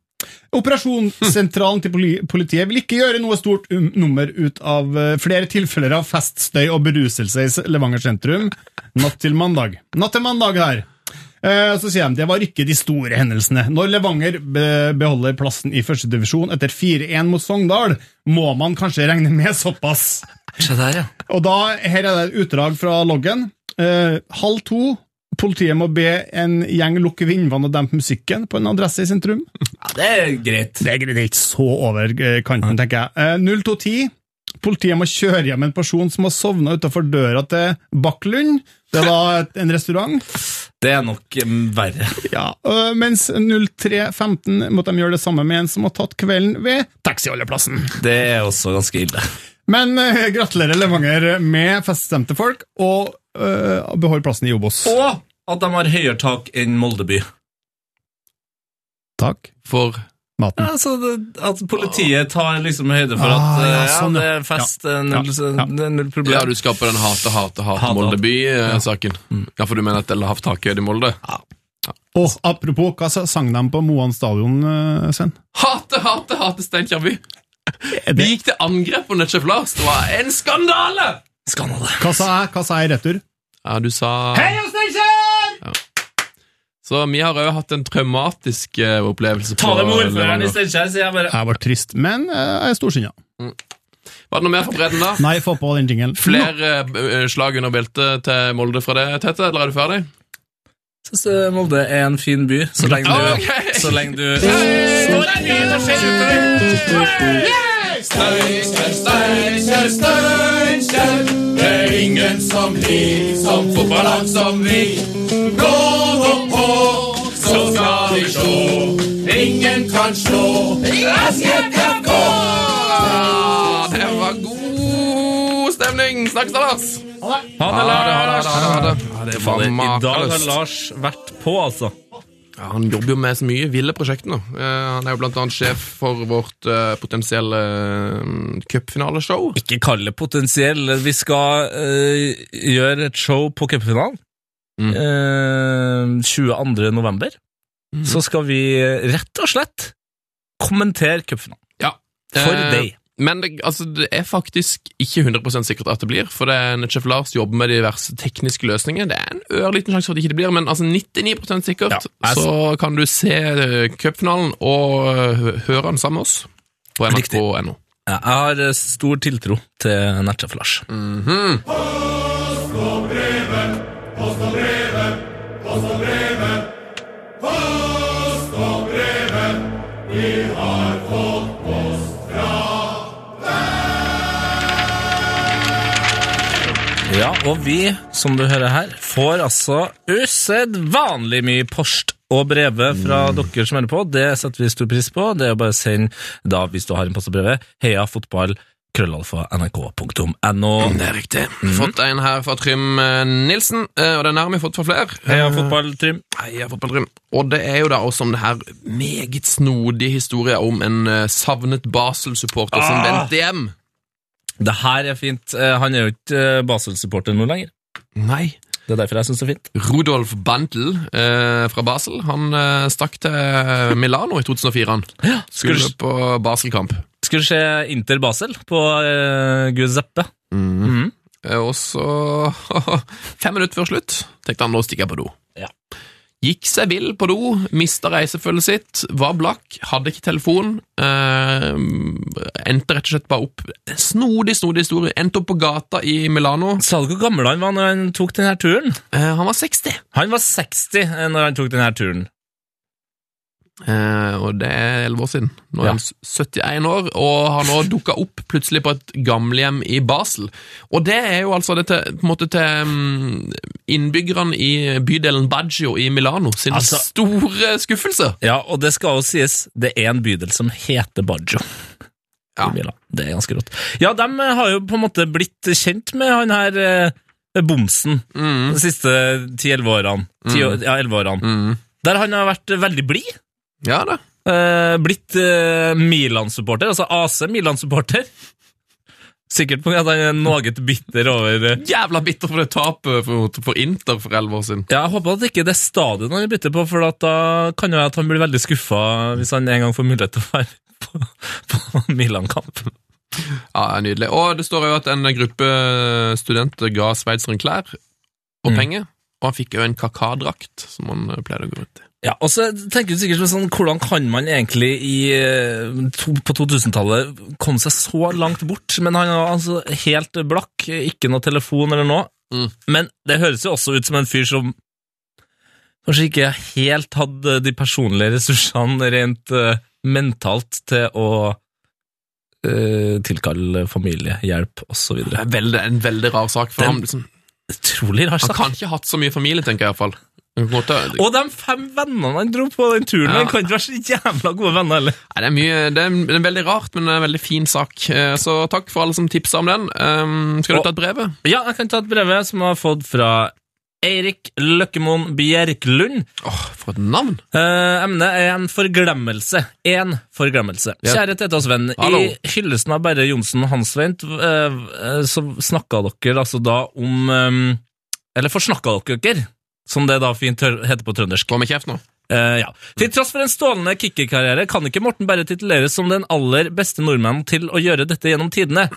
Speaker 6: Operasjonssentralen til poli- politiet vil ikke gjøre noe stort um- nummer ut av eh, flere tilfeller av feststøy og beruselse i s- Levanger sentrum natt til mandag. Natt til mandag her. Eh, Så sier de det var ikke de store hendelsene. Når Levanger be- beholder plassen i førstedivisjon etter 4-1 mot Sogndal, må man kanskje regne med såpass.
Speaker 3: Se der, ja.
Speaker 6: Og da, her er det et utdrag fra loggen. Eh, halv to. Politiet må be en gjeng lukke vinduene og dempe musikken på en adresse i sentrum.
Speaker 3: Det er greit.
Speaker 6: Det er greit, det er ikke så over eh, kanten, tenker jeg. Eh, 0210. Politiet må kjøre hjem en person som har sovna utafor døra til Bakklund. Det var et- en restaurant.
Speaker 3: Det er nok mm, verre.
Speaker 6: Ja, eh, Mens 0315 måtte de gjøre det samme med en som har tatt kvelden ved taxiholdeplassen.
Speaker 3: Det er også ganske ille.
Speaker 6: Men eh, gratulerer Levanger med feststemte folk, og eh, behold plassen i Obos.
Speaker 3: Og at de har høyere tak enn Molde by.
Speaker 6: Takk.
Speaker 4: For
Speaker 6: Maten.
Speaker 3: Altså, det, at politiet tar liksom høyde for at
Speaker 6: Ah, ja,
Speaker 3: eh,
Speaker 6: sånn,
Speaker 3: ja,
Speaker 6: ja.
Speaker 3: det er fest, eh, null,
Speaker 6: ja.
Speaker 3: det er null problem.
Speaker 4: ja, du skaper den hate, hate, hate
Speaker 3: Hate,
Speaker 4: Molde
Speaker 3: hate.
Speaker 4: by-saken. Ja, for du mener at det har hatt takhøyde i Molde?
Speaker 6: Og apropos, hva sa- sang de på Moan stadion, eh, Sven?
Speaker 4: Hate, hate, hate Steinkjer by! Vi gikk til angrep på Nødtjef Lars. Det var en skandale!
Speaker 3: Skandale.
Speaker 6: Hva sa jeg? Hva sa jeg i retur?
Speaker 4: Ja, du sa Så vi har òg hatt en traumatisk eh, opplevelse
Speaker 3: Ta det med ordføreren
Speaker 4: Levanger.
Speaker 3: i Steinkjer, sier jeg bare.
Speaker 6: Jeg var trist, men eh, jeg er storsinna.
Speaker 4: Var det noe mer for bredden, da?
Speaker 6: Nei, få på den jingelen.
Speaker 4: Flere eh, slag under beltet til Molde fra det, Tete? Eller er du ferdig?
Speaker 3: Syns eh, Molde er en fin by, så lenge du
Speaker 4: Ok.
Speaker 3: Så lenge du Står her mye og ser utover.
Speaker 4: Ja, det var god stemning! Snakkes da, Lars!
Speaker 3: Ha det, Lars!
Speaker 4: Ha det, ha det, ha det.
Speaker 3: Fader, I dag har
Speaker 4: Makaløst.
Speaker 3: Lars vært på, altså.
Speaker 4: Ja, han jobber jo med så mye ville prosjekter nå. Eh, han er jo blant annet sjef for vårt eh, potensielle eh, cupfinaleshow.
Speaker 3: Ikke kall det potensiell. Vi skal eh, gjøre et show på cupfinalen.
Speaker 4: Mm.
Speaker 3: Eh, 22. november.
Speaker 4: Mm.
Speaker 3: Så skal vi eh, rett og slett kommentere cupfinalen.
Speaker 4: Ja.
Speaker 3: For
Speaker 4: Eh,
Speaker 3: deg.
Speaker 4: Men det, altså, det er faktisk ikke 100 sikkert at det blir, for det er Netchef Lars jobber med diverse tekniske løsninger. Det er en ørliten sjanse for at det ikke blir, men altså 99 sikkert
Speaker 3: Ja, jeg-
Speaker 4: så kan du se eh, cupfinalen og eh, høre den sammen med oss på nrk.no.
Speaker 3: Ja, Jeg har eh, stor tiltro til Nertsjef Lars. Ja, og vi, som du hører her, får altså usedvanlig mye post og breve fra dere som hører på. Det setter vi stor pris på. Det er jo bare å sende, da, hvis du har en post og breve, heia fotball krøllalfa nrk.no.
Speaker 4: Det er riktig. Fått en her fra Trym eh, Nilsen, eh, og den har vi fått fra flere.
Speaker 3: Heia fotballtrim.
Speaker 4: Heia fotballtrym. Og det er jo da også om det her meget snodige historien om en eh, savnet Basel-supporter som vendte hjem.
Speaker 3: Det her er fint. Eh, Han er jo ikke eh, Basel-supporter nå lenger.
Speaker 4: Nei.
Speaker 3: Det er derfor jeg syns det er fint.
Speaker 4: Rudolf Bandel eh, fra Basel, han eh, stakk til Milano i 2004. Han. Skulle
Speaker 3: Skulle,
Speaker 4: på Basel-kamp.
Speaker 3: skulle se Inter Basel på uh, Guzeppe. Mhm.
Speaker 4: Eh, Og så, fem minutter før slutt, tenkte han nå stikker jeg på do.
Speaker 3: Ja.
Speaker 4: Gikk seg vill på do, mista reisefølget sitt, var blakk, hadde ikke telefon. Eh, endte rett og slett bare opp Snodig, snodig historie. Endte opp på gata i Milano.
Speaker 3: Sa du hvor gammel han var når han tok denne turen?
Speaker 4: Eh, han var 60,
Speaker 3: Han var 60 når han tok denne turen.
Speaker 4: eh, og det er 11 år siden. Nå er
Speaker 3: Ja.
Speaker 4: han s- 71 år, og har nå dukka opp plutselig på et gamlehjem i Basel. Og det er jo altså det til, på en måte til mm, innbyggerne i bydelen Baggio i Milano sin
Speaker 3: Altså-
Speaker 4: store skuffelse.
Speaker 3: Ja, og det skal jo sies, det er en bydel som heter Baggio.
Speaker 4: Ja.
Speaker 3: i Milan. Det er ganske rått. Ja, de har jo på en måte blitt kjent med han her eh, bomsen
Speaker 4: Mm.
Speaker 3: de siste 10-11 årene. 10 år- Ja, 11 årene.
Speaker 4: Mm.
Speaker 3: Der han har vært veldig blid.
Speaker 4: Ja da.
Speaker 3: eh, blitt eh, Milan-supporter, altså AC Milan-supporter. Sikkert på grunn av at han er noe bitter over eh,
Speaker 4: Jævla bitter for det tapet for, for Inter for elleve år siden.
Speaker 3: Ja, Jeg håper at ikke det er stadion han bytter på, for at da kan jo at han blir veldig skuffa hvis han en gang får mulighet til å være på, på Milan-kamp.
Speaker 4: Ja, Nydelig. Og det står jo at en gruppe studenter ga sveitseren klær og
Speaker 3: Mm.
Speaker 4: penger. Og han fikk jo en kakadrakt, som han eh, pleide å gå rundt i.
Speaker 3: Ja, og så tenker du sikkert på sånn, Hvordan kan man egentlig i, eh, to, på 2000-tallet komme seg så langt bort? Men han var altså helt blakk, ikke noe telefon eller noe.
Speaker 4: Mm.
Speaker 3: Men det høres jo også ut som en fyr som kanskje ikke helt hadde de personlige ressursene rent eh, mentalt til å eh, tilkalle familiehjelp osv.
Speaker 4: Det er veldig, en veldig rar sak for
Speaker 3: Den-
Speaker 4: ham. Liksom.
Speaker 3: Utrolig
Speaker 4: Han
Speaker 3: rar sak.
Speaker 4: kan ikke ha hatt så mye familie, tenker jeg iallfall. Nei,
Speaker 3: Og de fem vennene han dro på den turen,
Speaker 4: Ja.
Speaker 3: han kan ikke være så jævla gode venner heller.
Speaker 4: det, er mye, det, er en, det er en veldig rart, men en veldig fin sak. Eh, Så takk for alle som tipsa om den. Um, skal
Speaker 3: Og-
Speaker 4: du ta et brevet?
Speaker 3: Ja, jeg kan ta et brev som jeg har fått fra Eirik Løkkemoen Bjerklund.
Speaker 4: Åh, For et navn!
Speaker 3: Eh, emnet er en forglemmelse. En forglemmelse.
Speaker 4: Ja.
Speaker 3: Kjære Tete og Sven.
Speaker 4: Hallo.
Speaker 3: I hyllesten av Berre Johnsen og Hansveint eh, eh, så snakka dere altså da om eh, Eller forsnakka dere dere, som det da fint hø- heter på trøndersk.
Speaker 4: Gå med kjeft nå.
Speaker 3: Eh, ja. Til tross for en stålende kickerkarriere kan ikke Morten Berre tituleres som den aller beste nordmannen til å gjøre dette gjennom tidene.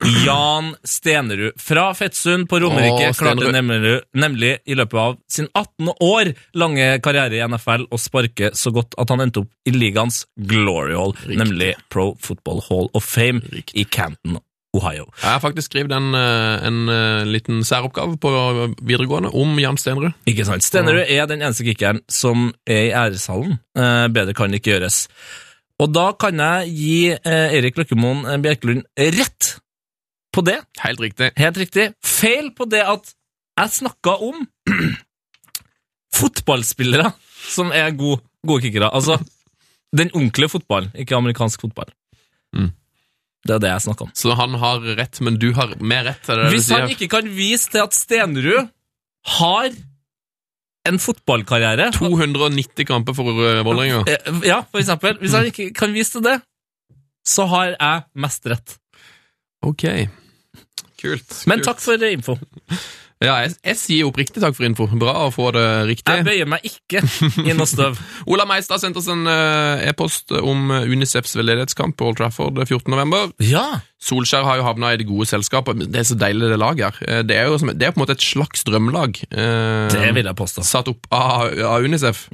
Speaker 3: Jan Stenerud fra Fettsund på Romerike
Speaker 4: Åh,
Speaker 3: klarte
Speaker 4: Stenerud.
Speaker 3: nemlig, nemlig i løpet av sin 18 år lange karriere i NFL å sparke så godt at han endte opp i ligaens glory hall, nemlig Pro Football Hall of Fame i Canton, Ohio.
Speaker 4: Jeg har faktisk skrevet en, eh, en eh, liten særoppgave på eh, videregående om Jan Stenrud.
Speaker 3: Ikke sant? Stenerud er den eneste kickeren som er i æreshallen. Eh, bedre kan det ikke gjøres. Og da kan jeg gi eh, Erik Løkkemoen eh, Bjerkelund rett på det.
Speaker 4: Helt riktig.
Speaker 3: Helt riktig. Feil på det at jeg snakka om fotballspillere som er gode, gode kickere. Altså den ordentlige fotballen, ikke amerikansk fotball.
Speaker 4: Mm.
Speaker 3: Det er det jeg snakka om.
Speaker 4: Så han har rett, men du har mer rett. Er det det du
Speaker 3: Hvis han
Speaker 4: sier?
Speaker 3: ikke kan vise til at Stenerud har en fotballkarriere
Speaker 4: 290 kamper for uh, Vålerenga.
Speaker 3: Eh, Ja, for eksempel. Hvis han ikke kan vise til det, så har jeg mest rett.
Speaker 4: Ok. Kult.
Speaker 3: Men
Speaker 4: kult.
Speaker 3: takk for info.
Speaker 4: Ja, jeg, jeg sier oppriktig takk for info. Bra å få det
Speaker 3: Jeg
Speaker 4: riktig.
Speaker 3: bøyer meg ikke i noe støv.
Speaker 4: Ola Meistad sendte oss en eh, e-post om eh, Unicefs veldedighetskamp på Old Trafford 14.11.
Speaker 3: Ja.
Speaker 4: Solskjær har jo havna i det gode selskapet. Det er så deilig, det laget her. Eh, Det er jo som, det er på en måte et slags drømmelag. eh,
Speaker 3: Det vil jeg påstå.
Speaker 4: satt opp av, av Unicef.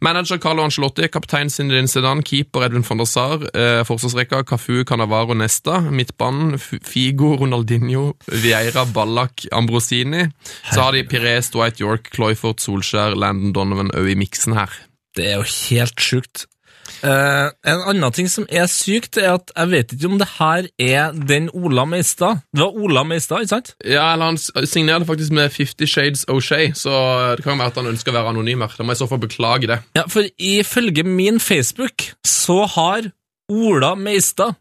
Speaker 4: Manager Carlo Ancelotti, kaptein Sindrin Sedan, keeper Edvin van der Sar, eh, forsvarsrekka Cafu, Canavaro, Nesta, midtbanen F- Figo, Ronaldinho, Vieira, Ballack, Ambrosini. Så har de Pires, Dwight York, Cloyford, Solskjær, Landon Donovan òg i miksen her.
Speaker 3: Det er jo helt sjukt. Eh, en annen ting som er sykt, er at jeg vet ikke om det her er den Ola Meistad. Det var Ola Meistad, ikke sant?
Speaker 4: Ja, eller Han s- signerte faktisk med Fifty Shades O'Shay, så det kan være at han ønsker å være anonym her. Da må jeg i så fall beklage det.
Speaker 3: Ja, for ifølge min Facebook så har Ola Meistad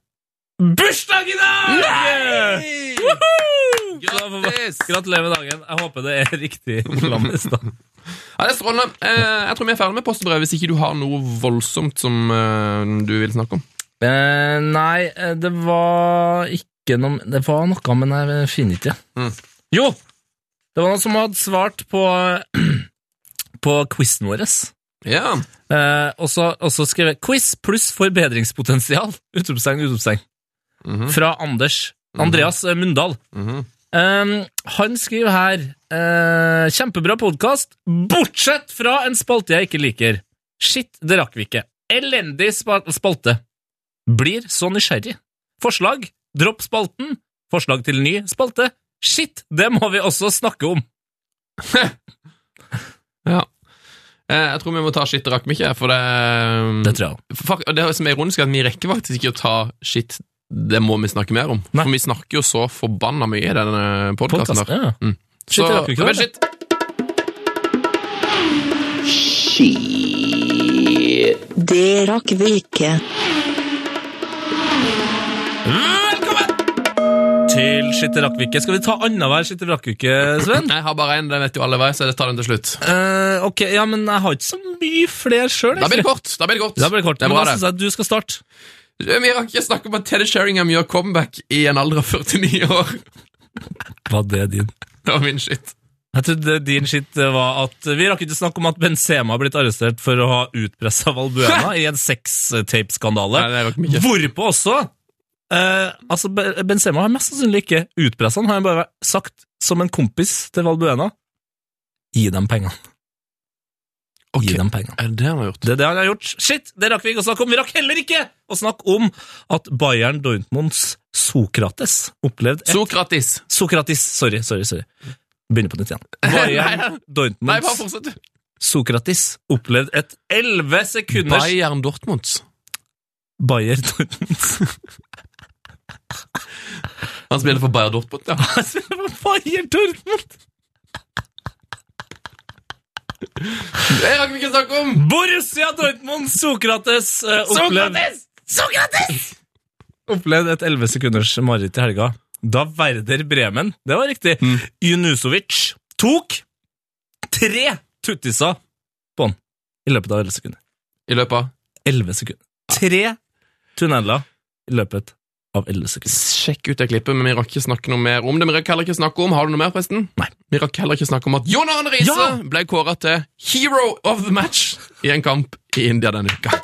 Speaker 3: bursdag i dag! Woohoo! Så da får vi-
Speaker 4: Grattis!
Speaker 3: Gratulerer med dagen. Jeg håper det er riktig flammes, da.
Speaker 4: Ja, det er strålende. Eh, jeg tror vi er ferdig med postbrev hvis ikke du har noe voldsomt som eh, du vil snakke om.
Speaker 3: Eh, nei, eh, det var ikke noe Det var noe, men jeg finner ikke det.
Speaker 4: Mm.
Speaker 3: Jo! Det var noen som hadde svart på På quizen vår.
Speaker 4: Ja,
Speaker 3: Eh, og så og så skrev jeg 'quiz pluss forbedringspotensial'! Utropstegn, utropstegn.
Speaker 4: Mhm.
Speaker 3: Fra Anders. Andreas eh, Mundal.
Speaker 4: Mhm.
Speaker 3: Eh, han skriver her eh, 'Kjempebra podkast, bortsett fra en spalte jeg ikke liker'. Shit, det rakk vi ikke. Elendig spa- spalte. Blir så nysgjerrig. Forslag dropp spalten. Forslag til ny spalte. Shit, det må vi også snakke om.
Speaker 4: ja. Eh, jeg tror vi må ta shit rakk vi ikke, for det, eh,
Speaker 3: Det tror jeg.
Speaker 4: Fuck, og det som er ironisk, er at vi rekker faktisk ikke å ta shit det må vi snakke mer om.
Speaker 3: Nei.
Speaker 4: For vi snakker jo så forbanna mye i denne podkasten.
Speaker 3: Podcast, ja.
Speaker 4: Mm.
Speaker 3: Shit, det rakk vi ikke,
Speaker 4: men
Speaker 3: da.
Speaker 4: shit,
Speaker 7: Det rakk vi ikke.
Speaker 3: Velkommen til Shit, det rakk vi ikke. Skal vi ta annenhver Shit, det rakk vi ikke, Sven?
Speaker 4: jeg har bare én, den vet jo alle hver, så jeg tar den til slutt.
Speaker 3: Eh, ok, ja, men jeg har ikke så mye flere sjøl.
Speaker 4: Da blir det kort. Da blir det kort.
Speaker 3: Da blir det kort.
Speaker 4: er
Speaker 3: Men
Speaker 4: bra,
Speaker 3: da
Speaker 4: det.
Speaker 3: syns jeg at du skal starte.
Speaker 4: Vi rakk ikke snakke om at Teddy Sheringham gjør comeback i en alder av 49 år.
Speaker 3: Var det din?
Speaker 4: Det var min shit.
Speaker 3: Jeg trodde din shit var at Vi rakk ikke snakke om at Benzema har blitt arrestert for å ha utpressa Valbuena i en sextape-skandale.
Speaker 4: Nei, det rakk vi ikke.
Speaker 3: Hvorpå også eh, Altså, Be- Benzema har mest sannsynlig ikke utpressa han, har han bare sagt som en kompis til Valbuena Gi dem pengene.
Speaker 4: Ok.
Speaker 3: Gi dem pengene.
Speaker 4: Er det det han har gjort?
Speaker 3: Det er det han har gjort. Shit, det rakk vi ikke å snakke om. Vi rakk heller ikke å snakke om at Bayern Dortmunds Sokrates opplevde et
Speaker 4: Sokratis.
Speaker 3: Sokrates, sorry, sorry, sorry. Begynner på nytt igjen.
Speaker 4: Nei,
Speaker 3: Bayern
Speaker 4: bare
Speaker 3: Dortmunds
Speaker 4: fortsett. du.
Speaker 3: Sokrates opplevde et 11 sekunders
Speaker 4: Bayern Dortmunds.
Speaker 3: Bayern Dortmunds
Speaker 4: Han spiller for Bayern Dortmund, ja.
Speaker 3: Altså, det var Bayern Dortmund!
Speaker 4: Det rakk vi ikke snakke om!
Speaker 3: Borussia Dortmund Sokrates eh, opplevde
Speaker 4: Sokrates!
Speaker 3: opplevd et 11 sekunders mareritt i helga. Da Werder Bremen, det var riktig, Junusovic tok tre tuttiser på han i løpet av 11 sekunder.
Speaker 4: I løpet av
Speaker 3: 11 sekunder. Tre tunneler i løpet av 11 sekunder.
Speaker 4: Sjekk ut det klippet, men vi rakk ikke snakke noe mer om det. Vi rakk heller ikke snakke om Har du noe mer, forresten? Nei. Vi rakk heller ikke snakke om at John Arne Riise
Speaker 3: Ja!
Speaker 4: ble kåra til hero of the match i en kamp i India denne uka.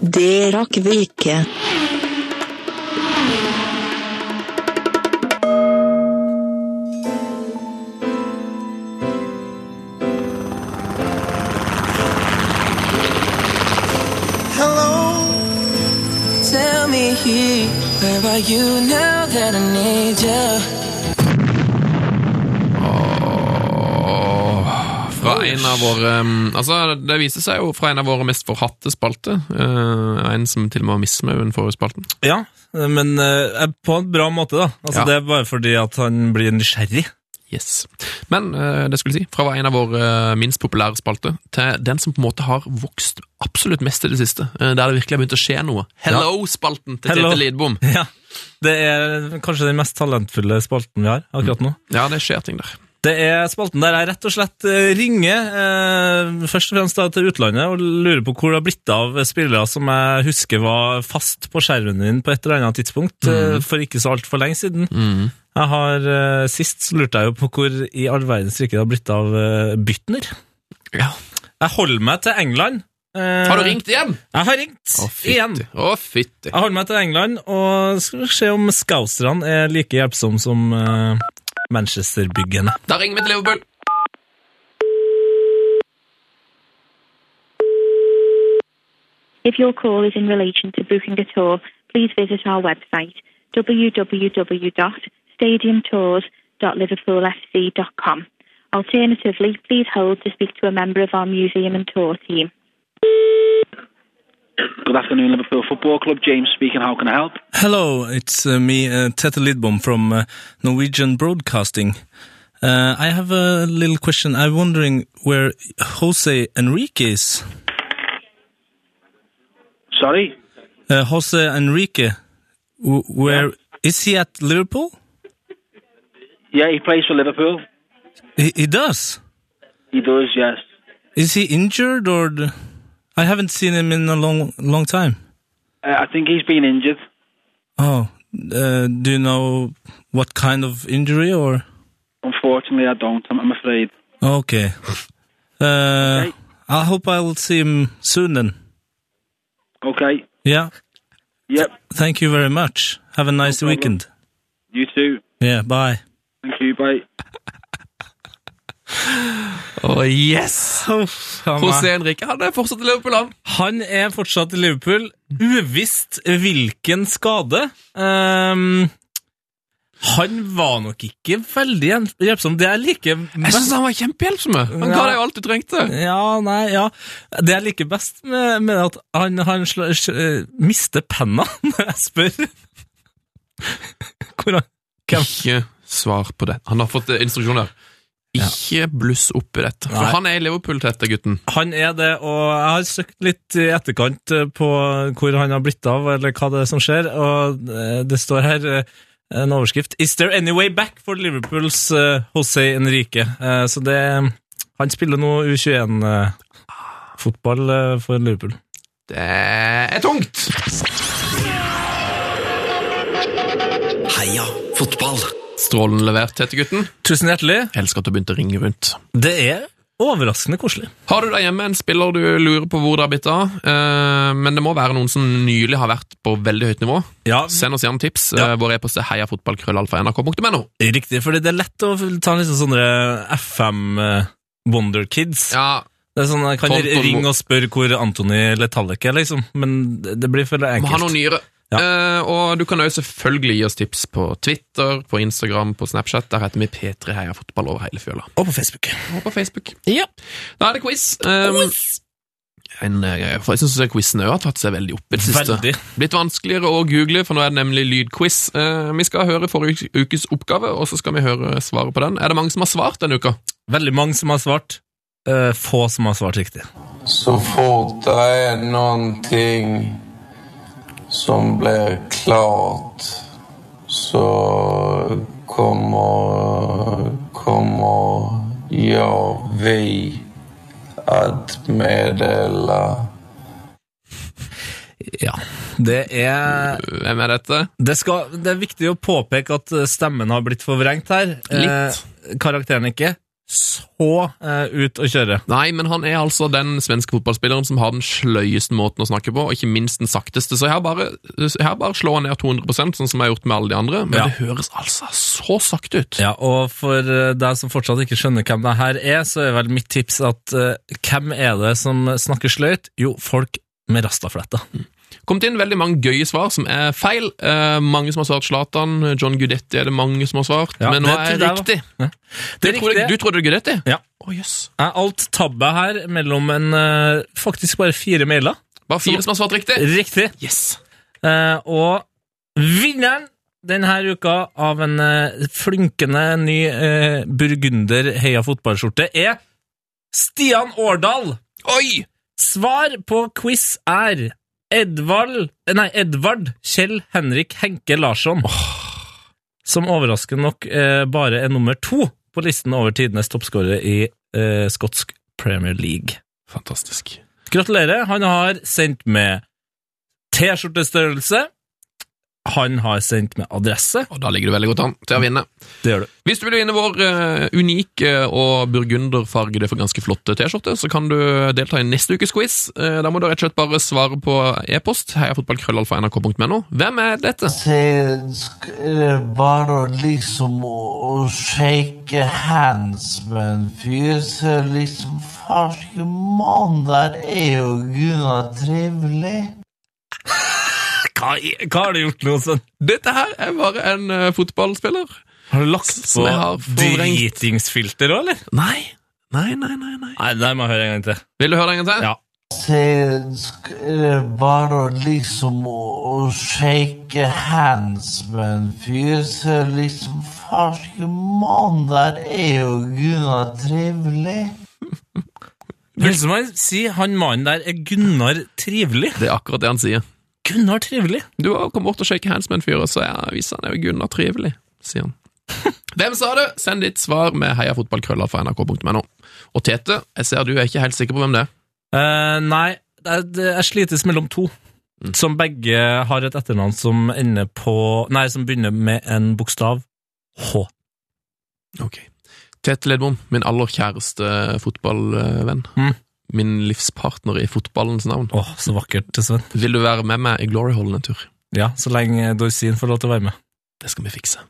Speaker 7: Det rakk vi ikke.
Speaker 8: Hello, tell me where are you now that I need you?
Speaker 4: Fra en av våre um, Altså, det viser seg jo fra en av våre mest forhatte spalter. eh, en som til og med var misfornøyd med den forrige spalten.
Speaker 3: Ja, men eh, på en bra måte, da. Altså,
Speaker 4: Ja.
Speaker 3: Det er bare fordi at han blir nysgjerrig.
Speaker 4: Yes. Men eh, det skulle jeg si, fra å være en av våre eh, minst populære spalter til den som på en måte har vokst absolutt mest i det siste, eh, der det virkelig har begynt å skje noe. Hello-spalten til
Speaker 3: Hello.
Speaker 4: Tete Lidbom.
Speaker 3: Ja, Det er kanskje den mest talentfulle spalten vi har akkurat nå.
Speaker 4: Ja, det skjer ting der.
Speaker 3: Det er spalten der jeg rett og slett eh, ringer eh, først og fremst da til utlandet og lurer på hvor det har blitt av spillere som jeg husker var fast på skjermen din på et eller annet tidspunkt eh, for ikke så altfor lenge siden. Jeg har eh, Sist så lurte jeg jo på hvor i all verdens rike det har blitt av eh, Bytner.
Speaker 4: Ja.
Speaker 3: Jeg holder meg til England. Eh,
Speaker 4: Har du ringt igjen?
Speaker 3: Jeg har ringt
Speaker 4: Å,
Speaker 3: igjen.
Speaker 4: fytti. Å, fytti.
Speaker 3: Jeg holder meg til England og skal se om Skauserne er like hjelpsomme som eh, Manchester-byggene.
Speaker 4: Da ringer vi til Liverpool.
Speaker 9: If your call is in relation to booking a tour, please visit our website www.stadiumtours.liverpoolfc.com. Alternatively, please hold to speak to a member of our museum and tour team.
Speaker 10: Good afternoon, Liverpool Football Club. James speaking. How can I help?
Speaker 3: Hello, it's uh, me, uh, Tete Lidbom from uh, Norwegian Broadcasting. Uh, I have a little question. I'm wondering where Jose Enrique is.
Speaker 10: Sorry?
Speaker 3: Uh, Jose Enrique, w- where is he at Liverpool?
Speaker 10: Yeah, he plays for Liverpool.
Speaker 3: He, he does.
Speaker 10: He does, yes.
Speaker 3: Is he injured or? d I haven't seen him in a long, long time.
Speaker 10: Uh, I think he's been injured.
Speaker 3: Oh, uh, do you know what kind of injury or?
Speaker 10: Unfortunately, I don't, I'm, I'm afraid.
Speaker 3: Okay. Uh, I hope I'll see him soon then.
Speaker 10: Okay.
Speaker 3: Yeah.
Speaker 10: Yep.
Speaker 3: Thank you very much. Have a nice
Speaker 10: problem.
Speaker 3: weekend.
Speaker 10: You too.
Speaker 3: Yeah. Bye.
Speaker 10: Thank you. Bye.
Speaker 4: Å, yes! José Henrique, han er fortsatt i Liverpool, han.
Speaker 3: Han er fortsatt i Liverpool. Uvisst hvilken skade. Ehm, han var nok ikke veldig hjelp- hjelpsom. Det jeg liker
Speaker 4: Jeg
Speaker 3: best
Speaker 4: syns han var kjempehjelpsom. Han ga
Speaker 3: Ja.
Speaker 4: deg jo alt du trengte.
Speaker 3: ja, nei, ja. Det jeg liker best med, med at han, han sla, sl, eh, mister penna når jeg spør. Hvor han Hvem?
Speaker 4: Ikke svar på det. Han har fått eh, instruksjoner. Ikke bluss opp i dette. For
Speaker 3: Nei.
Speaker 4: han er i Liverpool, dette gutten.
Speaker 3: Han er det, og jeg har søkt litt i etterkant eh, på hvor han har blitt av, eller hva det er som skjer, og eh, det står her eh, en overskrift Is there any way back for Liverpools eh, José Enrique? Eh, Så det Han spiller nå U21-fotball eh, for Liverpool.
Speaker 4: Det er tungt!
Speaker 2: Heia fotball.
Speaker 4: Strålende levert, tette gutten.
Speaker 3: Tusen hjertelig.
Speaker 4: Elsker at du begynte å ringe rundt.
Speaker 3: Det er overraskende koselig.
Speaker 4: Har du der hjemme en spiller du lurer på hvor det har blitt av, eh, men det må være noen som nylig har vært på veldig høyt nivå,
Speaker 3: Ja,
Speaker 4: send oss gjerne tips.
Speaker 3: Ja.
Speaker 4: Eh, Vår e-post er heiafotballkrøllalfa.nrk.no.
Speaker 3: riktig, fordi det er lett å ta en liksom sånne FM eh, Wonder Kids.
Speaker 4: Ja,
Speaker 3: Det er sånn, Jeg kan
Speaker 4: Folk må-
Speaker 3: ringe og spørre hvor Antony Letallek er, liksom, men det det blir for
Speaker 4: må ha
Speaker 3: enkelt.
Speaker 4: noe nyere.
Speaker 3: Ja.
Speaker 4: Eh, og du kan jo selvfølgelig gi oss tips på Twitter, på Instagram, på Snapchat. Der heter vi P3 Heia Fotball over hele fjøla.
Speaker 3: Og på Facebook.
Speaker 4: Og på Facebook. Ja. Da er det quiz. Um, en, eh, for jeg syns quizen har tatt seg veldig opp i det siste.
Speaker 3: Veldig.
Speaker 4: Blitt vanskeligere å google, for nå er det nemlig lydquiz. Eh, vi skal høre forrige ukes oppgave, og så skal vi høre svaret på den. Er det mange som har svart denne uka?
Speaker 3: Veldig mange som har svart. eh, få som har svart riktig.
Speaker 11: Så fort det er någonting som blir klart så kommer, kommer jag, vi, att meddela
Speaker 3: Ja. Det er
Speaker 4: Hvem er dette?
Speaker 3: det, skal, det er viktig å påpeke at eh, stemmen har blitt forvrengt her.
Speaker 4: Litt.
Speaker 3: Eh, karakteren ikke. Så eh, ut å kjøre.
Speaker 4: Nei, men han er altså den svenske fotballspilleren som har den sløyeste måten å snakke på, og ikke minst den sakteste. Så her bare, her bare slår han ned 200 sånn som jeg har gjort med alle de andre, men
Speaker 3: Ja.
Speaker 4: det høres altså så sakte ut.
Speaker 3: Ja, og for eh, deg som fortsatt ikke skjønner hvem det her er, så er vel mitt tips at eh, hvem er det som snakker sløyt? Jo, folk med rastafletter.
Speaker 4: Kommet inn veldig mange gøye svar som er feil. Eh, mange som har svart Zlatan, John Gudetti er det mange som har svart,
Speaker 3: Ja,
Speaker 4: men nå
Speaker 3: det
Speaker 4: er det
Speaker 3: trodde
Speaker 4: riktig.
Speaker 3: jeg var- Ja. Det er
Speaker 4: Du trodde-
Speaker 3: riktig.
Speaker 4: Du trodde det var Gudetti?
Speaker 3: Ja.
Speaker 4: Å, jøss.
Speaker 3: er alt tabbe her mellom en eh, faktisk bare fire mailer.
Speaker 4: Bare fire som har svart riktig.
Speaker 3: Riktig.
Speaker 4: Yes.
Speaker 3: Eh, og vinneren denne uka av en eh, flunkende ny eh, burgunder heia fotballskjorte er Stian Årdal.
Speaker 4: Oi!
Speaker 3: Svar på quiz er Edvald, eh, nei, Edvard Kjell Henrik Henke Larsson. Som overraskende nok eh, bare er nummer to på listen over tidenes toppskårere i eh, skotsk Premier League.
Speaker 4: Fantastisk.
Speaker 3: Gratulerer. Han har sendt med T-skjortestørrelse. Han har sendt med adresse.
Speaker 4: Og da ligger du veldig godt an til å vinne.
Speaker 3: Det gjør du.
Speaker 4: Hvis du vil vinne vår eh, unike og burgunderfargede for ganske flotte T-skjorte, så kan du delta i neste ukes quiz. Eh, da må du rett og slett bare svare på e-post heiafotballkrøllalfa.nrk.no. Hvem er dette?
Speaker 11: Sen är eh, det bara liksom att shake hands med en fyr. Så liksom, farske mann, der er jo gudene trivelig.
Speaker 3: Hva, i- hva har du gjort nå, Sven?
Speaker 4: Dette her er bare en eh, fotballspiller.
Speaker 3: Har du lagt
Speaker 4: Som
Speaker 3: på
Speaker 4: jeg har forvrengt.
Speaker 3: dritingsfilter òg, eller?
Speaker 4: Nei. Nei, nei, nei. nei.
Speaker 3: Nei, det der må jeg høre en gang til.
Speaker 4: Vil du høre det en gang til?
Speaker 3: Ja.
Speaker 11: Sen är eh, det bara liksom att shake hands med en fyr. Så liksom, farske mann, der er jo gudene trivelig.
Speaker 3: Pølsemann sier han mannen der er Gunnar Trivelig.
Speaker 4: Det er akkurat det han sier.
Speaker 3: Gunnar Trivelig?
Speaker 4: Du har kommet bort og shaket hands med en fyr, og så er viser han er jo Gunnar Trivelig, sier han. Hvem sa det? Send ditt svar med heiafotballkrøllalfa.nrk.no. Og Tete, jeg ser du er ikke helt sikker på hvem det er.
Speaker 3: Eh, nei, jeg, jeg slites mellom to. Som begge har et etternavn som ender på Nei, som begynner med en bokstav H.
Speaker 4: Ok. Tete Ledbom, min aller kjæreste fotballvenn.
Speaker 3: Mm.
Speaker 4: Min livspartner i fotballens navn.
Speaker 3: Åh, så vakkert, Sven.
Speaker 4: Vil du være med meg i Gloryhallen en tur?
Speaker 3: Ja, så lenge Dorsin får lov til å være med.
Speaker 4: Det skal vi fikse.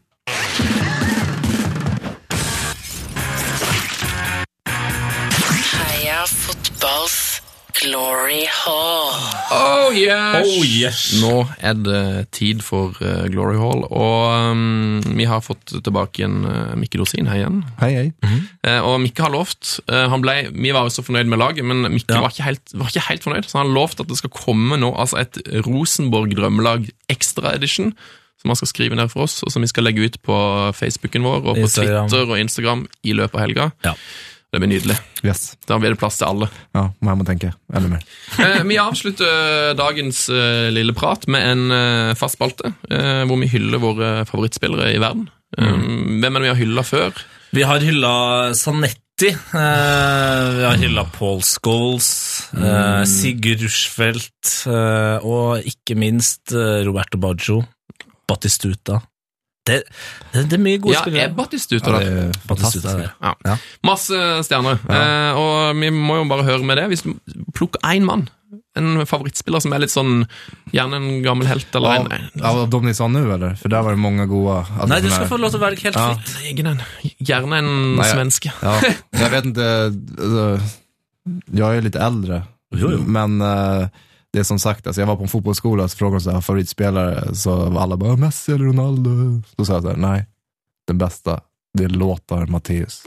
Speaker 12: Heia fotballs glory hall.
Speaker 4: Oh yes!
Speaker 3: Oh, yes.
Speaker 4: Nå er det tid for eh, Glory Hall, og um, vi har fått tilbake en eh, Mikke Dorsin her igjen.
Speaker 5: Hei, hei.
Speaker 4: Eh, og Mikke har lovt eh, han ble, Vi var jo så fornøyd med laget, men Mikke
Speaker 3: Ja.
Speaker 4: var, ikke helt, var ikke helt fornøyd. Så han lovt at det skal komme nå altså et Rosenborg Drømmelag Extra Edition. Som han skal skrive ned for oss, og som vi skal legge ut på Facebooken vår og på
Speaker 3: Instagram.
Speaker 4: Twitter og Instagram i løpet av helga.
Speaker 3: Ja.
Speaker 4: Det blir nydelig.
Speaker 5: Yes.
Speaker 4: Da blir det plass til alle.
Speaker 5: Ja, men jeg må tenke enda mer.
Speaker 4: Eh, Vi avslutter dagens eh, lille prat med en eh, fast spalte, eh, hvor vi hyller våre favorittspillere i verden.
Speaker 3: Mm.
Speaker 4: Eh, Hvem er det vi har hylla før?
Speaker 3: Vi har hylla Sanetti. eh, vi har hylla Paul Scholes, eh,
Speaker 4: Mm.
Speaker 3: Sigurd Rushfeldt eh, og ikke minst eh, Roberto Baggio. Battistuta. Det, det, det er mye gode
Speaker 4: Ja, eh,
Speaker 3: spillere.
Speaker 4: er Batistuta der.
Speaker 5: det er
Speaker 3: Batistuta er
Speaker 5: fantastisk.
Speaker 3: det.
Speaker 4: Ja.
Speaker 3: Ja.
Speaker 4: Masse stjerner. Eh, og vi må jo bare høre med det. Hvis du plukker én mann, en favorittspiller som er litt sånn Gjerne en gammel helt eller
Speaker 5: Av,
Speaker 4: en
Speaker 5: av de ni sa nå, eller? For der var det mange gode. altså, alltså,
Speaker 3: Nei, du
Speaker 5: såna
Speaker 3: skal
Speaker 5: här-
Speaker 3: få lov til å velge helt fritt.
Speaker 4: Nei, Ingen en. Gjerne en
Speaker 5: Nei, jeg-
Speaker 4: svenske.
Speaker 5: Ja, jag vet inte, alltså, jag är lite äldre.
Speaker 3: Jo, jo.
Speaker 5: Men eh, det är som sagt, alltså, jag var på en fotbollsskola så frågade de så här, favoritspelare, så var alla bara Messi eller Ronaldo. Då sa jag så här, nej, den bästa, det är Lothar Matthäus.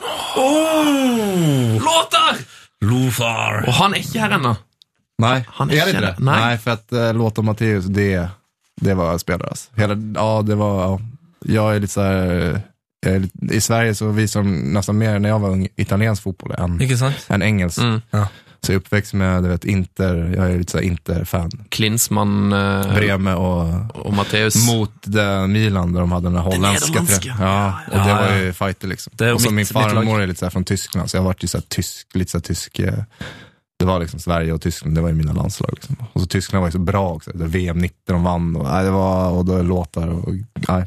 Speaker 4: Låter!
Speaker 3: Lofar.
Speaker 4: Og han er ikke her ennå.
Speaker 5: Nej,
Speaker 4: han är
Speaker 5: är
Speaker 4: inte
Speaker 5: det inte det?
Speaker 4: det? Nej.
Speaker 5: för att uh, Lothar Matthäus, det, det var spelare alltså. Hela, ja, det var, ja. jag är lite så här, eh, jag är lite, i Sverige så visar de nästan mer när jag var ung italiensk fotboll än,
Speaker 3: Ikke sant?
Speaker 5: än engelsk.
Speaker 4: Mm.
Speaker 5: Så jag är uppväxt med, du vet, Inter, jag är lite så här Inter-fan.
Speaker 4: Klinsmann eh,
Speaker 5: Breme och
Speaker 4: og Matheus.
Speaker 5: mot det Milan där de hade den här holländska.
Speaker 4: nederländska.
Speaker 5: trä- Ja, och det
Speaker 3: Ja,
Speaker 5: var
Speaker 3: ja.
Speaker 5: ju fighter liksom.
Speaker 3: Det är
Speaker 5: och så
Speaker 3: mitt-
Speaker 5: min
Speaker 3: mitt lag.
Speaker 5: farmor är lite så här från Tyskland, så jag vart ju så här tysk, lite så här tysk. eh, Det var liksom Sverige och Tyskland, det var ju mina landslag. Liksom. Och så Tyskland var ju så bra också. Det var VM 90 de vann och, nej, det var, och då är låtar och nej.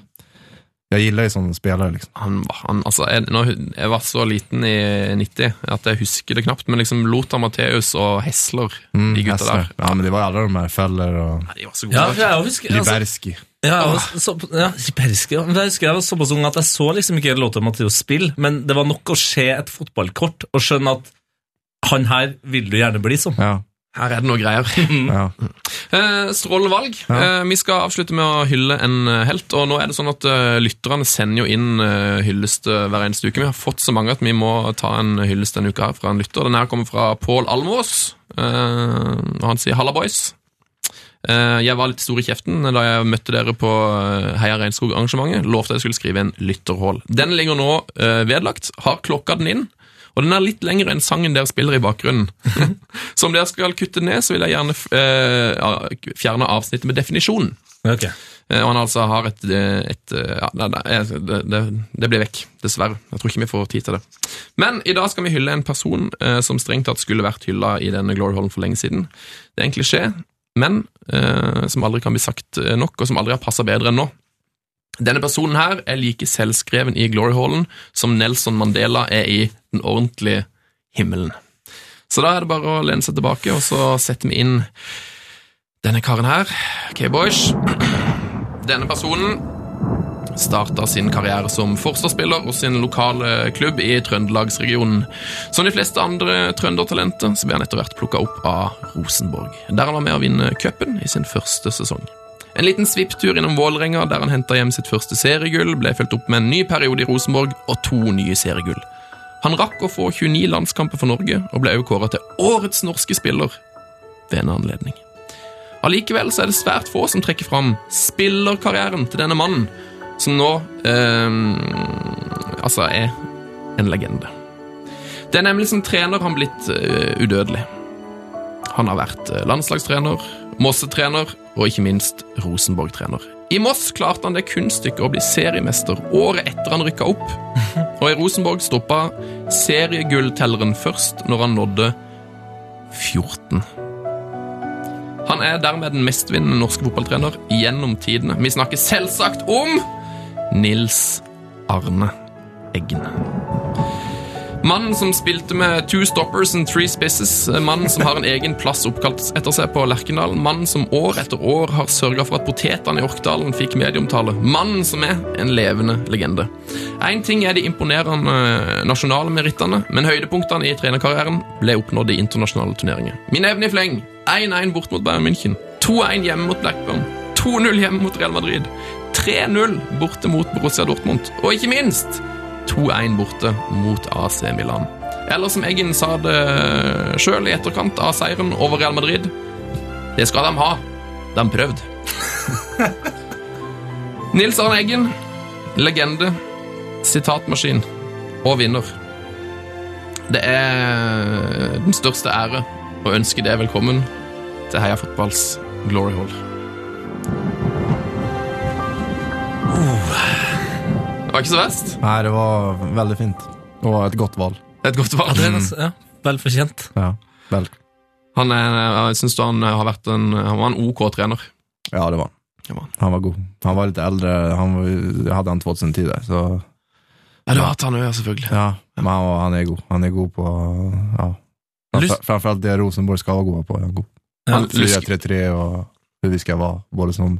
Speaker 5: Jag gillar ju sådana spelare liksom.
Speaker 4: han, han, altså, jeg, nå, jeg var så liten i 90 at jeg husker det knapt, men liksom Lothar Matheus och Hessler,
Speaker 5: Mm,
Speaker 4: de gutta
Speaker 5: Hessler.
Speaker 4: der,
Speaker 5: Ja, men det var alla de här Feller och
Speaker 4: de var så gode.
Speaker 3: Ja, for jeg husker altså,
Speaker 5: Liberski.
Speaker 3: ja, jeg var så, ja, Liberski, ja. Men jeg husker jeg var såpass ung at jeg så liksom ikke låta Matheos spill, men det var nok å se et fotballkort og skjønne at han her vil du gjerne bli som.
Speaker 5: Ja,
Speaker 4: Her er det noe greier.
Speaker 5: ja.
Speaker 4: Eh, Strålende valg. Eh, vi skal avslutte med å hylle en eh, helt. Og nå er det sånn at eh, lytterne sender jo inn eh, hyllest eh, hver eneste uke. Vi har fått så mange at vi må ta en hyllest denne uka her fra en lytter. Den her kommer fra Pål Almås, eh, og han sier 'Halla, boys'. Eh, jeg var litt stor i kjeften da jeg møtte dere på eh, Heia Regnskog-arrangementet. Lovte jeg skulle skrive en lytterhål. Den ligger nå eh, vedlagt. Har klokka den inn? Og den er litt lengre enn sangen dere spiller i bakgrunnen. så om dere skal kutte ned, så vil jeg gjerne eh, ja, fjerne avsnittet med definisjonen.
Speaker 3: Ok.
Speaker 4: Eh, Og han altså har et, eh, et eh, ja, nei, nei, jeg- det, det, det blir vekk, dessverre. Jeg tror ikke vi får tid til det. Men i dag skal vi hylle en person eh, som strengt tatt skulle vært hylla i denne Glory Hallen for lenge siden. Det er en klisjé, men eh, som aldri kan bli sagt eh, nok, og som aldri har passa bedre enn nå. Denne personen her er like selvskreven i Glory Hallen som Nelson Mandela er i den ordentlige himmelen. Så da er det bare å lene seg tilbake, og så setter vi inn denne karen her. Ok, boys. Denne personen starta sin karriere som forsvarsspiller hos sin lokale klubb i Trøndelagsregionen. Som de fleste andre trøndertalenter så ble han etter hvert plukka opp av Rosenborg, der han var med å vinne cupen i sin første sesong. En liten svipptur innom Vålerenga, der han henta hjem sitt første seriegull, ble fulgt opp med en ny periode i Rosenborg og to nye seriegull. Han rakk å få 29 landskamper for Norge, og ble også kåra til årets norske spiller ved en anledning. Allikevel så er det svært få som trekker fram spillerkarrieren til denne mannen, ehm, som nå eh, altså er en legende. Det er nemlig som trener han blitt eh, udødelig. Han har vært eh, landslagstrener, Mosse-trener og ikke minst Rosenborg-trener. I Moss klarte han det kunststykket å bli seriemester året etter han rykka opp. Og i Rosenborg stoppa seriegulltelleren først når han nådde 14. Han er dermed den mestvinnende norske fotballtrener gjennom tidene. Vi snakker selvsagt om Nils Arne Eggen. Mannen som spilte med two stoppers and three spisses. eh, Mannen som har en egen plass oppkalt etter seg på Lerkendal. Mannen som år etter år har sørga for at potetene i Orkdalen fikk medieomtale. Mannen som er en levende legende. Én ting er de imponerende eh, nasjonale merittene, men høydepunktene i trenerkarrieren ble oppnådd i internasjonale turneringer. Min evne i fleng 1-1 bort mot Bayern München. 2-1 hjemme mot Blackburn. 2-0 hjemme mot Real Madrid. 3-0 borte mot Borussia Dortmund. Og ikke minst 2-1 borte mot AC Milan. Eller som Eggen sa det sjøl i etterkant av seieren over Real Madrid Det skal de ha. De prøvde. Nils Arne Eggen, legende, sitatmaskin og vinner. Det er den største ære å ønske deg velkommen til Heia Fotballs Glory Hall. Det var ikke så verst.
Speaker 5: Nei, det var veldig fint. Det var et godt valg.
Speaker 4: Et godt valg.
Speaker 3: Ja, det er altså- ja, Vel fortjent.
Speaker 5: Ja, vel.
Speaker 4: Han er, eh, jeg synes du han har vært en, eh, han var en OK trener.
Speaker 5: Ja, det var han.
Speaker 4: Det var han.
Speaker 5: Han var god. Han var litt eldre. Han var, jeg hadde han 2010 der, så
Speaker 4: Ja, det var at han òg, selvfølgelig.
Speaker 5: ja. Men han, var, han er god. Han er god på ja. Framfor,
Speaker 3: Lyst-
Speaker 5: framfor alt det Rosenborg skal være gode på. er Han god.
Speaker 3: Ja,
Speaker 5: Han-
Speaker 4: lyst-
Speaker 5: 4-3-3 og hur vi skal være, både som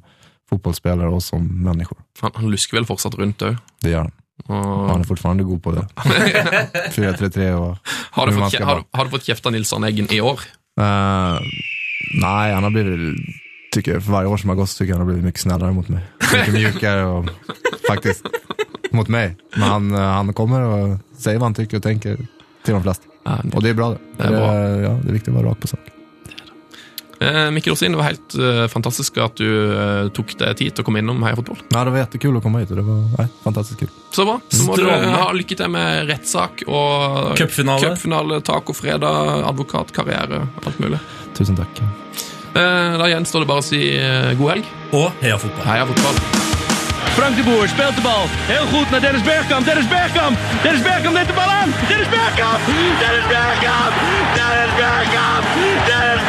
Speaker 5: fotballspillere og som mennesker.
Speaker 4: Han, han lusker vel fortsatt rundt òg.
Speaker 5: Det gjør han. Og Han
Speaker 4: Har,
Speaker 5: er fortfarande god på det. 4-3-3 og
Speaker 4: du
Speaker 5: hur
Speaker 4: fått kje-
Speaker 5: man skal
Speaker 4: har,
Speaker 5: vara.
Speaker 4: du- har du fått kjeft av Nils Arne Eggen i år?
Speaker 5: Eh, nej, han har blivit, tycker jag, för varje år som har gått så tycker jag han har blivit mycket snällare mot mig. Mycket mjukare och faktiskt mot mig. Men han, eh, han kommer och säger vad han tycker och tänker till de flesta. Och det är bra det.
Speaker 4: Det är bra.
Speaker 5: ja, det är viktigt att vara rak på sak.
Speaker 4: Eh, Mikkel Åsin, det var helt eh, fantastisk at du eh, tok deg tid til å komme innom Heia Fotball.
Speaker 5: Ja, det var jättekul att komma hit och det var nej, fantastiskt kul.
Speaker 4: Så bra. Så må
Speaker 3: Strålende.
Speaker 4: du ha lykke til med rettssak og
Speaker 3: Cupfinale.
Speaker 4: cupfinale, tacofredag, advokatkarriere, alt mulig.
Speaker 5: Tusen tack.
Speaker 4: Eh, Da gjenstår det bare å si eh, god helg.
Speaker 3: Og heia fotball.
Speaker 4: Heia fotball.
Speaker 1: Frank de Boer speelt de bal. Heel goed naar Dennis Bergkamp. Dennis Bergkamp. Dennis Bergkamp neemt de bal aan. Dennis Bergkamp. Dennis Bergkamp. Dennis Bergkamp. Dennis